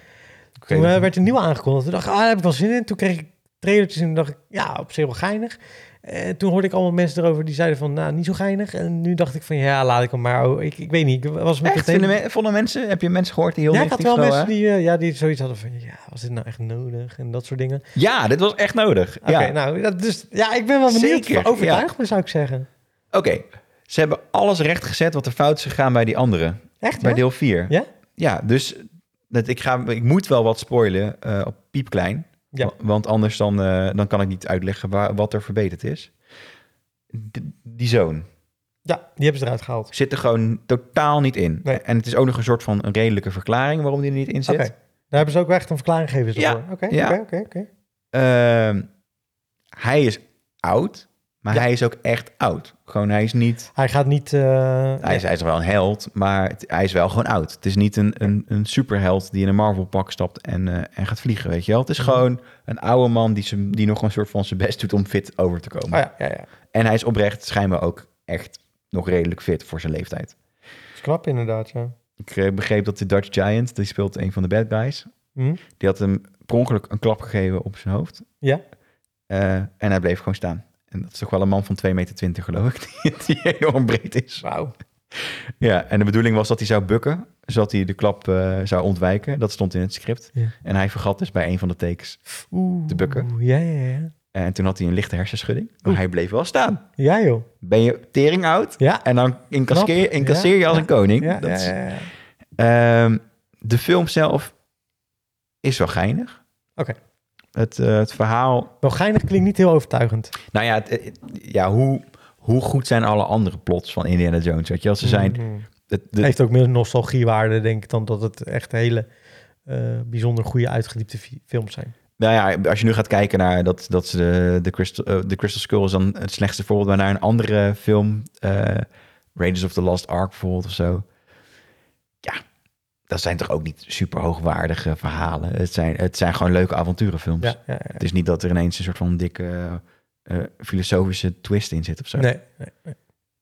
Speaker 1: Oké,
Speaker 2: Toen eh,
Speaker 1: dat-
Speaker 2: werd een nieuwe aangekondigd. Toen dacht ik, ah, daar heb ik wel zin in. Toen kreeg ik trailertjes en dacht ik, ja, op zich wel geinig. En toen hoorde ik allemaal mensen erover die zeiden van, nou, niet zo geinig. En nu dacht ik van, ja, laat ik hem maar. Oh, ik, ik weet niet, ik was met
Speaker 1: Echt?
Speaker 2: het hele-
Speaker 1: Vinden men- vonden mensen, heb je mensen gehoord die heel
Speaker 2: Ja, ik had
Speaker 1: negatief
Speaker 2: wel
Speaker 1: waren?
Speaker 2: mensen die, eh, ja, die zoiets hadden van, ja, was dit nou echt nodig? En dat soort dingen.
Speaker 1: Ja, dit was echt nodig.
Speaker 2: Oké,
Speaker 1: ja.
Speaker 2: nou, dat, dus ja, ik ben wel benieuwd.
Speaker 1: Zeker,
Speaker 2: Zeker, overtuigd me, zou ik zeggen.
Speaker 1: Oké, ze hebben alles recht gezet wat er fout is gegaan bij die andere.
Speaker 2: Echt,
Speaker 1: Bij
Speaker 2: ja?
Speaker 1: deel 4.
Speaker 2: Ja?
Speaker 1: Ja, dus dat, ik, ga, ik moet wel wat spoilen eh, op piepklein.
Speaker 2: Ja.
Speaker 1: Wa- Want anders dan, eh, dan kan ik niet uitleggen waar, wat er verbeterd is. D- die zoon
Speaker 2: Ja, die hebben ze eruit gehaald.
Speaker 1: zit er gewoon totaal niet in.
Speaker 2: Nee.
Speaker 1: En het is ook nog een soort van een redelijke verklaring waarom die er niet in
Speaker 2: Oké,
Speaker 1: zit.
Speaker 2: daar hebben ze ook wel echt een verklaring gegeven.
Speaker 1: Ja,
Speaker 2: Ja. Oké,
Speaker 1: ja.
Speaker 2: oké, oké, oké.
Speaker 1: Ehm, hij is oud, maar
Speaker 2: Ja.
Speaker 1: hij is ook echt oud. Gewoon, hij is niet...
Speaker 2: Hij gaat niet... eh,
Speaker 1: Hij is, hij is wel een held, maar het- hij is wel gewoon oud. Het is niet een, een, een superheld die in een Marvel-pak stapt en, eh, en gaat vliegen, weet je wel. Het
Speaker 2: Mhm.
Speaker 1: is gewoon een oude man die, zijn- die nog een soort van zijn best doet om fit over te komen.
Speaker 2: Oh ja, ja, ja.
Speaker 1: En hij is oprecht schijnbaar ook echt nog redelijk fit voor zijn leeftijd.
Speaker 2: Dat is knap inderdaad, ja.
Speaker 1: Ik eh, begreep dat de Dutch Giant, die speelt een van de bad guys...
Speaker 2: Hm?
Speaker 1: die had hem per ongeluk een klap gegeven op zijn hoofd.
Speaker 2: Ja.
Speaker 1: Eh, en hij bleef gewoon staan. En dat is toch wel een man van 2,20 meter, geloof ik, die, die enorm breed is.
Speaker 2: Wauw.
Speaker 1: Ja, en de bedoeling was dat hij zou bukken, zodat hij de klap eh, zou ontwijken. Dat stond in het script.
Speaker 2: Ja.
Speaker 1: En hij vergat dus bij een van de takes.
Speaker 2: Oeh.
Speaker 1: te bukken.
Speaker 2: Ja, ja, ja.
Speaker 1: En toen had hij een lichte hersenschudding, maar hij bleef wel staan.
Speaker 2: Ja, joh.
Speaker 1: Ben je tering oud
Speaker 2: Ja.
Speaker 1: en dan incasseer,
Speaker 2: Knap.
Speaker 1: incasseer je als
Speaker 2: Ja.
Speaker 1: een koning.
Speaker 2: Ja,
Speaker 1: Dat
Speaker 2: ja,
Speaker 1: is-
Speaker 2: ja, ja.
Speaker 1: Ehm, de film zelf is wel geinig.
Speaker 2: Oké.
Speaker 1: Het, eh, het verhaal,
Speaker 2: Wel Nou, geinig klinkt niet heel overtuigend.
Speaker 1: nou ja, het- het- ja hoe, hoe goed zijn alle andere plots van Indiana Jones? Weet je, als ze zijn...
Speaker 2: Mm.
Speaker 1: Het,
Speaker 2: Het
Speaker 1: de,
Speaker 2: heeft ook meer nostalgiewaarde, denk ik, dan dat het echt hele eh, bijzonder goede uitgediepte fi- films zijn.
Speaker 1: Nou ja, als je nu gaat kijken naar dat, dat ze de, de, Crystal, eh, de Crystal Skull is dan het slechtste voorbeeld, maar naar een andere film, eh, Raiders of the Lost Ark bijvoorbeeld of zo. Ja, dat zijn toch ook niet super hoogwaardige verhalen. Het zijn, het zijn gewoon leuke avonturenfilms.
Speaker 2: Ja, ja, ja, ja.
Speaker 1: Het is niet dat er ineens een soort van dikke eh, eh, filosofische twist in zit of zo.
Speaker 2: Nee, nee.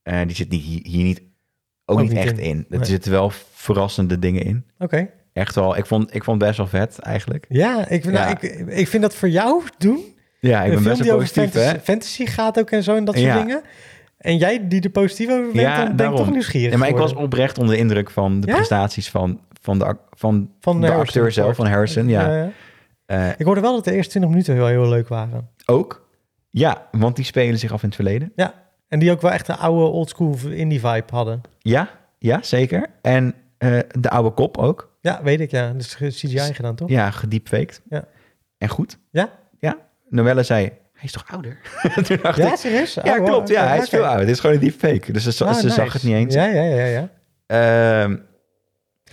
Speaker 1: Eh, die zit niet, hier, hier niet, ook, niet echt in. Er
Speaker 2: Nee.
Speaker 1: zitten wel verrassende dingen in.
Speaker 2: Oké.
Speaker 1: Echt wel, ik vond, ik vond het best wel vet eigenlijk.
Speaker 2: Ja, ik, vind- nou,
Speaker 1: Ja.
Speaker 2: ik, ik vind dat voor jou doen.
Speaker 1: Ja, ik
Speaker 2: een
Speaker 1: ben
Speaker 2: film
Speaker 1: best
Speaker 2: die
Speaker 1: wel
Speaker 2: over
Speaker 1: positief,
Speaker 2: fantasy,
Speaker 1: hè?
Speaker 2: fantasy gaat ook en zo en dat soort
Speaker 1: Ja.
Speaker 2: dingen. En jij die er positief over bent,
Speaker 1: Ja,
Speaker 2: dan ben ik
Speaker 1: daarom.
Speaker 2: toch nieuwsgierig
Speaker 1: Ja, maar ik was
Speaker 2: geworden.
Speaker 1: oprecht onder de indruk van de
Speaker 2: Ja?
Speaker 1: prestaties van, van de, ac- van
Speaker 2: van eh,
Speaker 1: de
Speaker 2: Harrison
Speaker 1: acteur zelf,
Speaker 2: Ford.
Speaker 1: van Harrison. Ja.
Speaker 2: Ja, ja.
Speaker 1: Eh,
Speaker 2: Ik hoorde wel dat de eerste 20 minuten heel, heel leuk waren.
Speaker 1: ook. Ja, want die spelen zich af in het verleden.
Speaker 2: En die ook wel echt een oude oldschool indie vibe hadden.
Speaker 1: Ja, ja zeker. En eh, de oude kop ook.
Speaker 2: Ja, weet ik, ja. Dus CGI gedaan, toch?
Speaker 1: Ja, gediepfaked.
Speaker 2: Ja.
Speaker 1: En goed.
Speaker 2: Ja?
Speaker 1: Ja. Noelle zei, hij is toch ouder? Toen dacht
Speaker 2: Ja,
Speaker 1: ik,
Speaker 2: serieus?
Speaker 1: ja
Speaker 2: Oh,
Speaker 1: klopt. Ja,
Speaker 2: oké,
Speaker 1: hij is
Speaker 2: oké.
Speaker 1: veel ouder. Het is gewoon een deepfake. Dus ze, ze
Speaker 2: Ah, nice.
Speaker 1: zag het niet eens.
Speaker 2: Ja, ja, ja, ja.
Speaker 1: Ehm,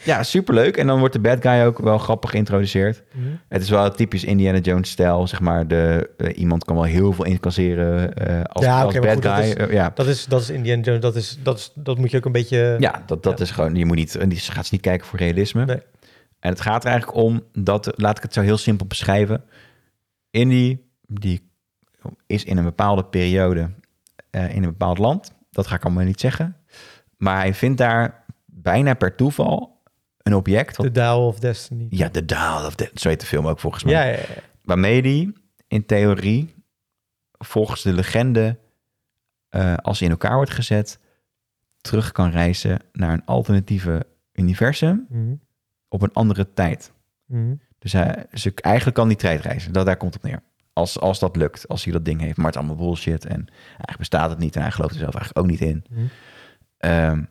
Speaker 1: ja, superleuk. En dan wordt de bad guy ook wel grappig geïntroduceerd.
Speaker 2: Mhm.
Speaker 1: Het is wel typisch Indiana Jones stijl, zeg maar. De, eh, iemand kan wel heel veel incasseren eh, als,
Speaker 2: Ja,
Speaker 1: als
Speaker 2: oké,
Speaker 1: bad
Speaker 2: maar goed, dat
Speaker 1: guy.
Speaker 2: is-
Speaker 1: Eh, ja.
Speaker 2: Dat is, dat is Indiana Jones, dat, is, dat, is, dat moet je ook een beetje...
Speaker 1: ja, dat, dat is gewoon... Je moet niet, en die gaat ze niet kijken voor realisme.
Speaker 2: Nee.
Speaker 1: En het gaat er eigenlijk om dat... Laat ik het zo heel simpel beschrijven. Indy, die is in een bepaalde periode eh, in een bepaald land. Dat ga ik allemaal niet zeggen. Maar hij vindt daar bijna per toeval een object... wat
Speaker 2: The Dial of Destiny.
Speaker 1: Ja, The Dial of Destiny. Zo heet de film ook volgens mij.
Speaker 2: Ja, ja, ja.
Speaker 1: Waarmee die in theorie volgens de legende, eh, als hij in elkaar wordt gezet, terug kan reizen naar een alternatieve universum
Speaker 2: Mhm.
Speaker 1: op een andere tijd.
Speaker 2: Mhm.
Speaker 1: Dus hij, ze, eigenlijk kan die tijdreizen. Dat, daar komt het op neer. Als, als dat lukt, als hij dat ding heeft. Maar het is allemaal bullshit en eigenlijk bestaat het niet en hij gelooft er zelf eigenlijk ook niet in.
Speaker 2: Mhm.
Speaker 1: Ehm,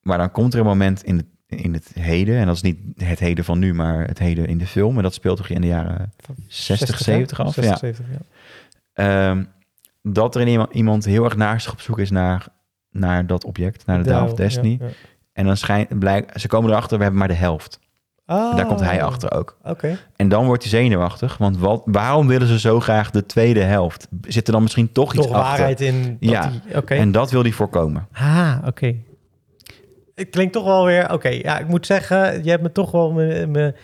Speaker 1: maar dan komt er een moment in het, in het heden, en dat is niet het heden van nu, maar het heden in de film. En dat speelt toch in de jaren
Speaker 2: Van
Speaker 1: 60,
Speaker 2: hè?
Speaker 1: 70 af?
Speaker 2: 60,
Speaker 1: Ja.
Speaker 2: 70, ja.
Speaker 1: Ehm, dat er iemand, iemand heel erg naastig op zoek is naar, naar dat object, naar de Dial of Destiny.
Speaker 2: ja, ja.
Speaker 1: En dan schijnt, blijk, ze komen erachter, we hebben maar de helft.
Speaker 2: Ah,
Speaker 1: Daar komt hij achter ook.
Speaker 2: Oké.
Speaker 1: En dan wordt hij zenuwachtig, want wat, waarom willen ze zo graag de tweede helft? Zit er dan misschien toch,
Speaker 2: Toch
Speaker 1: iets achter?
Speaker 2: waarheid in dat
Speaker 1: Ja.
Speaker 2: die- Oké.
Speaker 1: En dat wil hij voorkomen.
Speaker 2: Ah, oké. Het klinkt toch wel weer... Oké, ja, ik moet zeggen, je hebt me toch wel mijn mijn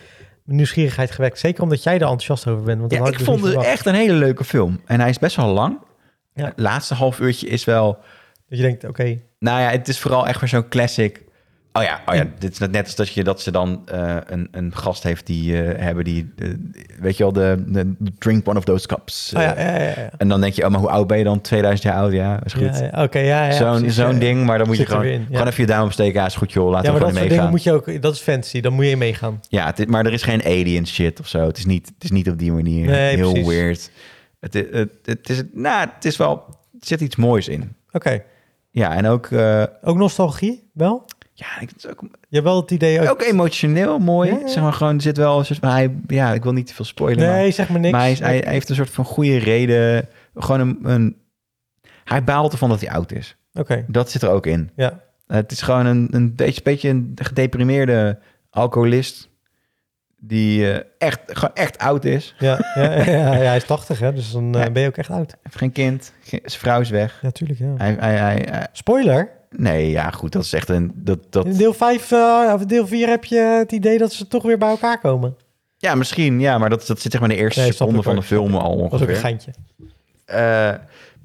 Speaker 2: nieuwsgierigheid gewekt. Zeker omdat jij er enthousiast over bent. Want dat
Speaker 1: Ja,
Speaker 2: had
Speaker 1: ik
Speaker 2: dus
Speaker 1: vond
Speaker 2: niet
Speaker 1: het
Speaker 2: verwacht.
Speaker 1: echt een hele leuke film. En hij is best wel lang.
Speaker 2: Ja.
Speaker 1: Het laatste half uurtje is wel...
Speaker 2: Dat je denkt, oké,
Speaker 1: Nou ja, het is vooral echt weer zo'n classic... Oh ja, oh ja, dit is net als dat, je, dat ze dan eh, een, een gast heeft die eh, hebben die... eh, weet je wel, de, de drink one of those cups.
Speaker 2: Ah, ja,
Speaker 1: Eh,
Speaker 2: ja, ja, ja.
Speaker 1: En dan denk je, oh, maar hoe oud ben je dan? 2000 jaar oud, ja, is goed.
Speaker 2: Ja, ja, Oké, ja, ja.
Speaker 1: zo'n
Speaker 2: precies,
Speaker 1: zo'n
Speaker 2: ja.
Speaker 1: ding, maar dan moet je
Speaker 2: Zit er
Speaker 1: gewoon,
Speaker 2: weer in, ja.
Speaker 1: gewoon even je duim opsteken. Ja, is goed joh, laten
Speaker 2: Ja,
Speaker 1: we
Speaker 2: maar dat
Speaker 1: gewoon
Speaker 2: soort
Speaker 1: meegaan.
Speaker 2: dingen moet je ook... Dat is fancy, dan moet je meegaan.
Speaker 1: Ja, het is- maar er is geen alien shit of zo. Het is niet, het is niet op die manier
Speaker 2: Nee,
Speaker 1: heel
Speaker 2: precies.
Speaker 1: weird. Het, i- het, het is, nou, het is wel, er zit iets moois in.
Speaker 2: Oké.
Speaker 1: Ja, en ook, eh,
Speaker 2: Ook nostalgie, wel?
Speaker 1: ja, ik- het is ook,
Speaker 2: Je hebt wel het idee...
Speaker 1: ook emotioneel mooi.
Speaker 2: Ja, ja.
Speaker 1: Zeg maar gewoon, er zit wel een soort van, hij, ja, ik wil niet te veel spoilen. maar-
Speaker 2: nee, zeg maar niks.
Speaker 1: maar hij, is- hij, hij heeft een soort van goede reden. Gewoon een, een, hij baalt ervan dat hij oud is.
Speaker 2: Oké,
Speaker 1: Dat zit er ook in.
Speaker 2: ja.
Speaker 1: Het is gewoon een, een beetje, beetje een gedeprimeerde alcoholist. Die eh, echt, gewoon echt oud is.
Speaker 2: Ja, ja, ja, ja, ja, hij is 80, hè, dus dan eh,
Speaker 1: Ja.
Speaker 2: ben je ook echt oud.
Speaker 1: heeft geen kind. ge- Zijn vrouw is weg.
Speaker 2: Ja, tuurlijk, ja.
Speaker 1: Hij, hij, hij, hij-
Speaker 2: Spoiler,
Speaker 1: nee, ja, goed. Dat is echt een. Dat, dat,
Speaker 2: in deel 5 eh, of deel 4 heb je het idee dat ze toch weer bij elkaar komen.
Speaker 1: ja, misschien. Ja, maar dat, dat zit zeg maar in de eerste
Speaker 2: Nee, snap
Speaker 1: seconde
Speaker 2: ik
Speaker 1: van de
Speaker 2: hoor.
Speaker 1: film al
Speaker 2: Dat was ook een
Speaker 1: ongeveer.
Speaker 2: geintje.
Speaker 1: Eh,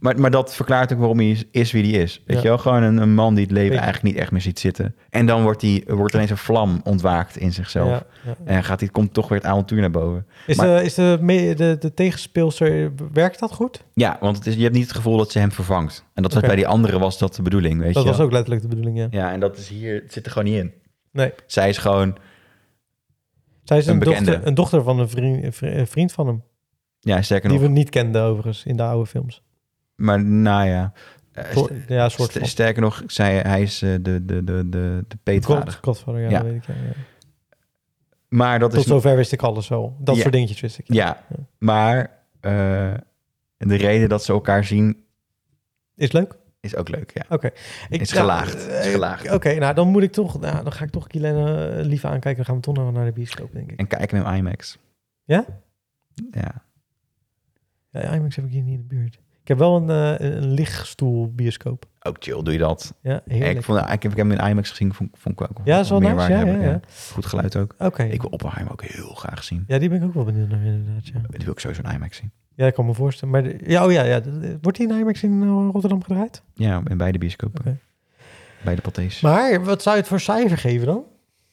Speaker 1: maar, maar dat verklaart ook waarom hij is, is wie hij is. Weet
Speaker 2: Ja.
Speaker 1: je wel? Gewoon een, een man die het leven
Speaker 2: Weet-
Speaker 1: eigenlijk niet echt meer ziet zitten. En dan wordt, hij wordt ineens een vlam ontwaakt in zichzelf.
Speaker 2: Ja, ja.
Speaker 1: En gaat, hij- komt toch weer het avontuur naar boven.
Speaker 2: Is,
Speaker 1: Maar-
Speaker 2: de, is de, me- de, de tegenspeelster, werkt dat goed?
Speaker 1: Ja, want het is, je hebt niet het gevoel dat ze hem vervangt. En dat was
Speaker 2: Oké.
Speaker 1: bij die andere was dat de bedoeling, weet
Speaker 2: Dat
Speaker 1: je
Speaker 2: was
Speaker 1: wel.
Speaker 2: ook letterlijk de bedoeling, ja.
Speaker 1: Ja, en dat is hier, het zit er gewoon niet in.
Speaker 2: Nee,
Speaker 1: Zij is gewoon,
Speaker 2: zij is
Speaker 1: Een
Speaker 2: een, dochter,
Speaker 1: bekende.
Speaker 2: een dochter van een vriend, een vri- een vriend van hem.
Speaker 1: ja, sterker
Speaker 2: Die
Speaker 1: nog,
Speaker 2: we niet kenden overigens in de oude films.
Speaker 1: maar nou ja. Eh,
Speaker 2: Soort- ja, soort
Speaker 1: st-
Speaker 2: van.
Speaker 1: sterker nog, zij, hij is eh, de, de, de, de, de
Speaker 2: God,
Speaker 1: peetvader.
Speaker 2: Godfather, ja,
Speaker 1: Ja.
Speaker 2: dat weet ik. Ja, ja.
Speaker 1: Maar dat
Speaker 2: Tot
Speaker 1: is,
Speaker 2: zover wist ik alles wel. Dat
Speaker 1: Ja.
Speaker 2: soort dingetjes wist ik.
Speaker 1: ja,
Speaker 2: Ja.
Speaker 1: maar eh, de reden dat ze elkaar zien
Speaker 2: Is leuk.
Speaker 1: is ook leuk, ja.
Speaker 2: Ik,
Speaker 1: Is
Speaker 2: nou,
Speaker 1: gelaagd, is
Speaker 2: eh,
Speaker 1: gelaagd.
Speaker 2: Oké, nou dan moet ik toch, nou, dan ga ik toch Kilene eh, lief aankijken. Dan gaan we toch nog naar de bioscoop, denk ik.
Speaker 1: En kijken hem IMAX.
Speaker 2: Ja?
Speaker 1: Ja.
Speaker 2: Ja, IMAX heb ik hier niet in de buurt. Ik heb wel een, eh, een- een lichtstoel bioscoop.
Speaker 1: Ook chill doe je dat.
Speaker 2: Ja,
Speaker 1: Ik,
Speaker 2: heerlijk.
Speaker 1: vond, ik heb hem in IMAX gezien, vond, vond ik ook
Speaker 2: Ja, is wel
Speaker 1: meer
Speaker 2: nice,
Speaker 1: waarde
Speaker 2: ja,
Speaker 1: hebben,
Speaker 2: ja, ja.
Speaker 1: Goed geluid ook.
Speaker 2: Oké.
Speaker 1: Ik wil Oppenheimer ook heel graag zien.
Speaker 2: Ja, die ben ik ook wel benieuwd naar inderdaad, ja.
Speaker 1: Die wil ik sowieso een IMAX zien.
Speaker 2: Ja, ik kan me voorstellen. Maar de- ja, oh ja, ja. de- de- Wordt die in IMAX in eh, Rotterdam gedraaid?
Speaker 1: Ja, in beide bioscopen.
Speaker 2: Oké.
Speaker 1: Bij de Pathés.
Speaker 2: Maar wat zou je het voor cijfer geven dan?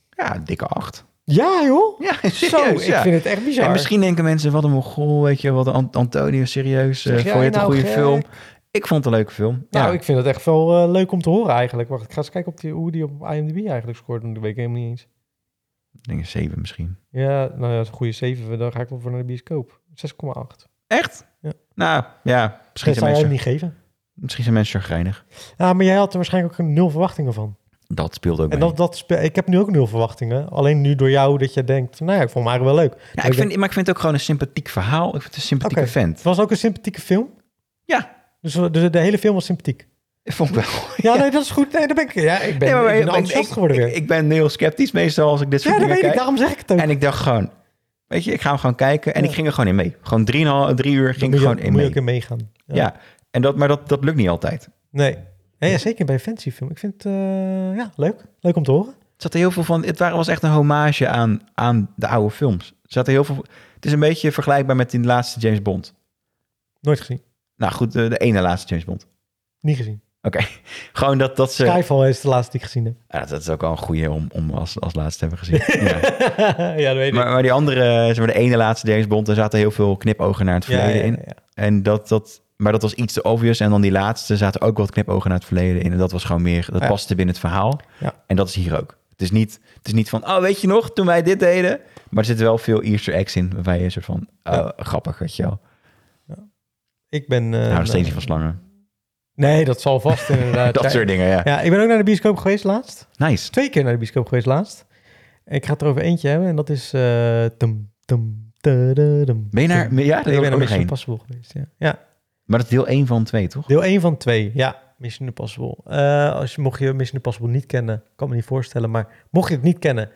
Speaker 1: Ja, een dikke acht.
Speaker 2: Ja, joh.
Speaker 1: Ja,
Speaker 2: Zo, ik vind het echt bizar.
Speaker 1: En misschien denken mensen, wat een mogol, weet je, wat een Ant- Antonio, serieus, eh
Speaker 2: Zeg jij
Speaker 1: vond je het een
Speaker 2: nou
Speaker 1: goede
Speaker 2: gek?
Speaker 1: film? Ik vond het een leuke film.
Speaker 2: Nou,
Speaker 1: ja.
Speaker 2: ik vind het echt wel eh, leuk om te horen eigenlijk. Wacht, ik ga eens kijken op die, hoe die op IMDb eigenlijk scoort. want Dat weet ik helemaal niet eens.
Speaker 1: Ik denk een zeven misschien.
Speaker 2: Ja, nou ja, dat is een goede 7. Dan ga ik wel voor naar de bioscoop. 6,8.
Speaker 1: Echt?
Speaker 2: Ja.
Speaker 1: Nou, ja, misschien
Speaker 2: Dat
Speaker 1: zijn,
Speaker 2: zou jij
Speaker 1: mensen,
Speaker 2: niet geven.
Speaker 1: misschien zijn mensen chagrijnig.
Speaker 2: Ja, maar jij had er waarschijnlijk ook nul verwachtingen van.
Speaker 1: dat speelt ook
Speaker 2: En
Speaker 1: mee.
Speaker 2: dat, dat spe- ik heb nu ook nul verwachtingen. Alleen nu door jou dat je denkt, nou ja, ik vond hem eigenlijk wel leuk.
Speaker 1: Ja, ik vind, maar ik vind het ook gewoon een sympathiek verhaal. Ik vind het een sympathieke
Speaker 2: Oké.
Speaker 1: vent.
Speaker 2: Het was ook een sympathieke film.
Speaker 1: Ja.
Speaker 2: Dus we- de, de hele film was sympathiek.
Speaker 1: Vond ik wel.
Speaker 2: Ja, nee, dat is goed. Nee, daar ben ik, ja, ik ben,
Speaker 1: Nee, maar
Speaker 2: ik
Speaker 1: ik-
Speaker 2: ben enthousiast
Speaker 1: ik-
Speaker 2: geworden weer.
Speaker 1: Ik, ik ben heel sceptisch meestal als ik dit soort
Speaker 2: ja, dat
Speaker 1: dingen
Speaker 2: weet ik.
Speaker 1: kijk.
Speaker 2: Daarom zeg ik het ook.
Speaker 1: En ik dacht gewoon, weet je, ik ga hem gewoon kijken. En
Speaker 2: Ja.
Speaker 1: ik ging er gewoon in mee. Gewoon drieënhalf, drie uur
Speaker 2: Daar
Speaker 1: ging
Speaker 2: moet
Speaker 1: ik
Speaker 2: je,
Speaker 1: gewoon
Speaker 2: ook-
Speaker 1: in
Speaker 2: moet
Speaker 1: mee.
Speaker 2: je ook in meegaan.
Speaker 1: ja. En dat, maar dat, dat lukt niet altijd.
Speaker 2: Nee. Ja, ja, zeker bij een fantasyfilm. Ik vind het eh, ja, leuk. Leuk om te horen.
Speaker 1: Er zat er heel veel van. Het waren, was echt een hommage aan, aan de oude films. Er zat er heel veel. Het is een beetje vergelijkbaar met die laatste James Bond.
Speaker 2: Nooit gezien.
Speaker 1: Nou goed, de, de ene laatste James Bond.
Speaker 2: Niet gezien.
Speaker 1: Gewoon dat, dat ze.
Speaker 2: Skyfall is de laatste die ik gezien heb.
Speaker 1: Ja, dat is ook al een goede om, om als, als laatste te hebben gezien. ja.
Speaker 2: ja, dat weet ik.
Speaker 1: maar, maar die andere, eh, zeg maar de ene laatste James Bond, daar zaten heel veel knipogen naar het verleden in. En dat, dat, maar dat was iets te obvious. En dan die laatste zaten ook wat knipogen naar het verleden in. En dat was gewoon meer, dat
Speaker 2: Ja.
Speaker 1: paste binnen het verhaal.
Speaker 2: Ja.
Speaker 1: En dat is hier ook. Het is, niet, het is niet van, oh, weet je nog, toen wij dit deden. Maar er zitten wel veel Easter eggs in, waarbij je een soort van, oh,
Speaker 2: Ja.
Speaker 1: grappig, weet je wel.
Speaker 2: Ik ben... eh,
Speaker 1: nou, nog steeds
Speaker 2: eh,
Speaker 1: niet van slangen.
Speaker 2: Nee, dat zal vast inderdaad.
Speaker 1: dat
Speaker 2: zijn.
Speaker 1: soort dingen, ja.
Speaker 2: Ja, ik ben ook naar de bioscoop geweest laatst.
Speaker 1: Nice.
Speaker 2: Twee keer naar de bioscoop geweest laatst. En ik ga het er over eentje hebben en dat is... eh tum, tum, tadadum,
Speaker 1: Ben je naar,
Speaker 2: tum.
Speaker 1: ja, daar
Speaker 2: ik ben
Speaker 1: ben
Speaker 2: naar
Speaker 1: ik nog
Speaker 2: Mission
Speaker 1: heen.
Speaker 2: Impossible geweest, ja. ja.
Speaker 1: Maar dat is deel 1 van 2, toch?
Speaker 2: Deel 1 van 2, ja. Mission Impossible. Eh, als je, mocht je Mission Impossible niet kennen, kan me niet voorstellen, maar mocht je het niet kennen,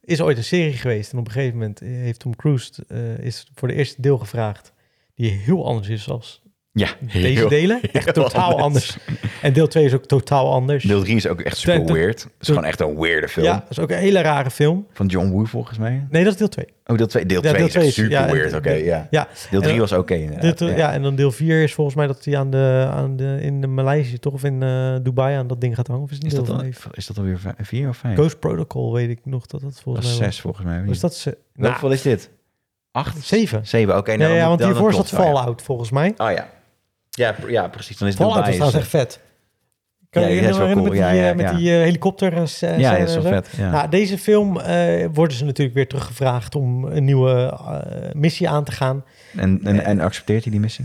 Speaker 2: is ooit een serie geweest. En op een gegeven moment heeft Tom Cruise eh, is voor de eerste deel gevraagd, die heel anders is als
Speaker 1: Ja.
Speaker 2: deze
Speaker 1: heel-
Speaker 2: delen. Echt
Speaker 1: heel
Speaker 2: totaal anders. En deel 2 is ook totaal anders.
Speaker 1: Deel 3 is ook echt
Speaker 2: Twee-
Speaker 1: super weird. Het is
Speaker 2: toen-
Speaker 1: gewoon echt een weirde film.
Speaker 2: ja, dat is ook een hele rare film.
Speaker 1: Van John Woo, volgens mij.
Speaker 2: Nee, dat is deel 2.
Speaker 1: Oh, deel 2 deel
Speaker 2: Ja,
Speaker 1: twee
Speaker 2: deel
Speaker 1: is
Speaker 2: twee
Speaker 1: echt
Speaker 2: is-
Speaker 1: super
Speaker 2: ja, en-
Speaker 1: weird, oké, ja.
Speaker 2: Ja,
Speaker 1: Deel
Speaker 2: En
Speaker 1: 3
Speaker 2: dan-
Speaker 1: was oké,
Speaker 2: deel
Speaker 1: inderdaad.
Speaker 2: twee- eh, ja. en dan deel 4 is volgens mij dat hij aan de, aan de, in de Maleisië toch of in eh, Dubai aan dat ding gaat hangen. Of is het
Speaker 1: Is
Speaker 2: deel
Speaker 1: dat, dan,
Speaker 2: 5?
Speaker 1: is dat alweer vij- vier of vijf?
Speaker 2: Ghost Protocol weet ik nog dat dat
Speaker 1: dat
Speaker 2: volgens
Speaker 1: is
Speaker 2: mij was.
Speaker 1: zes volgens mij.
Speaker 2: Dus dat ze,
Speaker 1: Nou,
Speaker 2: nou,
Speaker 1: Hoeveel is dit? Acht?
Speaker 2: zeven.
Speaker 1: Zeven, oké.
Speaker 2: Nee,
Speaker 1: nou, dan-
Speaker 2: ja, want
Speaker 1: dan- dan
Speaker 2: hiervoor zat
Speaker 1: klopt het wel, ja.
Speaker 2: Fallout volgens mij.
Speaker 1: Oh ja. Ja, pr- ja, precies. Dan is het
Speaker 2: Fallout was
Speaker 1: Dubai.
Speaker 2: trouwens
Speaker 1: is-
Speaker 2: echt vet. Kan
Speaker 1: Ja,
Speaker 2: je je
Speaker 1: die is
Speaker 2: nog
Speaker 1: wel
Speaker 2: herinneren met
Speaker 1: cool.
Speaker 2: die,
Speaker 1: Ja, ja,
Speaker 2: eh, met
Speaker 1: ja.
Speaker 2: die eh, helikopter? eh, scène
Speaker 1: Ja,
Speaker 2: en
Speaker 1: dat is
Speaker 2: zo?
Speaker 1: wel vet. Ja.
Speaker 2: Nou, deze film eh, worden ze natuurlijk weer teruggevraagd om een nieuwe eh, missie aan te gaan.
Speaker 1: en, en,
Speaker 2: eh,
Speaker 1: en accepteert hij die missie?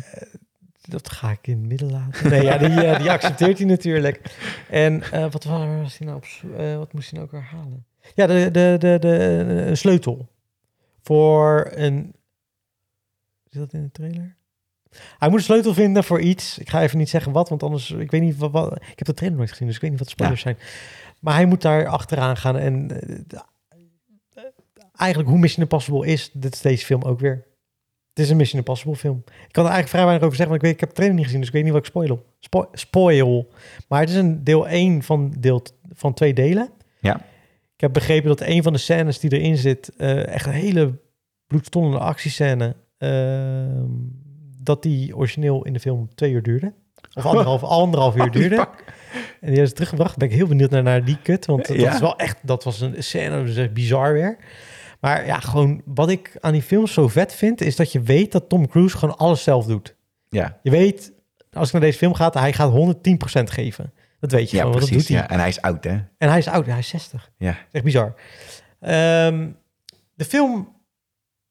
Speaker 2: Dat ga ik in het midden laten. Nee, ja, die, eh, die accepteert hij natuurlijk. En eh, wat, waar was hij nou op, zo- eh, wat moest hij nou ook weer halen? Ja, de, de, de, de, eh, een sleutel. Voor een... Zit dat in de trailer? Hij moet een sleutel vinden voor iets. Ik ga even niet zeggen wat, want anders... Ik weet niet wat... wat- ik heb de trailer nooit gezien, dus ik weet niet wat de spoilers zijn. Maar hij moet daar achteraan gaan. En eh, de- eh, eigenlijk hoe Mission Impossible is, dit is deze film ook weer. Het is een Mission Impossible film. Ik kan er eigenlijk vrij weinig over zeggen, want ik, weet, ik heb de trailer niet gezien, dus ik weet niet wat ik spoil. Spo spoil. Maar het is een deel 1 van, deel t- van twee delen.
Speaker 1: Ja.
Speaker 2: Ik heb begrepen dat een van de scènes die erin zit, eh, echt een hele bloedstollende actiescène, ehm, dat die origineel in de film twee uur duurde. Of anderhalf, anderhalf uur duurde.
Speaker 1: Oh,
Speaker 2: En die hebben ze teruggebracht. Ben ik heel benieuwd naar, naar die kut. Want dat
Speaker 1: Ja.
Speaker 2: is wel echt, dat was een scène, dat is echt bizar weer. Maar ja, gewoon wat ik aan die films zo vet vind, is dat je weet dat Tom Cruise gewoon alles zelf doet.
Speaker 1: Ja,
Speaker 2: Je weet, als ik naar deze film ga, hij gaat 110% geven. Dat weet je
Speaker 1: ja
Speaker 2: gewoon, want
Speaker 1: precies.
Speaker 2: dat Oh,
Speaker 1: ja.
Speaker 2: doet hij.
Speaker 1: En hij is oud, hè?
Speaker 2: En hij is oud, hij is 60.
Speaker 1: Ja.
Speaker 2: Echt bizar. Ehm, de film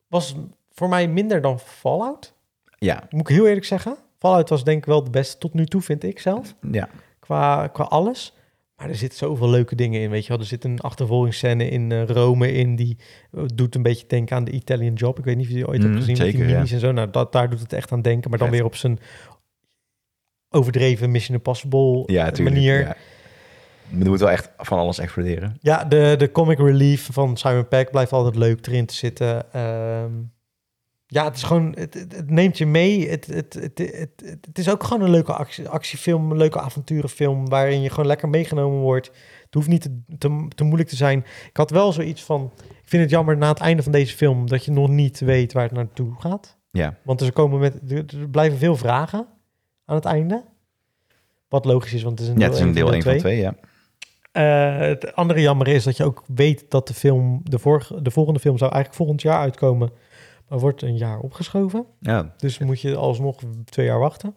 Speaker 2: was voor mij minder dan Fallout.
Speaker 1: Ja,
Speaker 2: Moet ik heel eerlijk zeggen. Fallout was denk ik wel de beste tot nu toe, vind ik zelf.
Speaker 1: ja.
Speaker 2: Qua, qua alles. Maar er zitten zoveel leuke dingen in, weet je wel. Er zit een achtervolgingsscène in eh, Rome in... die eh, doet een beetje denken aan de Italian Job. Ik weet niet of je die ooit
Speaker 1: Mm,
Speaker 2: hebt gezien met
Speaker 1: zeker,
Speaker 2: die
Speaker 1: ja.
Speaker 2: minis en zo. Nou, dat, daar doet het echt aan denken. Maar dan
Speaker 1: Vet.
Speaker 2: weer op zijn overdreven Mission Impossible eh,
Speaker 1: Ja, tuurlijk.
Speaker 2: manier.
Speaker 1: Ja. Er moet wel echt van alles exploderen.
Speaker 2: Ja, de, de comic relief van Simon Peck blijft altijd leuk erin te zitten. Ehm, ja, het is gewoon, het, het, het neemt je mee. Het, het, het, het, het, het is ook gewoon een leuke actie, actiefilm, een leuke avonturenfilm waarin je gewoon lekker meegenomen wordt. Het hoeft niet te, te, te moeilijk te zijn. Ik had wel zoiets van, ik vind het jammer na het einde van deze film dat je nog niet weet waar het naartoe gaat.
Speaker 1: Ja.
Speaker 2: Want er, komen met, er, er blijven veel vragen aan het einde. Wat logisch is, want het is een
Speaker 1: Ja,
Speaker 2: deel
Speaker 1: het is een deel 1 van
Speaker 2: twee.
Speaker 1: 2, ja.
Speaker 2: Eh, het andere jammer is dat je ook weet dat de film, de, vorige, de volgende film zou eigenlijk volgend jaar uitkomen, maar wordt een jaar opgeschoven.
Speaker 1: Ja,
Speaker 2: Dus moet je alsnog twee jaar wachten.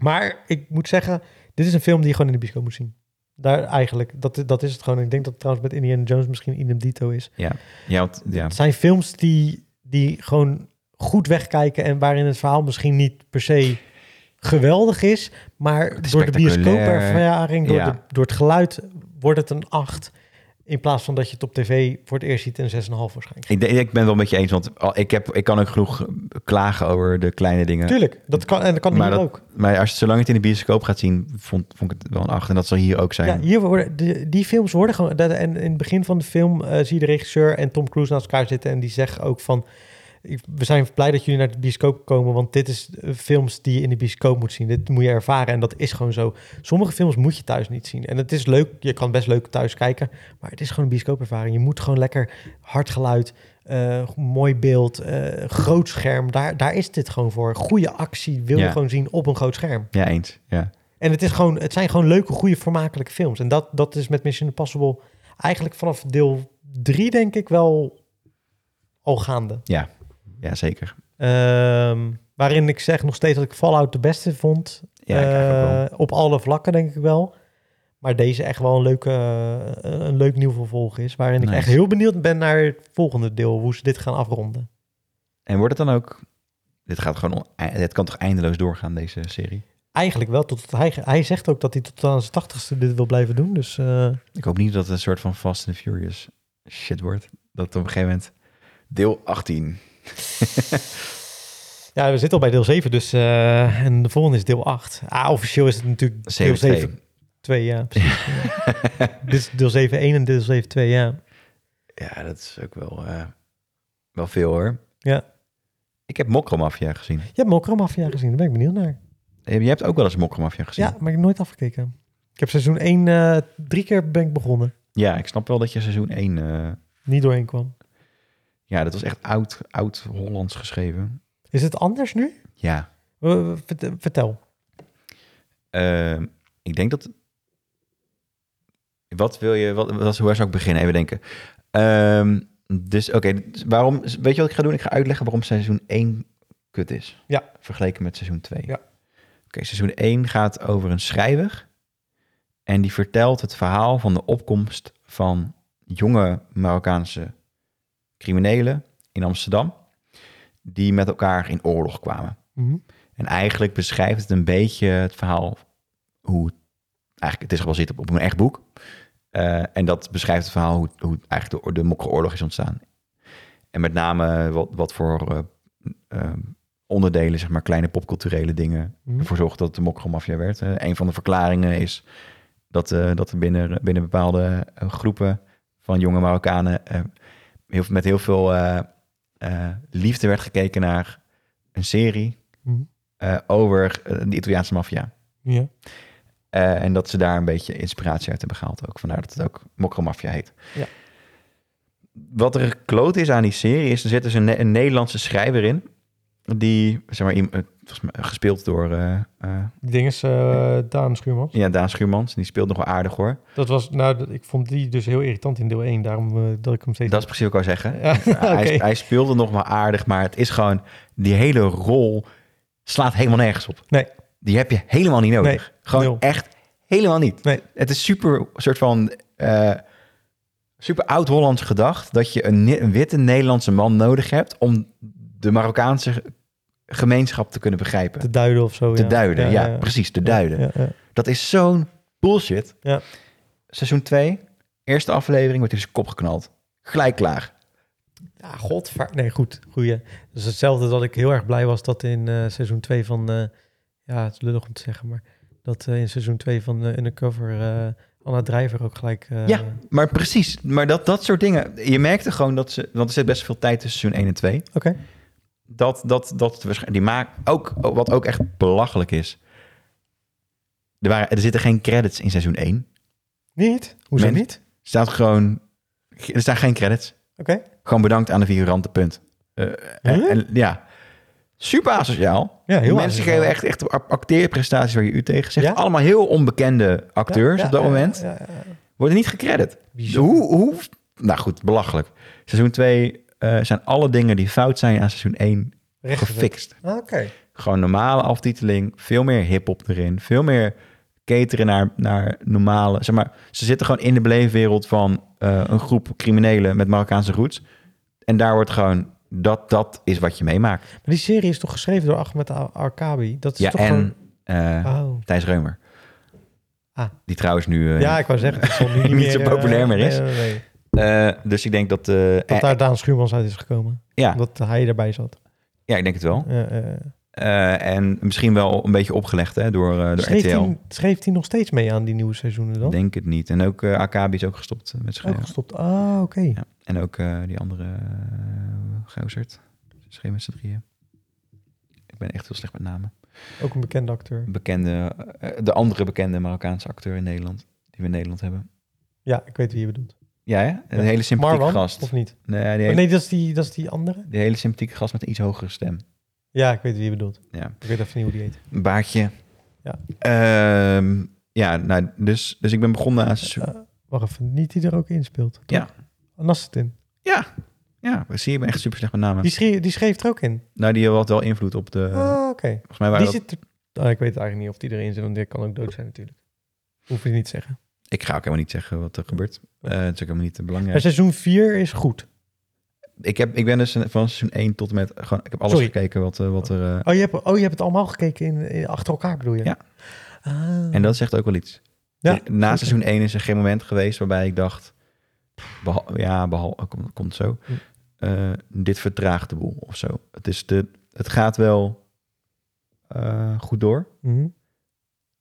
Speaker 2: Maar ik moet zeggen, dit is een film die je gewoon in de bioscoop moet zien. Daar eigenlijk, dat, dat is het gewoon. Ik denk dat het trouwens met Indiana Jones misschien idem dito is.
Speaker 1: ja, want, ja.
Speaker 2: Het zijn films die, die gewoon goed wegkijken en waarin het verhaal misschien niet per se geweldig is, maar door de
Speaker 1: Spectaculair.
Speaker 2: bioscoopervaring, door,
Speaker 1: Ja.
Speaker 2: de- door het geluid wordt het een 8. In plaats van dat je het op tv voor het eerst ziet een 6,5 waarschijnlijk.
Speaker 1: Ik, denk- ik ben het wel met je eens, want al- ik, heb, ik kan ook genoeg klagen over de kleine dingen.
Speaker 2: Tuurlijk, dat kan, en dat kan
Speaker 1: Maar
Speaker 2: hier
Speaker 1: dat-
Speaker 2: ook.
Speaker 1: Maar als, zolang je het in de bioscoop gaat zien, vond, vond ik het wel een 8. En dat zal hier ook
Speaker 2: Ja,
Speaker 1: zijn.
Speaker 2: hier worden, de- die films worden gewoon... dat- en in het begin van de film eh, zie je de regisseur en Tom Cruise naast elkaar zitten... en die zeggen ook van... ik- We zijn blij dat jullie naar de bioscoop komen... want dit is eh, films die je in de bioscoop moet zien. Dit moet je ervaren en dat is gewoon zo. Sommige films moet je thuis niet zien. En het is leuk, je kan best leuk thuis kijken... maar het is gewoon een bioscoopervaring. Je moet gewoon lekker hard geluid, eh, mooi beeld, eh, groot scherm. Daar, daar is dit gewoon voor. Goede actie wil je
Speaker 1: Ja.
Speaker 2: gewoon zien op een groot scherm.
Speaker 1: Ja, eens. Ja.
Speaker 2: En het, is gewoon, het zijn gewoon leuke, goede, vermakelijke films. En dat, dat is met Mission Impossible eigenlijk vanaf deel 3, denk ik, wel al gaande.
Speaker 1: ja, zeker.
Speaker 2: Ehm, waarin ik zeg nog steeds dat ik Fallout de beste vond.
Speaker 1: Ja, ik eigenlijk wel.
Speaker 2: Eh, op alle vlakken, denk ik wel. Maar deze echt wel een, leuke, eh, een leuk nieuw vervolg is. Waarin ik
Speaker 4: Nice.
Speaker 2: echt heel benieuwd ben naar het volgende deel. Hoe ze dit gaan afronden.
Speaker 1: En wordt het dan ook... Dit, gaat gewoon on- ei- dit kan toch eindeloos doorgaan, deze serie?
Speaker 2: Eigenlijk wel. Tot, hij, hij zegt ook dat hij tot aan zijn tachtigste dit wil blijven doen. Dus eh,
Speaker 1: Ik hoop niet dat het een soort van Fast and Furious shit wordt. Dat op een gegeven moment... Deel 18.
Speaker 2: Ja, we zitten al bij deel 7, dus eh, en de volgende is deel 8. Ah, officieel is het natuurlijk deel 7
Speaker 1: 7
Speaker 2: 2, ja. Precies, ja. dit is deel 7 1 en deel 7 2, ja.
Speaker 1: Ja, dat is ook wel, eh, wel veel hoor.
Speaker 2: Ja.
Speaker 1: Ik heb Mokromafia gezien. Eh,
Speaker 2: Je hebt Mokromafia gezien, daar ben ik benieuwd naar.
Speaker 1: Je hebt ook wel eens Mokromafia gezien.
Speaker 2: Ja, maar ik heb nooit afgekeken. Ik heb seizoen 1 eh, drie keer ben ik begonnen.
Speaker 1: Ja, ik snap wel dat je seizoen 1... eh,
Speaker 2: Niet doorheen kwam.
Speaker 1: ja, dat was echt oud, oud Hollands geschreven.
Speaker 2: Is het anders nu?
Speaker 1: Ja.
Speaker 2: Eh, vert- vertel.
Speaker 1: Ehm, ik denk dat. Wat wil je? Wat, wat, hoe zou ik beginnen? Even denken. Ehm, dus oké, dus waarom? Weet je wat ik ga doen? Ik ga uitleggen waarom seizoen 1 kut is.
Speaker 2: Ja.
Speaker 1: Vergeleken met seizoen 2.
Speaker 2: Ja.
Speaker 1: Oké, seizoen 1 gaat over een schrijver. En die vertelt het verhaal van de opkomst van jonge Marokkaanse criminelen in Amsterdam. Die met elkaar in oorlog kwamen.
Speaker 2: Mhm.
Speaker 1: En eigenlijk beschrijft het een beetje het verhaal hoe eigenlijk het is gebaseerd op, op een echt boek. Eh, en dat beschrijft het verhaal hoe, hoe eigenlijk de, de Mokkeroorlog is ontstaan. En met name wat, wat voor eh, eh, onderdelen, zeg maar kleine popculturele dingen,
Speaker 2: Mhm.
Speaker 1: ervoor zorgden dat het de Mokkeromafia werd. Eh, een van de verklaringen is dat, eh, dat er binnen, binnen bepaalde eh, groepen van jonge Marokkanen eh, heel, met heel veel eh, eh, liefde werd gekeken naar een serie
Speaker 2: Mhm.
Speaker 1: eh, over eh, de Italiaanse maffia.
Speaker 2: Ja.
Speaker 1: Eh, en dat ze daar een beetje inspiratie uit hebben gehaald ook. Vandaar dat het ook Mokromafia heet.
Speaker 2: Ja.
Speaker 1: Wat er kloot is aan die serie is... er zit dus een, Ne- een Nederlandse schrijver in... die, zeg maar, iem- eh, volgens mij, gespeeld door eh, eh,
Speaker 2: Die ding is eh, Daan Schuurman.
Speaker 1: ja, Daan Schuurmans. Die speelt nog wel aardig hoor.
Speaker 2: Dat was, nou, dat- ik vond die dus heel irritant in deel 1. Daarom eh, dat ik hem steeds...
Speaker 1: Dat is precies wat ik wou zeggen.
Speaker 2: Ja,
Speaker 1: hij,
Speaker 2: oké.
Speaker 1: hij speelde nog wel aardig, maar het is gewoon... die hele rol slaat helemaal nergens op.
Speaker 2: Nee.
Speaker 1: Die heb je helemaal niet nodig. gewoon
Speaker 2: nul.
Speaker 1: echt helemaal niet.
Speaker 2: Nee.
Speaker 1: Het is super soort van... eh, super oud-Hollands gedacht... dat je een, ne- een witte Nederlandse man nodig hebt... om de Marokkaanse gemeenschap te kunnen begrijpen.
Speaker 2: Te duiden of zo,
Speaker 1: te
Speaker 2: ja.
Speaker 1: duiden, ja, precies, te duiden.
Speaker 2: Ja, ja.
Speaker 1: Dat is zo'n bullshit.
Speaker 2: Ja.
Speaker 1: Seizoen 2, eerste aflevering, wordt in zijn kop geknald. Gelijk klaar.
Speaker 2: Ja, godver... Nee, goed. Goeie. Dus hetzelfde dat ik heel erg blij was dat in eh, seizoen 2 van... eh, ja, het is lullig om te zeggen, maar... Dat eh, in seizoen 2 van eh, Undercover eh, Anna Drijver ook gelijk... eh,
Speaker 1: Ja. Maar precies, maar dat, dat soort dingen. Je merkte gewoon dat ze, want er zit best veel tijd tussen seizoen 1 en 2.
Speaker 2: Oké.
Speaker 1: Dat, dat, dat waarschijnlijk, die maak, ook, wat ook echt belachelijk is. Er, waren, er zitten geen credits in seizoen 1. Er
Speaker 2: Niet? Hoezo
Speaker 1: Men-
Speaker 2: niet?
Speaker 1: staat gewoon, er staan geen credits.
Speaker 2: Oké.
Speaker 1: Gewoon bedankt aan de figuranten, punt. Eh, en,
Speaker 2: Huh?
Speaker 1: en- ja, super asociaal.
Speaker 2: Ja, heel
Speaker 1: mensen
Speaker 2: aardig.
Speaker 1: geven echt, echt act- acteerprestaties waar je u tegen zegt.
Speaker 2: Ja?
Speaker 1: Allemaal heel onbekende
Speaker 2: Ja,
Speaker 1: acteurs
Speaker 2: ja,
Speaker 1: op dat
Speaker 2: ja,
Speaker 1: moment.
Speaker 2: ja, ja, ja.
Speaker 1: Worden niet gecredit.
Speaker 2: Bizar.
Speaker 1: Hoe, hoe... Nou goed, belachelijk. Seizoen 2 zijn alle dingen die fout zijn aan seizoen 1
Speaker 2: Rechtgezet.
Speaker 1: gefixt.
Speaker 2: Ah, Oké.
Speaker 1: Gewoon normale aftiteling. Veel meer hip-hop erin. Veel meer cateren naar, naar normale... Zeg maar, ze zitten gewoon in de beleefwereld van eh, een groep criminelen met Marokkaanse roots. En daar wordt gewoon... Dat, dat is wat je meemaakt.
Speaker 2: Maar die serie is toch geschreven door Ahmed Al- Arkabi? Dat is
Speaker 1: Ja,
Speaker 2: toch
Speaker 1: en
Speaker 2: gewoon...
Speaker 1: eh,
Speaker 2: Oh.
Speaker 1: Thijs Reumer.
Speaker 2: Ah.
Speaker 1: Die trouwens nu... eh,
Speaker 2: ja, ik wou zeggen, dat zal nu niet,
Speaker 1: Niet zo
Speaker 2: eh,
Speaker 1: populair meer is.
Speaker 2: nee, nee, nee.
Speaker 1: eh, dus ik denk dat... eh,
Speaker 2: Dat
Speaker 1: eh,
Speaker 2: daar Daan Schuurmans uit is gekomen.
Speaker 1: ja,
Speaker 2: Omdat hij erbij zat.
Speaker 1: ja, ik denk het wel.
Speaker 2: Eh, eh,
Speaker 1: Eh, en misschien wel een beetje opgelegd hè, door, eh, door
Speaker 2: schreef,
Speaker 1: RTL.
Speaker 2: hij, schreef hij nog steeds mee aan die nieuwe seizoenen dan?
Speaker 1: Denk het niet. En ook eh AKB is ook gestopt eh, met
Speaker 2: Ook
Speaker 1: schrijven.
Speaker 2: gestopt. Ah, oké.
Speaker 1: Ja. En ook eh, die andere uh, gozerd. Ze schreef met z'n drieën. Ik ben echt heel slecht met namen.
Speaker 2: Ook een bekende acteur.
Speaker 1: Bekende, eh, de andere bekende Marokkaanse acteur in Nederland. Die we in Nederland hebben.
Speaker 2: Ja, ik weet wie je bedoelt.
Speaker 1: Ja, hè? Een
Speaker 2: Ja.
Speaker 1: hele sympathieke
Speaker 2: Marwan,
Speaker 1: gast.
Speaker 2: of niet?
Speaker 1: Nee, die hele,
Speaker 2: Oh, nee, dat is, die, dat is die andere.
Speaker 1: die hele sympathieke gast met een iets hogere stem.
Speaker 2: Ja, ik weet wie je bedoelt.
Speaker 1: Ja.
Speaker 2: Ik weet even niet hoe die heet.
Speaker 1: Een baardje.
Speaker 2: Ja.
Speaker 1: Ehm, ja, nou, dus, dus ik ben begonnen aan... seizoen-
Speaker 2: Eh, wacht even, niet die er ook in speelt. toch?
Speaker 1: Ja.
Speaker 2: Nasruddin.
Speaker 1: Ja, zie je, ik ben echt super slecht met namen.
Speaker 2: Die, schreef, die schreef er ook in.
Speaker 1: Nou, die had wel invloed op de...
Speaker 2: ah, oké.
Speaker 1: volgens mij waren
Speaker 2: Die
Speaker 1: Eh, dat-
Speaker 2: zit er... Ah, ik weet eigenlijk niet of die erin zit, want die kan ook dood zijn natuurlijk. Hoef je niet te zeggen.
Speaker 1: Ik ga ook helemaal niet zeggen wat er gebeurt. Eh, het is ook helemaal niet te belangrijk.
Speaker 2: Maar seizoen 4 is goed.
Speaker 1: Ik, heb, ik ben dus van seizoen 1 tot en met... Gewoon, ik heb alles
Speaker 2: Sorry.
Speaker 1: gekeken wat, eh, wat er... eh,
Speaker 2: Oh, je hebt, oh, je hebt het allemaal gekeken in, in- achter elkaar, bedoel je?
Speaker 1: Ja.
Speaker 2: Ah.
Speaker 1: en dat zegt ook wel iets.
Speaker 2: Ja,
Speaker 1: Er- Na
Speaker 2: zeker.
Speaker 1: seizoen 1 is er geen moment geweest waarbij ik dacht... behal- ja, behalve... komt, komt zo.
Speaker 2: Hm.
Speaker 1: Eh, dit vertraagt de boel of zo. Het, is de, het gaat wel eh, goed door
Speaker 2: Mhm.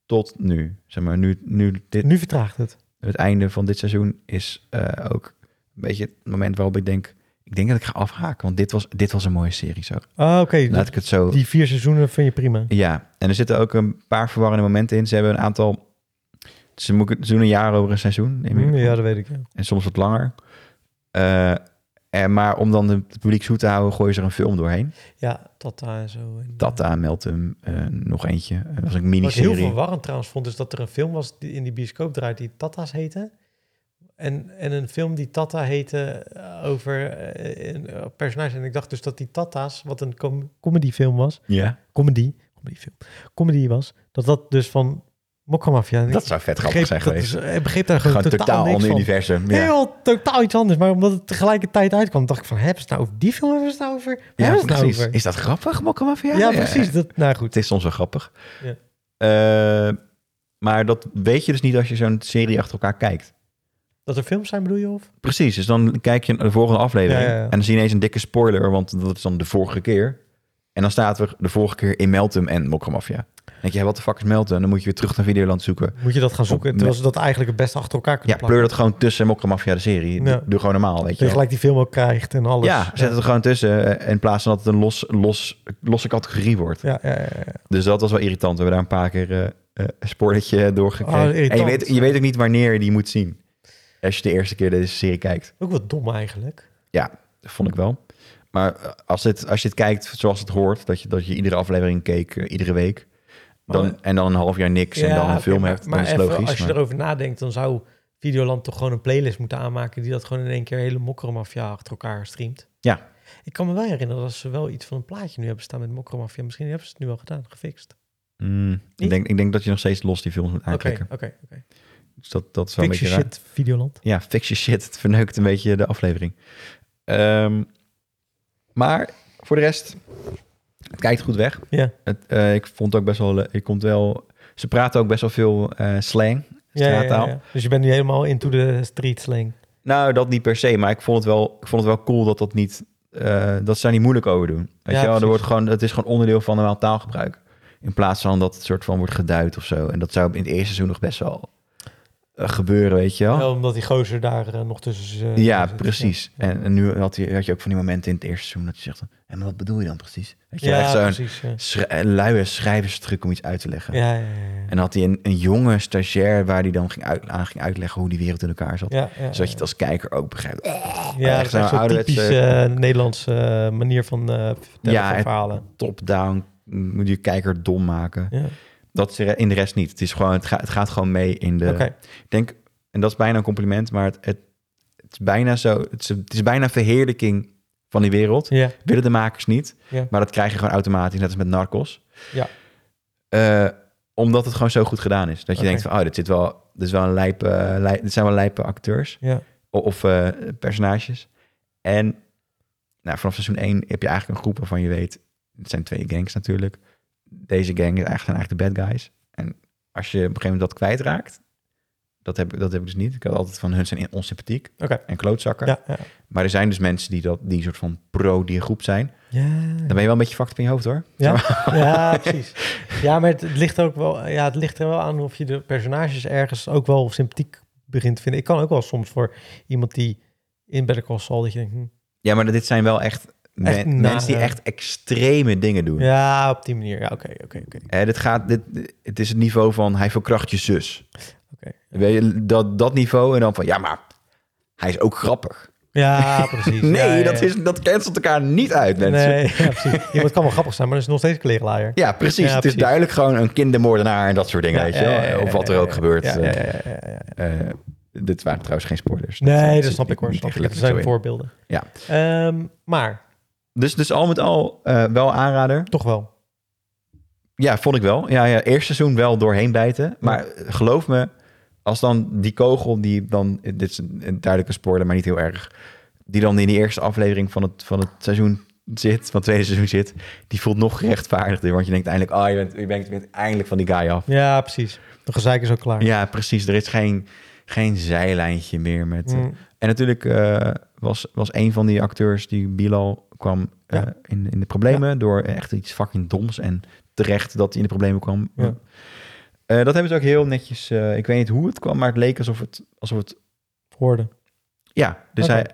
Speaker 1: tot nu. Zeg maar, nu, nu dit,
Speaker 2: Nu vertraagt het.
Speaker 1: het einde van dit seizoen is eh, ook een beetje het moment waarop ik denk... Ik denk dat ik ga afhaken, want dit was, dit was een mooie serie zo.
Speaker 2: Ah, oké.
Speaker 1: Laat ik het zo...
Speaker 2: Die vier seizoenen vind je prima.
Speaker 1: Ja, en er zitten ook een paar verwarrende momenten in. Ze hebben een aantal... Ze moeten ze doen een jaar over een seizoen. neem ik.
Speaker 2: Hm, Ja, dat weet ik. Ja.
Speaker 1: En soms wat langer. Eh, en, maar om dan het publiek zoet te houden, gooien ze er een film doorheen.
Speaker 2: Ja, Tata en zo. En, eh,
Speaker 1: Tata, Meltem, eh nog eentje. Dat was een
Speaker 2: Wat ik heel
Speaker 1: miniserie.
Speaker 2: verwarrend trouwens vond, is dat er een film was die in die bioscoop draait die Tata's heette. En, en een film die Tata heette eh, over eh, een eh, personage. En ik dacht dus dat die Tata's, wat een com comedyfilm was,
Speaker 1: Ja,
Speaker 2: comedy, comedyfilm, comedy was, dat dat dus van Mokkamafia. En ik
Speaker 1: dat zou vet grappig
Speaker 2: begreep
Speaker 1: zijn
Speaker 2: dat
Speaker 1: geweest.
Speaker 2: dus- ik begreep daar gewoon,
Speaker 1: Gewoon totaal,
Speaker 2: totaal, niks
Speaker 1: ander
Speaker 2: van.
Speaker 1: universum. Ja.
Speaker 2: Heel totaal iets anders. Maar omdat het tegelijkertijd uitkwam, dacht ik van, hebben ze het nou over die film? Hebben ze het nou over? Waar hebben ze het nou
Speaker 1: precies.
Speaker 2: over?
Speaker 1: Is dat grappig, Mokkamafia?
Speaker 2: ja, precies. Dat, nou goed.
Speaker 1: Het is soms wel grappig.
Speaker 2: Ja.
Speaker 1: Eh, maar dat weet je dus niet als je zo'n serie achter elkaar kijkt.
Speaker 2: Dat er films zijn, bedoel je? Of?
Speaker 1: Precies, dus dan kijk je naar de volgende aflevering.
Speaker 2: Ja, ja, ja.
Speaker 1: En dan zie je ineens een dikke spoiler, want dat is dan de vorige keer. En dan staat er de vorige keer in Meltem en Mokkamafia. Dan denk je, wat de fuck is Meltem? Dan moet je weer terug naar Videoland zoeken.
Speaker 2: Moet je dat gaan zoeken,
Speaker 1: Op-
Speaker 2: terwijl ze dat eigenlijk het best achter elkaar
Speaker 1: Ja,
Speaker 2: kunnen
Speaker 1: pleur
Speaker 2: plakken.
Speaker 1: dat gewoon tussen Mokkamafia de serie.
Speaker 2: Ja.
Speaker 1: Doe gewoon normaal, weet
Speaker 2: Dat je
Speaker 1: je wel.
Speaker 2: gelijk die film ook krijgt en alles.
Speaker 1: Ja, zet het er gewoon tussen eh, in plaats van dat het een los, los, losse categorie wordt.
Speaker 2: Ja, ja, ja, ja.
Speaker 1: Dus dat was wel irritant. We hebben daar een paar keer eh eh, een spoortje
Speaker 2: Oh,
Speaker 1: doorgekregen.
Speaker 2: irritant.
Speaker 1: en je weet, je weet ook niet wanneer je die moet zien. Als je de eerste keer deze serie kijkt.
Speaker 2: Ook wat dom eigenlijk.
Speaker 1: Dat vond ik wel. Maar eh, als, dit, als je het kijkt zoals het hoort, dat je, dat je iedere aflevering keek, eh, iedere week. Dan,
Speaker 2: Maar-
Speaker 1: en dan een half jaar niks en dan een
Speaker 2: oké,
Speaker 1: film
Speaker 2: maar-
Speaker 1: hebt,
Speaker 2: maar
Speaker 1: dan is het
Speaker 2: even,
Speaker 1: logisch.
Speaker 2: als je
Speaker 1: maar-
Speaker 2: erover nadenkt, dan zou Videoland toch gewoon een playlist moeten aanmaken die dat gewoon in één keer hele mokkermafia achter elkaar streamt.
Speaker 1: Ja.
Speaker 2: Ik kan me wel herinneren dat ze wel iets van een plaatje nu hebben staan met mokkermafia. Misschien hebben ze het nu al gedaan, gefixt.
Speaker 1: Mm, ik,
Speaker 2: Niet?
Speaker 1: denk, ik denk dat je nog steeds los die films moet
Speaker 2: Oké,
Speaker 1: aanklikken.
Speaker 2: oké, oké.
Speaker 1: Dus dat, dat is wel een
Speaker 2: Fix je
Speaker 1: beetje raar.
Speaker 2: shit, Videoland.
Speaker 1: Ja, fix je shit. Het verneukt een beetje de aflevering. Ehm, maar voor de rest, het kijkt goed weg.
Speaker 2: Ja.
Speaker 1: Het, eh, ik vond ook best wel, eh, ik komt wel, ze praten ook best wel veel eh, slang.
Speaker 2: Ja, ja, ja,
Speaker 1: Straattaal.
Speaker 2: ja. Dus je bent nu helemaal into the street slang.
Speaker 1: Nou, dat niet per se, maar ik vond het wel, ik vond het wel cool dat dat niet, eh, dat ze daar niet moeilijk over doen. Weet
Speaker 2: Ja,
Speaker 1: je wel, er
Speaker 2: precies.
Speaker 1: wordt gewoon, het is gewoon onderdeel van normaal taalgebruik. In plaats van dat het soort van wordt geduid of zo. En dat zou in het eerste seizoen nog best wel eh, gebeuren, weet je wel.
Speaker 2: Wel omdat die gozer daar eh, nog tussen z'n-
Speaker 1: Ja,
Speaker 2: zit.
Speaker 1: precies. En, en nu had je, had je ook van die momenten in het eerste seizoen dat je zegt... En wat bedoel je dan precies? Dat je
Speaker 2: Ja,
Speaker 1: echt zo'n
Speaker 2: precies. Ja.
Speaker 1: schrij- een luie schrijverstruc om iets uit te leggen.
Speaker 2: Ja, ja, ja, ja.
Speaker 1: En dan had hij een, een jonge stagiair waar hij dan ging uit, aan ging uitleggen hoe die wereld in elkaar zat.
Speaker 2: Ja, ja,
Speaker 1: Zodat je het als kijker ook begrijpt. Oh,
Speaker 2: ja, dat
Speaker 1: echt
Speaker 2: is
Speaker 1: zo'n
Speaker 2: echt zo'n
Speaker 1: ouderwetse-
Speaker 2: typisch eh, Nederlandse eh, manier van eh, vertellen
Speaker 1: Ja,
Speaker 2: van
Speaker 1: het-
Speaker 2: verhalen.
Speaker 1: Top-down, moet je kijker dom maken.
Speaker 2: Ja.
Speaker 1: Dat is er in de rest niet. Het, is gewoon, het, gaat het gaat gewoon mee in de...
Speaker 2: Oké,
Speaker 1: Ik denk, en dat is bijna een compliment, maar het, het, het is bijna zo... Het is, het is bijna verheerlijking van die wereld.
Speaker 2: ja.
Speaker 1: willen de makers niet.
Speaker 2: Ja.
Speaker 1: Maar dat krijg je gewoon automatisch, net als met Narcos.
Speaker 2: Ja.
Speaker 1: Eh, omdat het gewoon zo goed gedaan is. Dat je
Speaker 2: Oké.
Speaker 1: denkt van, oh, dit, zit wel, dit, is wel een lijpe, eh, lij- dit zijn wel lijpe acteurs.
Speaker 2: Ja.
Speaker 1: O- Of eh, personages. En nou, vanaf seizoen 1 heb je eigenlijk een groep waarvan je weet... Het zijn twee gangs natuurlijk. Deze gang is eigenlijk, zijn eigenlijk de bad guys. En als je op een gegeven moment dat kwijtraakt... Dat heb, dat heb ik dus niet. Ik had altijd van hun zijn in- onsympathiek
Speaker 2: Oké.
Speaker 1: en klootzakken.
Speaker 2: Ja, ja.
Speaker 1: Maar er zijn dus mensen die, dat, die een soort van pro die groep zijn.
Speaker 2: Ja,
Speaker 1: Dan ben je wel een beetje fucked up in je hoofd hoor.
Speaker 2: ja, precies. Ja, maar het, het ligt ook wel, ja, het ligt er wel aan of je de personages ergens ook wel sympathiek begint te vinden. Ik kan ook wel soms voor iemand die in Better Call Saul, dat je denkt, hm,
Speaker 1: Ja, maar dit zijn wel echt, me-
Speaker 2: Echt nare-
Speaker 1: mensen die echt extreme dingen doen.
Speaker 2: ja, op die manier. Ja, oké, oké, oké.
Speaker 1: Hè, dit gaat, dit, het is het niveau van hij verkracht je zus.
Speaker 2: Oké.
Speaker 1: Weet je, dat, dat niveau en dan van ja, maar hij is ook grappig.
Speaker 2: Ja, precies.
Speaker 1: Nee,
Speaker 2: Ja, ja,
Speaker 1: dat,
Speaker 2: ja.
Speaker 1: is, dat cancelt elkaar niet uit, mensen.
Speaker 2: Nee, ja, precies. Iemand kan wel grappig zijn, maar dat is nog steeds kleerlaaier.
Speaker 1: Ja, precies.
Speaker 2: Ja,
Speaker 1: het is
Speaker 2: precies.
Speaker 1: duidelijk gewoon een kindermoordenaar en dat soort dingen, weet je wel. of wat er ook gebeurt.
Speaker 2: Ja, ja, ja, ja, ja.
Speaker 1: Eh, dit waren trouwens geen spoilers.
Speaker 2: Nee,
Speaker 1: eh,
Speaker 2: dat
Speaker 1: zit
Speaker 2: snap ik
Speaker 1: niet-
Speaker 2: hoor.
Speaker 1: niet
Speaker 2: Snap ik.
Speaker 1: echt
Speaker 2: Dat zijn
Speaker 1: lekker zo in.
Speaker 2: voorbeelden.
Speaker 1: Ja.
Speaker 2: Ehm, maar,
Speaker 1: Dus, dus al met al eh, wel aanrader.
Speaker 2: toch wel.
Speaker 1: Ja, vond ik wel. Ja, ja, eerst seizoen wel doorheen bijten. Maar eh, geloof me, als dan die kogel die dan... eh, Dit is een, een duidelijke spoiler, maar niet heel erg. Die dan in die eerste aflevering van het, van het seizoen zit, van het tweede seizoen zit... die voelt nog gerechtvaardigder. Want je denkt eindelijk, ah, je, bent, je, bent, je bent eindelijk van die guy af.
Speaker 2: Ja, precies. De gezeik is ook klaar.
Speaker 1: Ja, precies. Er is geen, geen zijlijntje meer met... eh,
Speaker 2: Mm.
Speaker 1: En natuurlijk eh, was, was een van die acteurs die Bilal kwam eh,
Speaker 2: Ja.
Speaker 1: in, in de problemen door echt iets fucking doms en terecht dat hij in de problemen kwam.
Speaker 2: Ja.
Speaker 1: Eh, dat hebben ze ook heel netjes. eh, ik weet niet hoe het kwam, maar het leek alsof het, alsof het
Speaker 2: Hoorde.
Speaker 1: ja. Dus
Speaker 2: Oké.
Speaker 1: hij,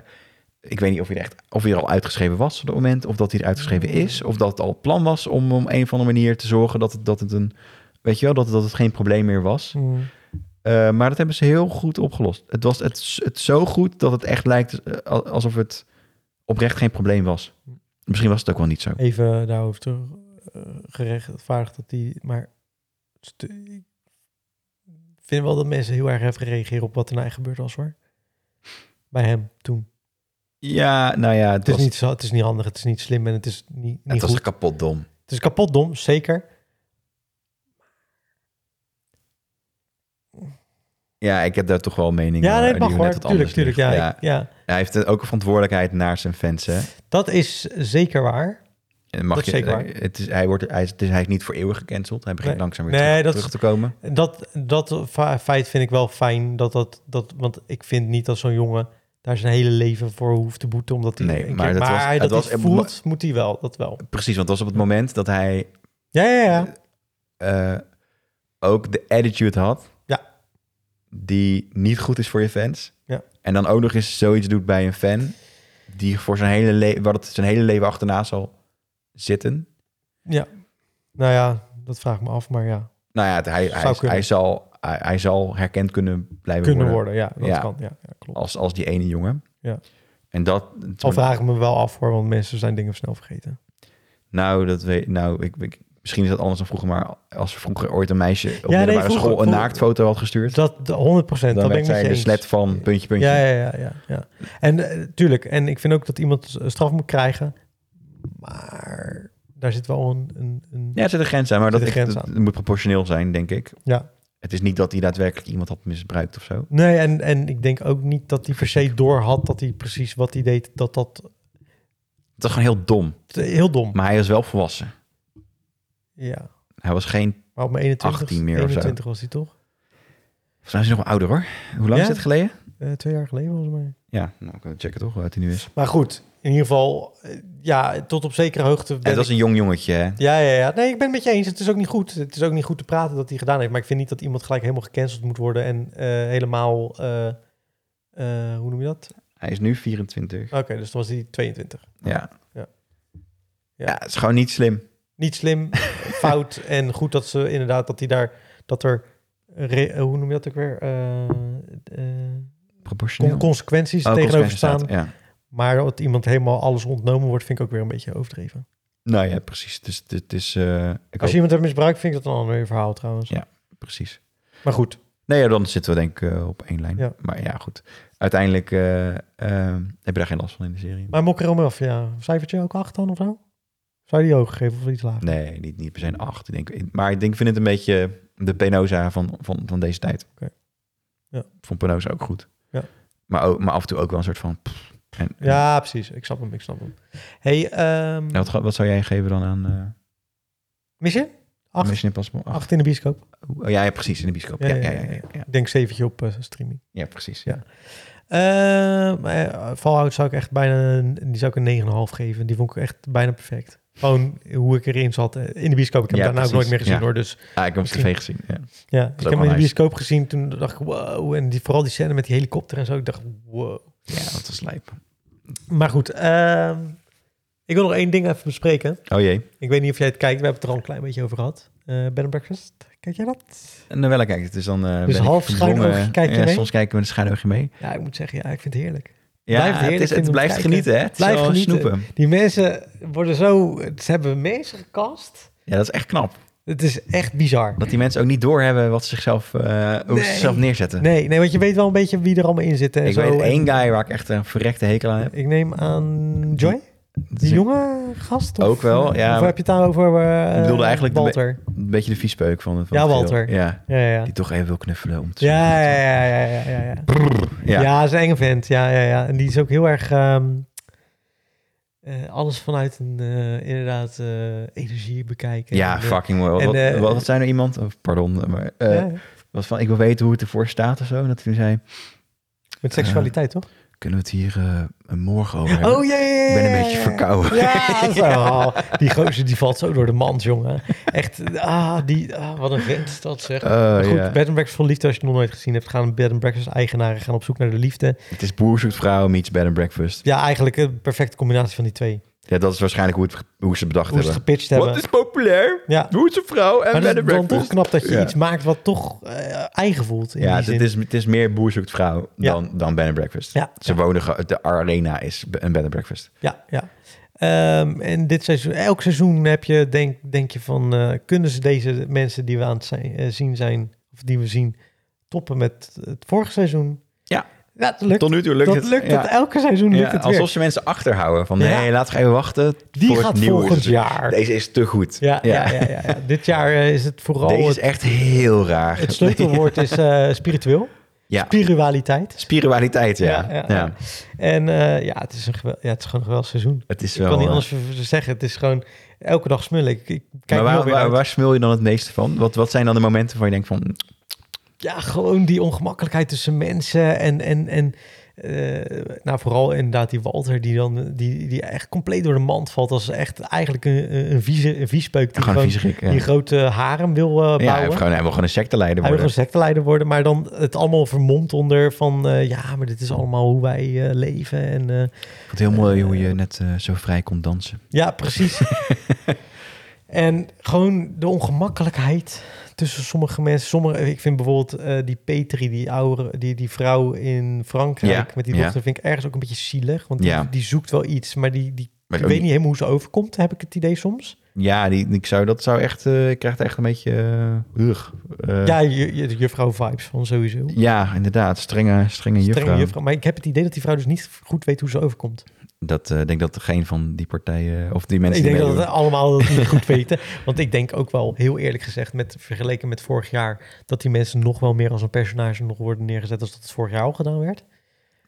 Speaker 1: ik weet niet of hij er echt, of hij er al uitgeschreven was op dat moment, of dat hij er uitgeschreven is, of dat het al het plan was om om een of andere manier te zorgen dat het, dat het een, weet je wel, dat het, dat het geen probleem meer was.
Speaker 2: Mm.
Speaker 1: Eh, maar dat hebben ze heel goed opgelost. Het was het, het zo goed dat het echt lijkt eh, al- alsof het oprecht geen probleem was. Misschien was het ook wel niet zo.
Speaker 2: Even daarover terug. eh, gerechtvaardigd dat die... Maar st- ik vind wel dat mensen heel erg heftig reageren op wat er nou echt gebeurd was hoor. Bij hem toen.
Speaker 1: Ja, nou ja,
Speaker 2: Het is, niet, zo, het is niet handig, het is niet slim en het is niet, niet
Speaker 1: het was
Speaker 2: goed.
Speaker 1: kapot dom.
Speaker 2: Het is kapot dom, zeker.
Speaker 1: Ja, ik heb daar toch wel mening
Speaker 2: Ja,
Speaker 1: eh,
Speaker 2: nee, het
Speaker 1: die
Speaker 2: mag
Speaker 1: hoe
Speaker 2: hoor.
Speaker 1: net wat
Speaker 2: Tuurlijk,
Speaker 1: anders
Speaker 2: tuurlijk. Ja,
Speaker 1: ligt.
Speaker 2: ja.
Speaker 1: Ja,
Speaker 2: ja,
Speaker 1: Hij heeft ook een verantwoordelijkheid naar zijn fans. Hè.
Speaker 2: dat is zeker waar.
Speaker 1: En mag
Speaker 2: Dat is
Speaker 1: je,
Speaker 2: zeker waar.
Speaker 1: eh, het is, hij, wordt, hij, is, het is, hij is niet voor eeuwig gecanceld. Hij begint
Speaker 2: Nee.
Speaker 1: langzaam weer
Speaker 2: Nee,
Speaker 1: terug,
Speaker 2: dat is-
Speaker 1: terug te komen.
Speaker 2: Dat, dat fa- feit vind ik wel fijn. Dat, dat, dat, want ik vind niet dat zo'n jongen daar zijn hele leven voor hoeft te boeten. Omdat hij
Speaker 1: Nee,
Speaker 2: een
Speaker 1: maar
Speaker 2: keer-
Speaker 1: dat was-
Speaker 2: hij
Speaker 1: het
Speaker 2: dat
Speaker 1: was-
Speaker 2: hij voelt, moet hij wel. Dat wel.
Speaker 1: Precies, want dat was op het moment dat hij
Speaker 2: Ja, ja, ja.
Speaker 1: eh, ook de attitude had.
Speaker 2: Ja.
Speaker 1: Die niet goed is voor je fans.
Speaker 2: Ja.
Speaker 1: En dan ook nog eens zoiets doet bij een fan. Die voor zijn hele leven, waar het zijn hele leven achterna zal zitten.
Speaker 2: Nou ja, dat vraag ik me af. Maar ja,
Speaker 1: Nou ja, het- hij,
Speaker 2: Zou
Speaker 1: hij,
Speaker 2: kunnen.
Speaker 1: hij, zal, hij, hij zal herkend kunnen blijven
Speaker 2: kunnen
Speaker 1: worden.
Speaker 2: worden. Ja, dat
Speaker 1: Ja.
Speaker 2: kan. Ja, ja, klopt.
Speaker 1: Als, als die ene jongen.
Speaker 2: Ja.
Speaker 1: En dat.
Speaker 2: Al vraag ik me wel af hoor. Want mensen zijn dingen snel vergeten.
Speaker 1: Nou, dat weet nou, ik, ik- misschien is dat anders dan vroeger, maar als vroeger ooit een meisje op
Speaker 2: nee,
Speaker 1: middelbare
Speaker 2: vroeger-
Speaker 1: school een
Speaker 2: vroeger-
Speaker 1: naaktfoto had gestuurd,
Speaker 2: Dus Dat, de 100 procent.
Speaker 1: dan
Speaker 2: Dat ben
Speaker 1: werd
Speaker 2: ik met
Speaker 1: zij
Speaker 2: je
Speaker 1: de
Speaker 2: eens.
Speaker 1: slet van puntje, puntje.
Speaker 2: Ja, ja, ja, ja, ja. En eh, tuurlijk, en ik vind ook dat iemand straf moet krijgen. Maar daar zit wel een. een, een
Speaker 1: Ja, er zit een grens aan, maar
Speaker 2: Er
Speaker 1: dat,
Speaker 2: zit een
Speaker 1: ik-
Speaker 2: grens
Speaker 1: dat moet proportioneel zijn, denk ik.
Speaker 2: ja.
Speaker 1: Het is niet dat hij daadwerkelijk iemand had misbruikt of zo.
Speaker 2: Nee, en, en ik denk ook niet dat hij per se door had dat hij precies wat hij deed, dat dat
Speaker 1: Het was gewoon heel dom.
Speaker 2: t- heel dom.
Speaker 1: Maar hij was wel volwassen.
Speaker 2: Ja,
Speaker 1: Hij was geen...
Speaker 2: maar op mijn 21
Speaker 1: 18 meer of zo.
Speaker 2: 21 was hij toch?
Speaker 1: Volgens mij is hij nog wel ouder, hoor. Hoe lang
Speaker 2: Ja?
Speaker 1: is het geleden?
Speaker 2: Eh, twee jaar geleden volgens mij.
Speaker 1: Ja, nou, ik kan checken toch, hoe oud hij nu is.
Speaker 2: Maar goed, in ieder geval, eh, ja, tot op zekere hoogte.
Speaker 1: En
Speaker 2: Ben
Speaker 1: het was
Speaker 2: ik-
Speaker 1: een jong jongetje, hè?
Speaker 2: Ja, ja, ja. Nee, ik ben het met je eens. Het is ook niet goed. Het is ook niet goed te praten dat hij gedaan heeft. Maar ik vind niet dat iemand gelijk helemaal gecanceld moet worden en eh, helemaal, eh, eh, hoe noem je dat?
Speaker 1: Hij is nu 24.
Speaker 2: Oké, dus dan was hij 22.
Speaker 1: Ja.
Speaker 2: Ja.
Speaker 1: Ja, het is gewoon niet slim.
Speaker 2: niet slim, fout en goed dat ze inderdaad dat hij daar dat er re- eh, hoe noem je dat ook weer Eh, eh, con-
Speaker 1: Proportioneel.
Speaker 2: consequenties
Speaker 1: Oh,
Speaker 2: tegenover
Speaker 1: consequenties
Speaker 2: staan.
Speaker 1: staat, Ja.
Speaker 2: Maar dat iemand helemaal alles ontnomen wordt, vind ik ook weer een beetje overdreven.
Speaker 1: Nou ja, precies. Het is... Het is eh, ik
Speaker 2: Als je
Speaker 1: hoop-
Speaker 2: iemand hebt misbruikt, vind ik dat een ander verhaal trouwens.
Speaker 1: Ja. Precies.
Speaker 2: Maar goed,
Speaker 1: Nee, ja, dan zitten we denk ik eh, op één lijn.
Speaker 2: Ja.
Speaker 1: Maar ja, goed. Uiteindelijk eh, ehm, heb je daar geen last van in de serie.
Speaker 2: maar Mokker om af, ja, cijfertje ook acht dan of zo? Zou je die hoog geven of iets lager?
Speaker 1: Nee, niet, niet per se een acht. Ik denk, maar ik denk, vind het een beetje de Penosa van, van, van deze tijd.
Speaker 2: Oké. Ja.
Speaker 1: Vond Penosa ook goed.
Speaker 2: Ja.
Speaker 1: Maar, ook, maar af en toe ook wel een soort van... pff, en, en-
Speaker 2: Ja, precies. Ik snap hem, ik snap hem. Hey, ehm
Speaker 1: en wat, ga- wat zou jij geven dan aan... eh,
Speaker 2: mis je? Acht,
Speaker 1: Mission Impossible 8.
Speaker 2: acht in de bioscoop.
Speaker 1: Oh, ja, ja, precies, in de bioscoop. Ja, ja, ja, ja, ja, ja.
Speaker 2: Ik denk zeventje op eh, streaming.
Speaker 1: Ja, precies.
Speaker 2: Ja. Eh, maar, eh, Fallout zou ik echt bijna, een- die zou ik een 9,5 geven. Die vond ik echt bijna perfect. Gewoon hoe ik erin zat eh, in de bioscoop. Ik heb
Speaker 1: Ja,
Speaker 2: daarna ook
Speaker 1: precies,
Speaker 2: nooit meer gezien
Speaker 1: ja.
Speaker 2: hoor. Dus
Speaker 1: Ah, ik heb hem op tv
Speaker 2: Misschien.
Speaker 1: gezien. Ja.
Speaker 2: ja, ik heb
Speaker 1: wel
Speaker 2: hem in de
Speaker 1: nice.
Speaker 2: bioscoop gezien. Toen dacht ik wow. En die, vooral die scène met die helikopter en zo. Ik dacht wow.
Speaker 1: Ja, dat was lijp.
Speaker 2: Maar goed, ehm, ik wil nog één ding even bespreken.
Speaker 1: Oh jee.
Speaker 2: Ik weet niet of jij het kijkt. We hebben het er al een klein beetje over gehad. Eh Bed and Breakfast. Kijk jij dat?
Speaker 1: En dan wel, kijk, het is dan... eh, ben ik
Speaker 2: Dus half schuin
Speaker 1: gedwongen- eh,
Speaker 2: oogje kijk je
Speaker 1: ja,
Speaker 2: mee?
Speaker 1: Soms kijken we een schuin oogje mee.
Speaker 2: Ja, ik moet zeggen, ja, ik vind het heerlijk.
Speaker 1: Ja,
Speaker 2: Blijft
Speaker 1: het,
Speaker 2: heerlijk
Speaker 1: is,
Speaker 2: vinden
Speaker 1: het
Speaker 2: om
Speaker 1: blijft
Speaker 2: te kijken.
Speaker 1: genieten, hè? Het
Speaker 2: Blijft
Speaker 1: is wel
Speaker 2: genieten.
Speaker 1: snoepen.
Speaker 2: Die mensen worden zo... Ze hebben mensen gekast.
Speaker 1: Ja, dat is echt knap.
Speaker 2: Het is echt bizar.
Speaker 1: Dat die mensen ook niet doorhebben wat ze zichzelf, eh, hoe ze
Speaker 2: Nee.
Speaker 1: zichzelf neerzetten.
Speaker 2: Nee, nee, want je weet wel een beetje wie er allemaal in zit. En
Speaker 1: ik
Speaker 2: zo.
Speaker 1: weet
Speaker 2: En
Speaker 1: één guy waar ik echt een verrekte hekel aan heb.
Speaker 2: Ik neem aan Joy,
Speaker 1: Dat
Speaker 2: die
Speaker 1: is een-
Speaker 2: jonge gast. Of,
Speaker 1: Ook wel, ja.
Speaker 2: Of heb je het daar over eh,
Speaker 1: Ik bedoelde eigenlijk de be-
Speaker 2: Walter?
Speaker 1: Een beetje de viespeuk van, van
Speaker 2: Ja,
Speaker 1: het geheel.
Speaker 2: Walter.
Speaker 1: Ja,
Speaker 2: Ja, ja, ja.
Speaker 1: die toch even wil knuffelen om te
Speaker 2: Ja, ja, ja, ja, ja, ja. Ja,
Speaker 1: Ja.
Speaker 2: ja is een enge vent. Ja, ja, ja. En die is ook heel erg... ehm, eh, alles vanuit een, eh, inderdaad, eh, energie bekijken.
Speaker 1: Ja,
Speaker 2: En, eh,
Speaker 1: fucking mooi. Wat,
Speaker 2: en, eh,
Speaker 1: wat, wat zei nou iemand? Oh, pardon, maar eh,
Speaker 2: ja,
Speaker 1: was van ik wil weten hoe het ervoor staat of zo. En dat toen zei,
Speaker 2: met seksualiteit, toch?
Speaker 1: kunnen we het hier eh, morgen over hebben?
Speaker 2: Oh, ja, ja, ja,
Speaker 1: Ik ben
Speaker 2: ja,
Speaker 1: een
Speaker 2: ja,
Speaker 1: beetje
Speaker 2: ja.
Speaker 1: verkouden.
Speaker 2: Ja, zo. oh, Die gozer die valt zo door de mand, jongen. Echt, ah, die, ah, wat een vent dat zeg. Maar
Speaker 1: Eh,
Speaker 2: goed,
Speaker 1: ja.
Speaker 2: Bed and Breakfast voor Liefde, als je het nog nooit gezien hebt, gaan Bed and Breakfast eigenaren gaan op zoek naar de liefde.
Speaker 1: Het is boer zoekt vrouw meets bed and breakfast.
Speaker 2: Ja, eigenlijk een perfecte combinatie van die twee.
Speaker 1: Ja, dat is waarschijnlijk hoe, het, hoe ze het bedacht
Speaker 2: Hoe ze het
Speaker 1: hebben.
Speaker 2: gepitcht
Speaker 1: Wat
Speaker 2: hebben.
Speaker 1: is populair?
Speaker 2: Ja.
Speaker 1: Boer zoekt vrouw en
Speaker 2: Maar
Speaker 1: bed
Speaker 2: het is
Speaker 1: and
Speaker 2: dan toch
Speaker 1: breakfast.
Speaker 2: knap dat je
Speaker 1: Ja.
Speaker 2: iets maakt wat toch eh, eigen voelt. In
Speaker 1: Ja,
Speaker 2: die
Speaker 1: het
Speaker 2: zin.
Speaker 1: is, het is meer boer zoekt vrouw
Speaker 2: Ja.
Speaker 1: dan, dan bed and breakfast.
Speaker 2: Ja,
Speaker 1: Ze wonen, ge- de arena is be- een bed and breakfast.
Speaker 2: ja, ja. Ehm, en dit seizoen, elk seizoen heb je, denk, denk je van, eh, kunnen ze deze mensen die we aan het zijn, eh, zien zijn, of die we zien, toppen met het vorige seizoen?
Speaker 1: Ja.
Speaker 2: Ja, dat lukt.
Speaker 1: Tot nu toe lukt
Speaker 2: dat
Speaker 1: het.
Speaker 2: lukt
Speaker 1: Ja.
Speaker 2: het. Elke seizoen
Speaker 1: Ja,
Speaker 2: lukt het weer.
Speaker 1: alsof ze mensen achterhouden. Van,
Speaker 2: Ja.
Speaker 1: nee, laten we even wachten.
Speaker 2: Die
Speaker 1: voor het
Speaker 2: gaat
Speaker 1: nieuwe
Speaker 2: volgend
Speaker 1: seizoen.
Speaker 2: jaar.
Speaker 1: Deze is te goed.
Speaker 2: Ja, ja. Ja, ja, ja. Dit jaar eh, is het vooral
Speaker 1: Deze is
Speaker 2: het,
Speaker 1: echt heel raar.
Speaker 2: het sleutelwoord is eh, spiritueel.
Speaker 1: Ja.
Speaker 2: Spiritualiteit.
Speaker 1: Spiritualiteit, ja.
Speaker 2: Ja,
Speaker 1: Ja,
Speaker 2: ja, ja. En eh, ja, het is een gewel, ja, het is gewoon een geweldig seizoen.
Speaker 1: Het is
Speaker 2: Ik
Speaker 1: wel...
Speaker 2: kan niet
Speaker 1: eh,
Speaker 2: anders v- zeggen. Het is gewoon elke dag smul. Ik, ik kijk
Speaker 1: maar
Speaker 2: heel
Speaker 1: waar,
Speaker 2: weer
Speaker 1: waar,
Speaker 2: uit.
Speaker 1: waar smul je dan het meeste van? Wat, wat zijn dan de momenten waar je denkt van...
Speaker 2: Ja, gewoon die ongemakkelijkheid tussen mensen en... en, en eh, nou, vooral inderdaad die Walter die dan die, die echt compleet door de mand valt. als echt eigenlijk een, een, een vieze, een viespeuk die
Speaker 1: Gewoon een
Speaker 2: gewoon
Speaker 1: vieze gek. Ja,
Speaker 2: die grote harem wil
Speaker 1: ja
Speaker 2: eh,
Speaker 1: hij,
Speaker 2: bouwen.
Speaker 1: wil gewoon, hij wil gewoon een secteleider
Speaker 2: Hij wil
Speaker 1: worden.
Speaker 2: een secteleider worden, maar dan het allemaal vermomd onder van... eh, ja, maar dit is allemaal hoe wij eh, leven en... eh,
Speaker 1: Ik vond het heel mooi hoe je net eh, zo vrij kon dansen.
Speaker 2: Ja, precies. en gewoon de ongemakkelijkheid tussen sommige mensen. Sommige, ik vind bijvoorbeeld eh, die Petri, die, oude, die, die vrouw in Frankrijk
Speaker 1: Ja,
Speaker 2: met die
Speaker 1: ja.
Speaker 2: dochter, vind ik ergens ook een beetje zielig. Want die,
Speaker 1: Ja.
Speaker 2: die zoekt wel iets, maar die, die
Speaker 1: Maar
Speaker 2: ik
Speaker 1: ook
Speaker 2: weet niet helemaal hoe ze overkomt, heb ik het idee soms.
Speaker 1: Ja, die, ik zou, dat zou echt... eh, ik krijg er echt een beetje... eh, ugh, eh,
Speaker 2: ja, je, je, de juffrouw vibes van sowieso.
Speaker 1: ja, inderdaad. Strenge, strenge juffrouw.
Speaker 2: Strenge juffrouw. Maar ik heb het idee dat die vrouw dus niet goed weet hoe ze overkomt.
Speaker 1: Dat eh, ik denk dat geen van die partijen... eh, Of die
Speaker 2: ik
Speaker 1: mensen
Speaker 2: denk
Speaker 1: die
Speaker 2: dat
Speaker 1: meedoen-
Speaker 2: het allemaal dat niet goed weten. Want ik denk ook wel, heel eerlijk gezegd, met, vergeleken met vorig jaar, dat die mensen nog wel meer als een personage nog worden neergezet als dat het vorig jaar al gedaan werd.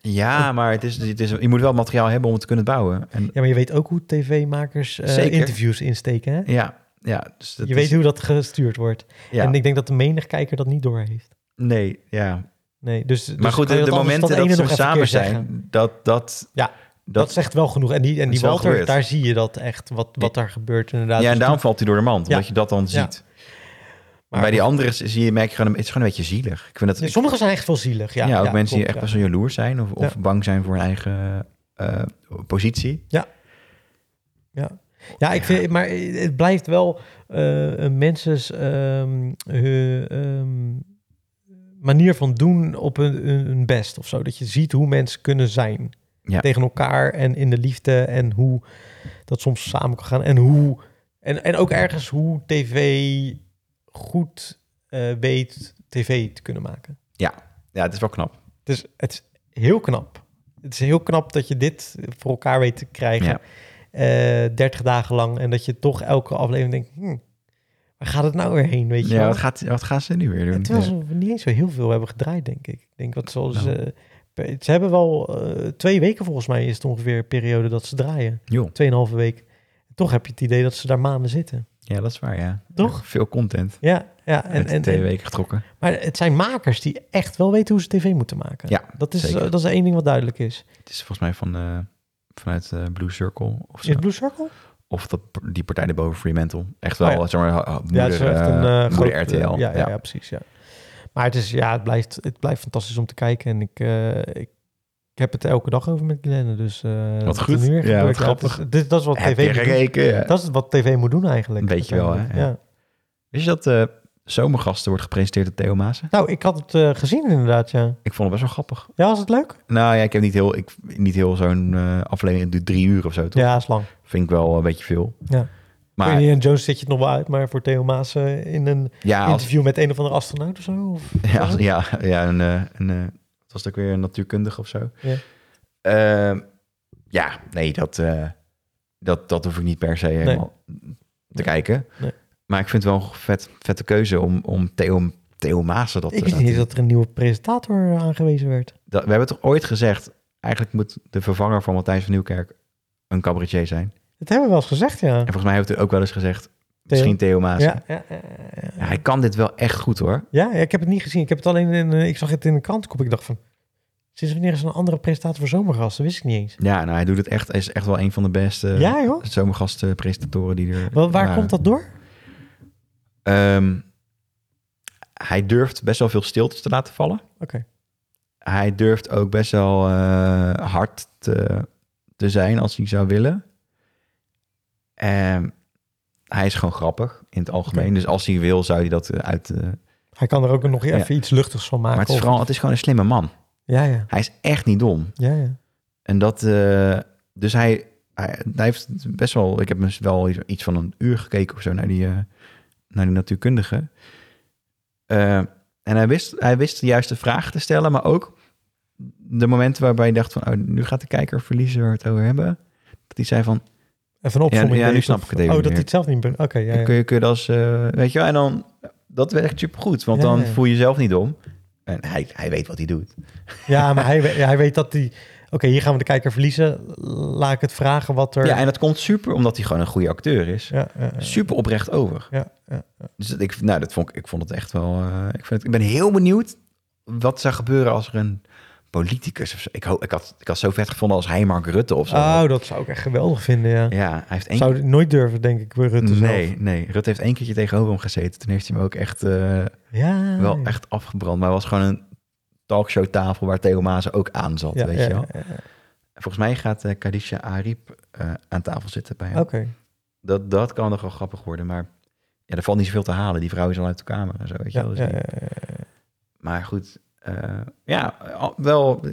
Speaker 1: Ja, maar het is, het is, je moet wel materiaal hebben om het te kunnen bouwen. En,
Speaker 2: Ja, maar je weet ook hoe tv-makers eh,
Speaker 1: Zeker.
Speaker 2: interviews insteken. Hè?
Speaker 1: ja, ja, dus dat
Speaker 2: je
Speaker 1: is-
Speaker 2: weet hoe dat gestuurd wordt.
Speaker 1: ja,
Speaker 2: En ik denk dat de menig kijker dat niet doorheeft.
Speaker 1: Nee, ja.
Speaker 2: Nee, dus, dus
Speaker 1: Maar goed,
Speaker 2: kan je
Speaker 1: de, de
Speaker 2: anders
Speaker 1: momenten
Speaker 2: ene
Speaker 1: dat ze
Speaker 2: nog even een
Speaker 1: samen
Speaker 2: keer
Speaker 1: zijn,
Speaker 2: zeggen.
Speaker 1: dat, dat,
Speaker 2: Ja, Dat,
Speaker 1: dat,
Speaker 2: zegt wel genoeg. En die, en
Speaker 1: is
Speaker 2: die
Speaker 1: wel
Speaker 2: Walter,
Speaker 1: gebeurd.
Speaker 2: daar zie je dat echt, wat, wat daar gebeurt inderdaad.
Speaker 1: ja, en
Speaker 2: Dus
Speaker 1: daarom valt hij door de mand,
Speaker 2: Ja.
Speaker 1: omdat je dat dan
Speaker 2: Ja.
Speaker 1: ziet.
Speaker 2: Maar-
Speaker 1: Maar bij die anderen zie je, merk je gewoon, een- het is gewoon een beetje zielig. Ik vind dat,
Speaker 2: die-
Speaker 1: ik-
Speaker 2: Sommigen zijn echt wel zielig. Ja,
Speaker 1: ja, ook mensen die
Speaker 2: klopt,
Speaker 1: echt best wel jaloers zijn of, of
Speaker 2: Ja.
Speaker 1: bang zijn voor hun eigen eh, positie.
Speaker 2: Ja. Ja, ik vind, maar het blijft wel eh mensen's ehm, hun, ehm, manier van doen op hun, hun- hun best of zo. Dat je ziet hoe mensen kunnen zijn
Speaker 1: Ja.
Speaker 2: tegen elkaar en in de liefde en hoe dat soms samen kan gaan en hoe en, en ook ergens hoe tv goed eh, weet tv te kunnen maken.
Speaker 1: Ja, het is wel knap.
Speaker 2: Dus het is heel knap. Het is heel knap dat je dit voor elkaar weet te krijgen.
Speaker 1: Ja.
Speaker 2: eh, 30 dagen lang. En dat je toch elke aflevering denkt... hm, waar gaat het nou weer heen, weet je
Speaker 1: Ja,
Speaker 2: wel?
Speaker 1: wat, gaat, wat gaan ze nu weer doen?
Speaker 2: En terwijl
Speaker 1: Ja.
Speaker 2: ze niet eens zo heel veel hebben gedraaid, denk ik. Ik denk wat zoals...
Speaker 1: Nou.
Speaker 2: eh, per- ze hebben wel eh, twee weken volgens mij is het ongeveer een periode dat ze draaien.
Speaker 1: Joh,
Speaker 2: Tweeënhalve week. Toch heb je het idee dat ze daar maanden zitten.
Speaker 1: Ja, dat is waar, ja.
Speaker 2: Toch?
Speaker 1: Veel content.
Speaker 2: Ja, ja.
Speaker 1: En,
Speaker 2: En, en,
Speaker 1: twee
Speaker 2: en-
Speaker 1: weken getrokken.
Speaker 2: maar het zijn makers die echt wel weten hoe ze tv moeten maken.
Speaker 1: Ja,
Speaker 2: dat, is, eh,
Speaker 1: zeker.
Speaker 2: dat is één ding wat duidelijk is.
Speaker 1: Het is volgens mij van, eh, vanuit eh, Blue Circle of
Speaker 2: Is
Speaker 1: zo.
Speaker 2: het Blue Circle?
Speaker 1: Of dat, die partij daarboven, Fremantle. Echt wel,
Speaker 2: Oh ja.
Speaker 1: zeg maar, ha- ha- moeder,
Speaker 2: ja, het is echt een
Speaker 1: eh,
Speaker 2: eh,
Speaker 1: moeder
Speaker 2: groot...
Speaker 1: RTL.
Speaker 2: ja, ja, ja, precies, ja. Maar het, is, ja, het, blijft, het blijft fantastisch om te kijken. En ik, eh, ik heb het elke dag over met Glenn. Dus, eh,
Speaker 1: Wat
Speaker 2: er
Speaker 1: goed.
Speaker 2: nu weer
Speaker 1: Ja, wat
Speaker 2: gebeurt, het
Speaker 1: grappig.
Speaker 2: is- dit, dat is wat
Speaker 1: Heb je
Speaker 2: tv moet doen.
Speaker 1: gekeken? Ja.
Speaker 2: Dat is wat tv moet doen eigenlijk.
Speaker 1: Weet je wel, hè?
Speaker 2: uiteindelijk.
Speaker 1: Ja. Wist je dat eh, Zomergasten wordt gepresenteerd door Theo Maassen?
Speaker 2: Nou, ik had het eh, gezien inderdaad, ja.
Speaker 1: Ik vond het best wel grappig.
Speaker 2: Ja, was het leuk?
Speaker 1: Nou ja, ik heb niet heel, ik, niet heel zo'n eh aflevering, het duurt drie uur of zo, toch?
Speaker 2: Ja, is lang.
Speaker 1: Vind ik wel een beetje veel.
Speaker 2: Ja.
Speaker 1: Maar
Speaker 2: Indiana Jones zit je het nog wel uit, maar voor Theo Maas eh, in een
Speaker 1: ja, als,
Speaker 2: interview met een of andere astronaut of zo? Of,
Speaker 1: ja, als- ja, ja, een, eh, een, eh, het was het ook weer een natuurkundige of zo.
Speaker 2: Ja.
Speaker 1: Ehm, ja, nee, dat, eh, dat, dat hoef ik niet per se helemaal te
Speaker 2: Nee.
Speaker 1: kijken.
Speaker 2: Nee.
Speaker 1: Maar ik vind het wel een vet, vette keuze om, om Theo, Theo Maassen dat
Speaker 2: ik
Speaker 1: te
Speaker 2: wist niet eens
Speaker 1: laten-
Speaker 2: dat er een nieuwe presentator eh, aangewezen werd.
Speaker 1: dat- We hebben toch ooit gezegd, eigenlijk moet de vervanger van Matthijs van Nieuwkerk een cabaretier zijn.
Speaker 2: Dat hebben we wel eens gezegd, ja.
Speaker 1: En volgens mij heeft hij ook wel eens gezegd, misschien Theo Maassen.
Speaker 2: Ja, ja, ja, ja.
Speaker 1: Ah, Ja, hij kan dit wel echt goed hoor.
Speaker 2: Ja, ja, ik heb het niet gezien. Ik, heb het alleen in, eh, ik zag het in de krantkop. Ik dacht van, sinds wanneer is er een andere presentator voor zomergasten? Dat wist ik niet eens.
Speaker 1: Ja, nou, hij doet het echt. Hij is echt wel een van de beste
Speaker 2: ja, joh.
Speaker 1: zomergastenpresentatoren die er.
Speaker 2: Wel, waar
Speaker 1: waren.
Speaker 2: komt dat door?
Speaker 1: Ehm, hij durft best wel veel stiltes te laten vallen.
Speaker 2: Oké.
Speaker 1: Hij durft ook best wel eh, hard te, te zijn als hij zou willen. Ehm, hij is gewoon grappig in het algemeen.
Speaker 2: Oké. Ah,
Speaker 1: Dus als hij wil, zou hij dat eh, uit. eh,
Speaker 2: Hij kan er ook nog
Speaker 1: Ja.
Speaker 2: even iets luchtigs van maken.
Speaker 1: maar het is,
Speaker 2: of-
Speaker 1: vooral, het is gewoon een slimme man.
Speaker 2: Ja, ja.
Speaker 1: Hij is echt niet dom.
Speaker 2: Ja, ja.
Speaker 1: En dat, eh, dus hij, hij, hij heeft best wel, ik heb dus wel iets- iets van een uur gekeken of zo naar die, eh, naar die natuurkundige. Eh, en hij wist, hij wist de juiste vraag te stellen, maar ook de momenten waarbij je dacht van, oh, nu gaat de kijker verliezen waar we het over hebben. Dat hij zei van,
Speaker 2: Even een opzomming.
Speaker 1: Ja, ja, nu
Speaker 2: deed,
Speaker 1: snap
Speaker 2: of-
Speaker 1: ik het even
Speaker 2: Oh,
Speaker 1: niet
Speaker 2: dat hij
Speaker 1: meer.
Speaker 2: het zelf niet... be- Oké, ja, ja.
Speaker 1: kun je, kun je dat als, eh, weet je wel, en dan, dat werkt supergoed, want
Speaker 2: Ja,
Speaker 1: dan
Speaker 2: ja.
Speaker 1: voel je jezelf niet om. En hij, hij weet wat hij doet.
Speaker 2: Ja, maar hij, we- ja, hij weet dat hij... Oké, hier gaan we de kijker verliezen. Laat ik het vragen wat er...
Speaker 1: Ja, en dat komt super omdat hij gewoon een goede acteur is.
Speaker 2: ja, ja, ja.
Speaker 1: Super oprecht over.
Speaker 2: Ja, ja.
Speaker 1: Dus dat ik, nou, dat vond ik, ik vond het echt wel. eh, ik, vind, ik ben heel benieuwd wat zou gebeuren als er een politicus of zo. Ik, ho- ik, had, ik had zo vet gevonden als hij Mark Rutte of zo.
Speaker 2: Oh, dat zou ik echt geweldig vinden, ja.
Speaker 1: ja, hij heeft één
Speaker 2: Zou ik nooit durven, denk ik, bij Rutte zelf.
Speaker 1: nee, nee, Rutte heeft één keertje tegenover hem gezeten. Toen heeft hij hem ook echt, eh,
Speaker 2: Ah, Ja.
Speaker 1: wel echt afgebrand. Maar het was gewoon een talkshowtafel waar Theo Maassen ook aan zat.
Speaker 2: Ja,
Speaker 1: weet
Speaker 2: ja,
Speaker 1: je wel.
Speaker 2: ja, ja.
Speaker 1: Volgens mij gaat eh Kadisha Ariep eh, aan tafel zitten bij hem.
Speaker 2: Oké.
Speaker 1: Dat, dat kan nog wel grappig worden. Maar ja, er valt niet zoveel te halen. Die vrouw is al uit de kamer en zo. Weet je
Speaker 2: Ja,
Speaker 1: wel. Dus
Speaker 2: ja,
Speaker 1: die-
Speaker 2: ja, ja, ja.
Speaker 1: Maar goed, eh, ja, al- wel.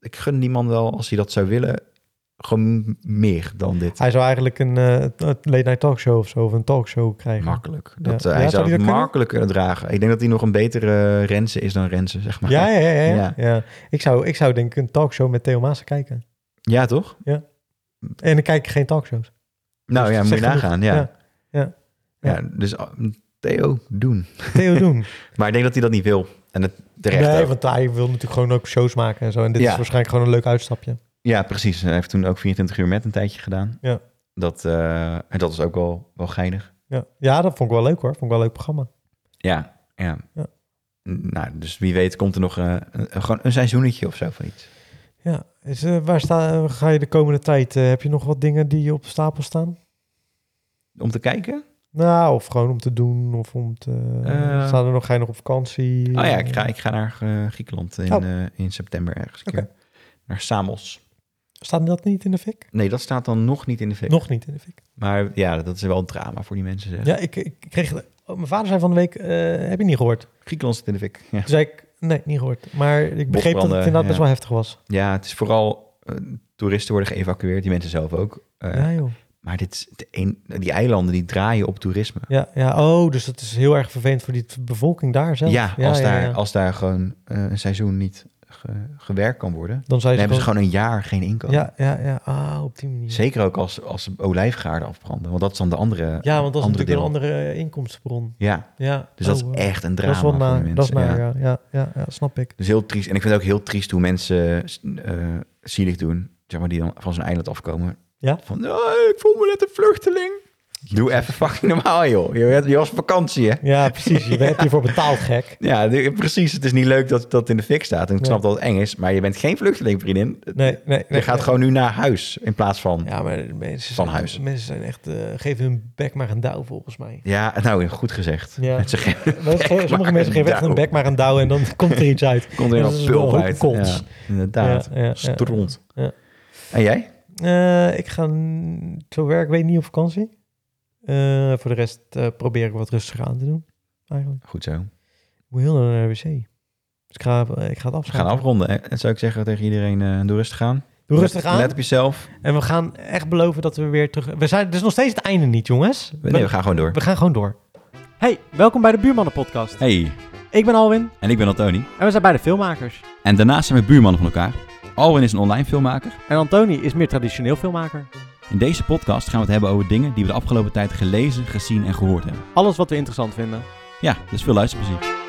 Speaker 1: Ik gun die man wel, als hij dat zou willen, gewoon meer dan dit.
Speaker 2: Hij zou eigenlijk een eh, t- late night talkshow of zo, of een talkshow krijgen.
Speaker 1: Makkelijk. Dat,
Speaker 2: Ja.
Speaker 1: eh,
Speaker 2: Ja,
Speaker 1: hij
Speaker 2: zou
Speaker 1: zou
Speaker 2: die
Speaker 1: het
Speaker 2: dat kunnen?
Speaker 1: makkelijker dragen. Ik denk dat hij nog een betere Rensen is dan Rensen, zeg maar.
Speaker 2: Ja, ja, ja, ja,
Speaker 1: Ja.
Speaker 2: ja. Ik, zou, ik zou denk ik een talkshow met Theo Maassen kijken.
Speaker 1: Ja, toch?
Speaker 2: En ik kijk geen talkshows.
Speaker 1: Nou
Speaker 2: Dus
Speaker 1: ja,
Speaker 2: dat
Speaker 1: moet je
Speaker 2: zegt
Speaker 1: nagaan.
Speaker 2: genoeg.
Speaker 1: Ja. Ja.
Speaker 2: Ja, ja.
Speaker 1: dus ah, Theo, doen.
Speaker 2: Theo doen.
Speaker 1: Maar ik denk dat hij dat niet wil. En het terecht
Speaker 2: nee,
Speaker 1: ook.
Speaker 2: want hij wil natuurlijk gewoon ook shows maken en zo. En dit
Speaker 1: Ja.
Speaker 2: is waarschijnlijk gewoon een leuk uitstapje.
Speaker 1: Ja, precies. Hij heeft toen ook 24 uur met een tijdje gedaan.
Speaker 2: Ja.
Speaker 1: Dat, eh, en dat is ook wel, wel geinig.
Speaker 2: Ja. ja, dat vond ik wel leuk hoor. Vond ik wel een leuk programma.
Speaker 1: Ja, ja.
Speaker 2: Ja.
Speaker 1: N- Nou, dus wie weet komt er nog eh, een- gewoon een seizoenetje of zo van iets.
Speaker 2: Ja, is, eh, waar sta, ga je de komende tijd? eh, heb je nog wat dingen die op stapel staan?
Speaker 1: Om te kijken?
Speaker 2: Nou, of gewoon om te doen, of om te...
Speaker 1: Eh.
Speaker 2: staan er nog, ga je nog op vakantie?
Speaker 1: Oh ja, ik ga, ik ga naar eh, Griekenland in,
Speaker 2: Oh.
Speaker 1: eh, in september ergens een keer. Naar Samos.
Speaker 2: Staat dat niet in de fik?
Speaker 1: Nee, dat staat dan nog niet in de fik.
Speaker 2: Nog niet in de fik.
Speaker 1: Maar ja, dat is wel een drama voor die mensen. Zeg.
Speaker 2: Ja, ik, ik kreeg... oh, mijn vader zei van de week, eh, heb je niet gehoord?
Speaker 1: Griekenland zit in de fik. Ja,
Speaker 2: Toen zei ik, nee, niet gehoord. Maar ik begreep dat het
Speaker 1: Bosbranden,
Speaker 2: inderdaad
Speaker 1: ja.
Speaker 2: best wel heftig was.
Speaker 1: ja het is vooral... eh, toeristen worden geëvacueerd, die mensen zelf ook. Eh,
Speaker 2: Ja, joh.
Speaker 1: Maar dit is de een, die eilanden die draaien op toerisme.
Speaker 2: Ja, ja, oh, dus dat is heel erg vervelend voor die t- bevolking daar zelf.
Speaker 1: Ja, als,
Speaker 2: ja,
Speaker 1: daar,
Speaker 2: ja.
Speaker 1: als daar gewoon eh, een seizoen niet ge- gewerkt kan worden... Dan
Speaker 2: Dan zei ze
Speaker 1: hebben ze
Speaker 2: gewoon...
Speaker 1: gewoon een jaar geen inkomen.
Speaker 2: Ja, ja, ja. Ah, op die manier.
Speaker 1: Zeker ook als, als olijfgaarden afbranden. Want dat is dan de andere
Speaker 2: Ja, want
Speaker 1: andere
Speaker 2: dat is natuurlijk
Speaker 1: deel.
Speaker 2: een andere eh, inkomstenbron.
Speaker 1: Ja,
Speaker 2: Ja.
Speaker 1: dus
Speaker 2: Oh,
Speaker 1: dat
Speaker 2: wow.
Speaker 1: is echt een drama
Speaker 2: Dat is wel
Speaker 1: voor die
Speaker 2: naar,
Speaker 1: mensen.
Speaker 2: dat is naar,
Speaker 1: ja.
Speaker 2: ja. Ja, ja, ja, snap ik.
Speaker 1: Dus heel triest. En ik vind het ook heel triest hoe mensen eh zielig doen. Zeg maar, die dan van zo'n eiland afkomen.
Speaker 2: Ja?
Speaker 1: Van, "Oh, ik voel me net een vluchteling. Doe even fucking normaal, joh. Je, bent- je was op vakantie, hè?
Speaker 2: Ja, precies. Je hebt hiervoor betaald, gek.
Speaker 1: Ja, de- precies. Het is niet leuk dat dat in de fik staat. En ik
Speaker 2: Ja.
Speaker 1: snap dat het eng is, maar je bent geen vluchteling, vriendin.
Speaker 2: Nee, nee, nee.
Speaker 1: je gaat gewoon nu naar huis in plaats van... Ja,
Speaker 2: Ja, maar de mensen
Speaker 1: Van
Speaker 2: zijn,
Speaker 1: huis.
Speaker 2: Mensen zijn echt... eh, geven hun bek maar een douw, volgens mij.
Speaker 1: nou, goed gezegd.
Speaker 2: Ja.
Speaker 1: Mensen geven-
Speaker 2: Mensen geven-
Speaker 1: maar
Speaker 2: Sommige mensen
Speaker 1: een
Speaker 2: geven echt
Speaker 1: douw.
Speaker 2: een bek maar een douw en dan komt er iets uit.
Speaker 1: Komt er
Speaker 2: Dat
Speaker 1: een
Speaker 2: is wel
Speaker 1: pulp
Speaker 2: een
Speaker 1: uit.
Speaker 2: kots.
Speaker 1: Ja, inderdaad.
Speaker 2: Ja, ja, ja.
Speaker 1: Stront.
Speaker 2: Ja.
Speaker 1: En jij?
Speaker 2: Eh, ik ga n- te werk, weet niet op vakantie. Eh, voor de rest eh, probeer ik wat rustiger aan te doen, eigenlijk.
Speaker 1: Goed zo.
Speaker 2: Ik moet heel naar de wc. Dus ik ga, ik ga het
Speaker 1: We gaan
Speaker 2: afsluiten.
Speaker 1: afronden. En- En zou ik zeggen tegen iedereen, eh doe rustig aan.
Speaker 2: Doe rustig
Speaker 1: Let-
Speaker 2: aan.
Speaker 1: Let op jezelf.
Speaker 2: En we gaan echt beloven dat we weer terug... We zijn, het is nog steeds het einde niet, jongens.
Speaker 1: Nee, we gaan gewoon door.
Speaker 2: we gaan gewoon door.
Speaker 3: Hey, welkom bij de Buurmannen Podcast.
Speaker 4: Hey,
Speaker 3: Ik ben Alwin
Speaker 4: en ik ben Antoni.
Speaker 3: en we zijn beide filmmakers.
Speaker 4: En daarnaast zijn we buurmannen van elkaar. Alwin is een online filmmaker.
Speaker 3: En Antoni is meer traditioneel filmmaker.
Speaker 4: In deze podcast gaan we het hebben over dingen die we de afgelopen tijd gelezen, gezien en gehoord hebben.
Speaker 3: Alles wat we interessant vinden.
Speaker 4: Ja, dus veel luisterplezier.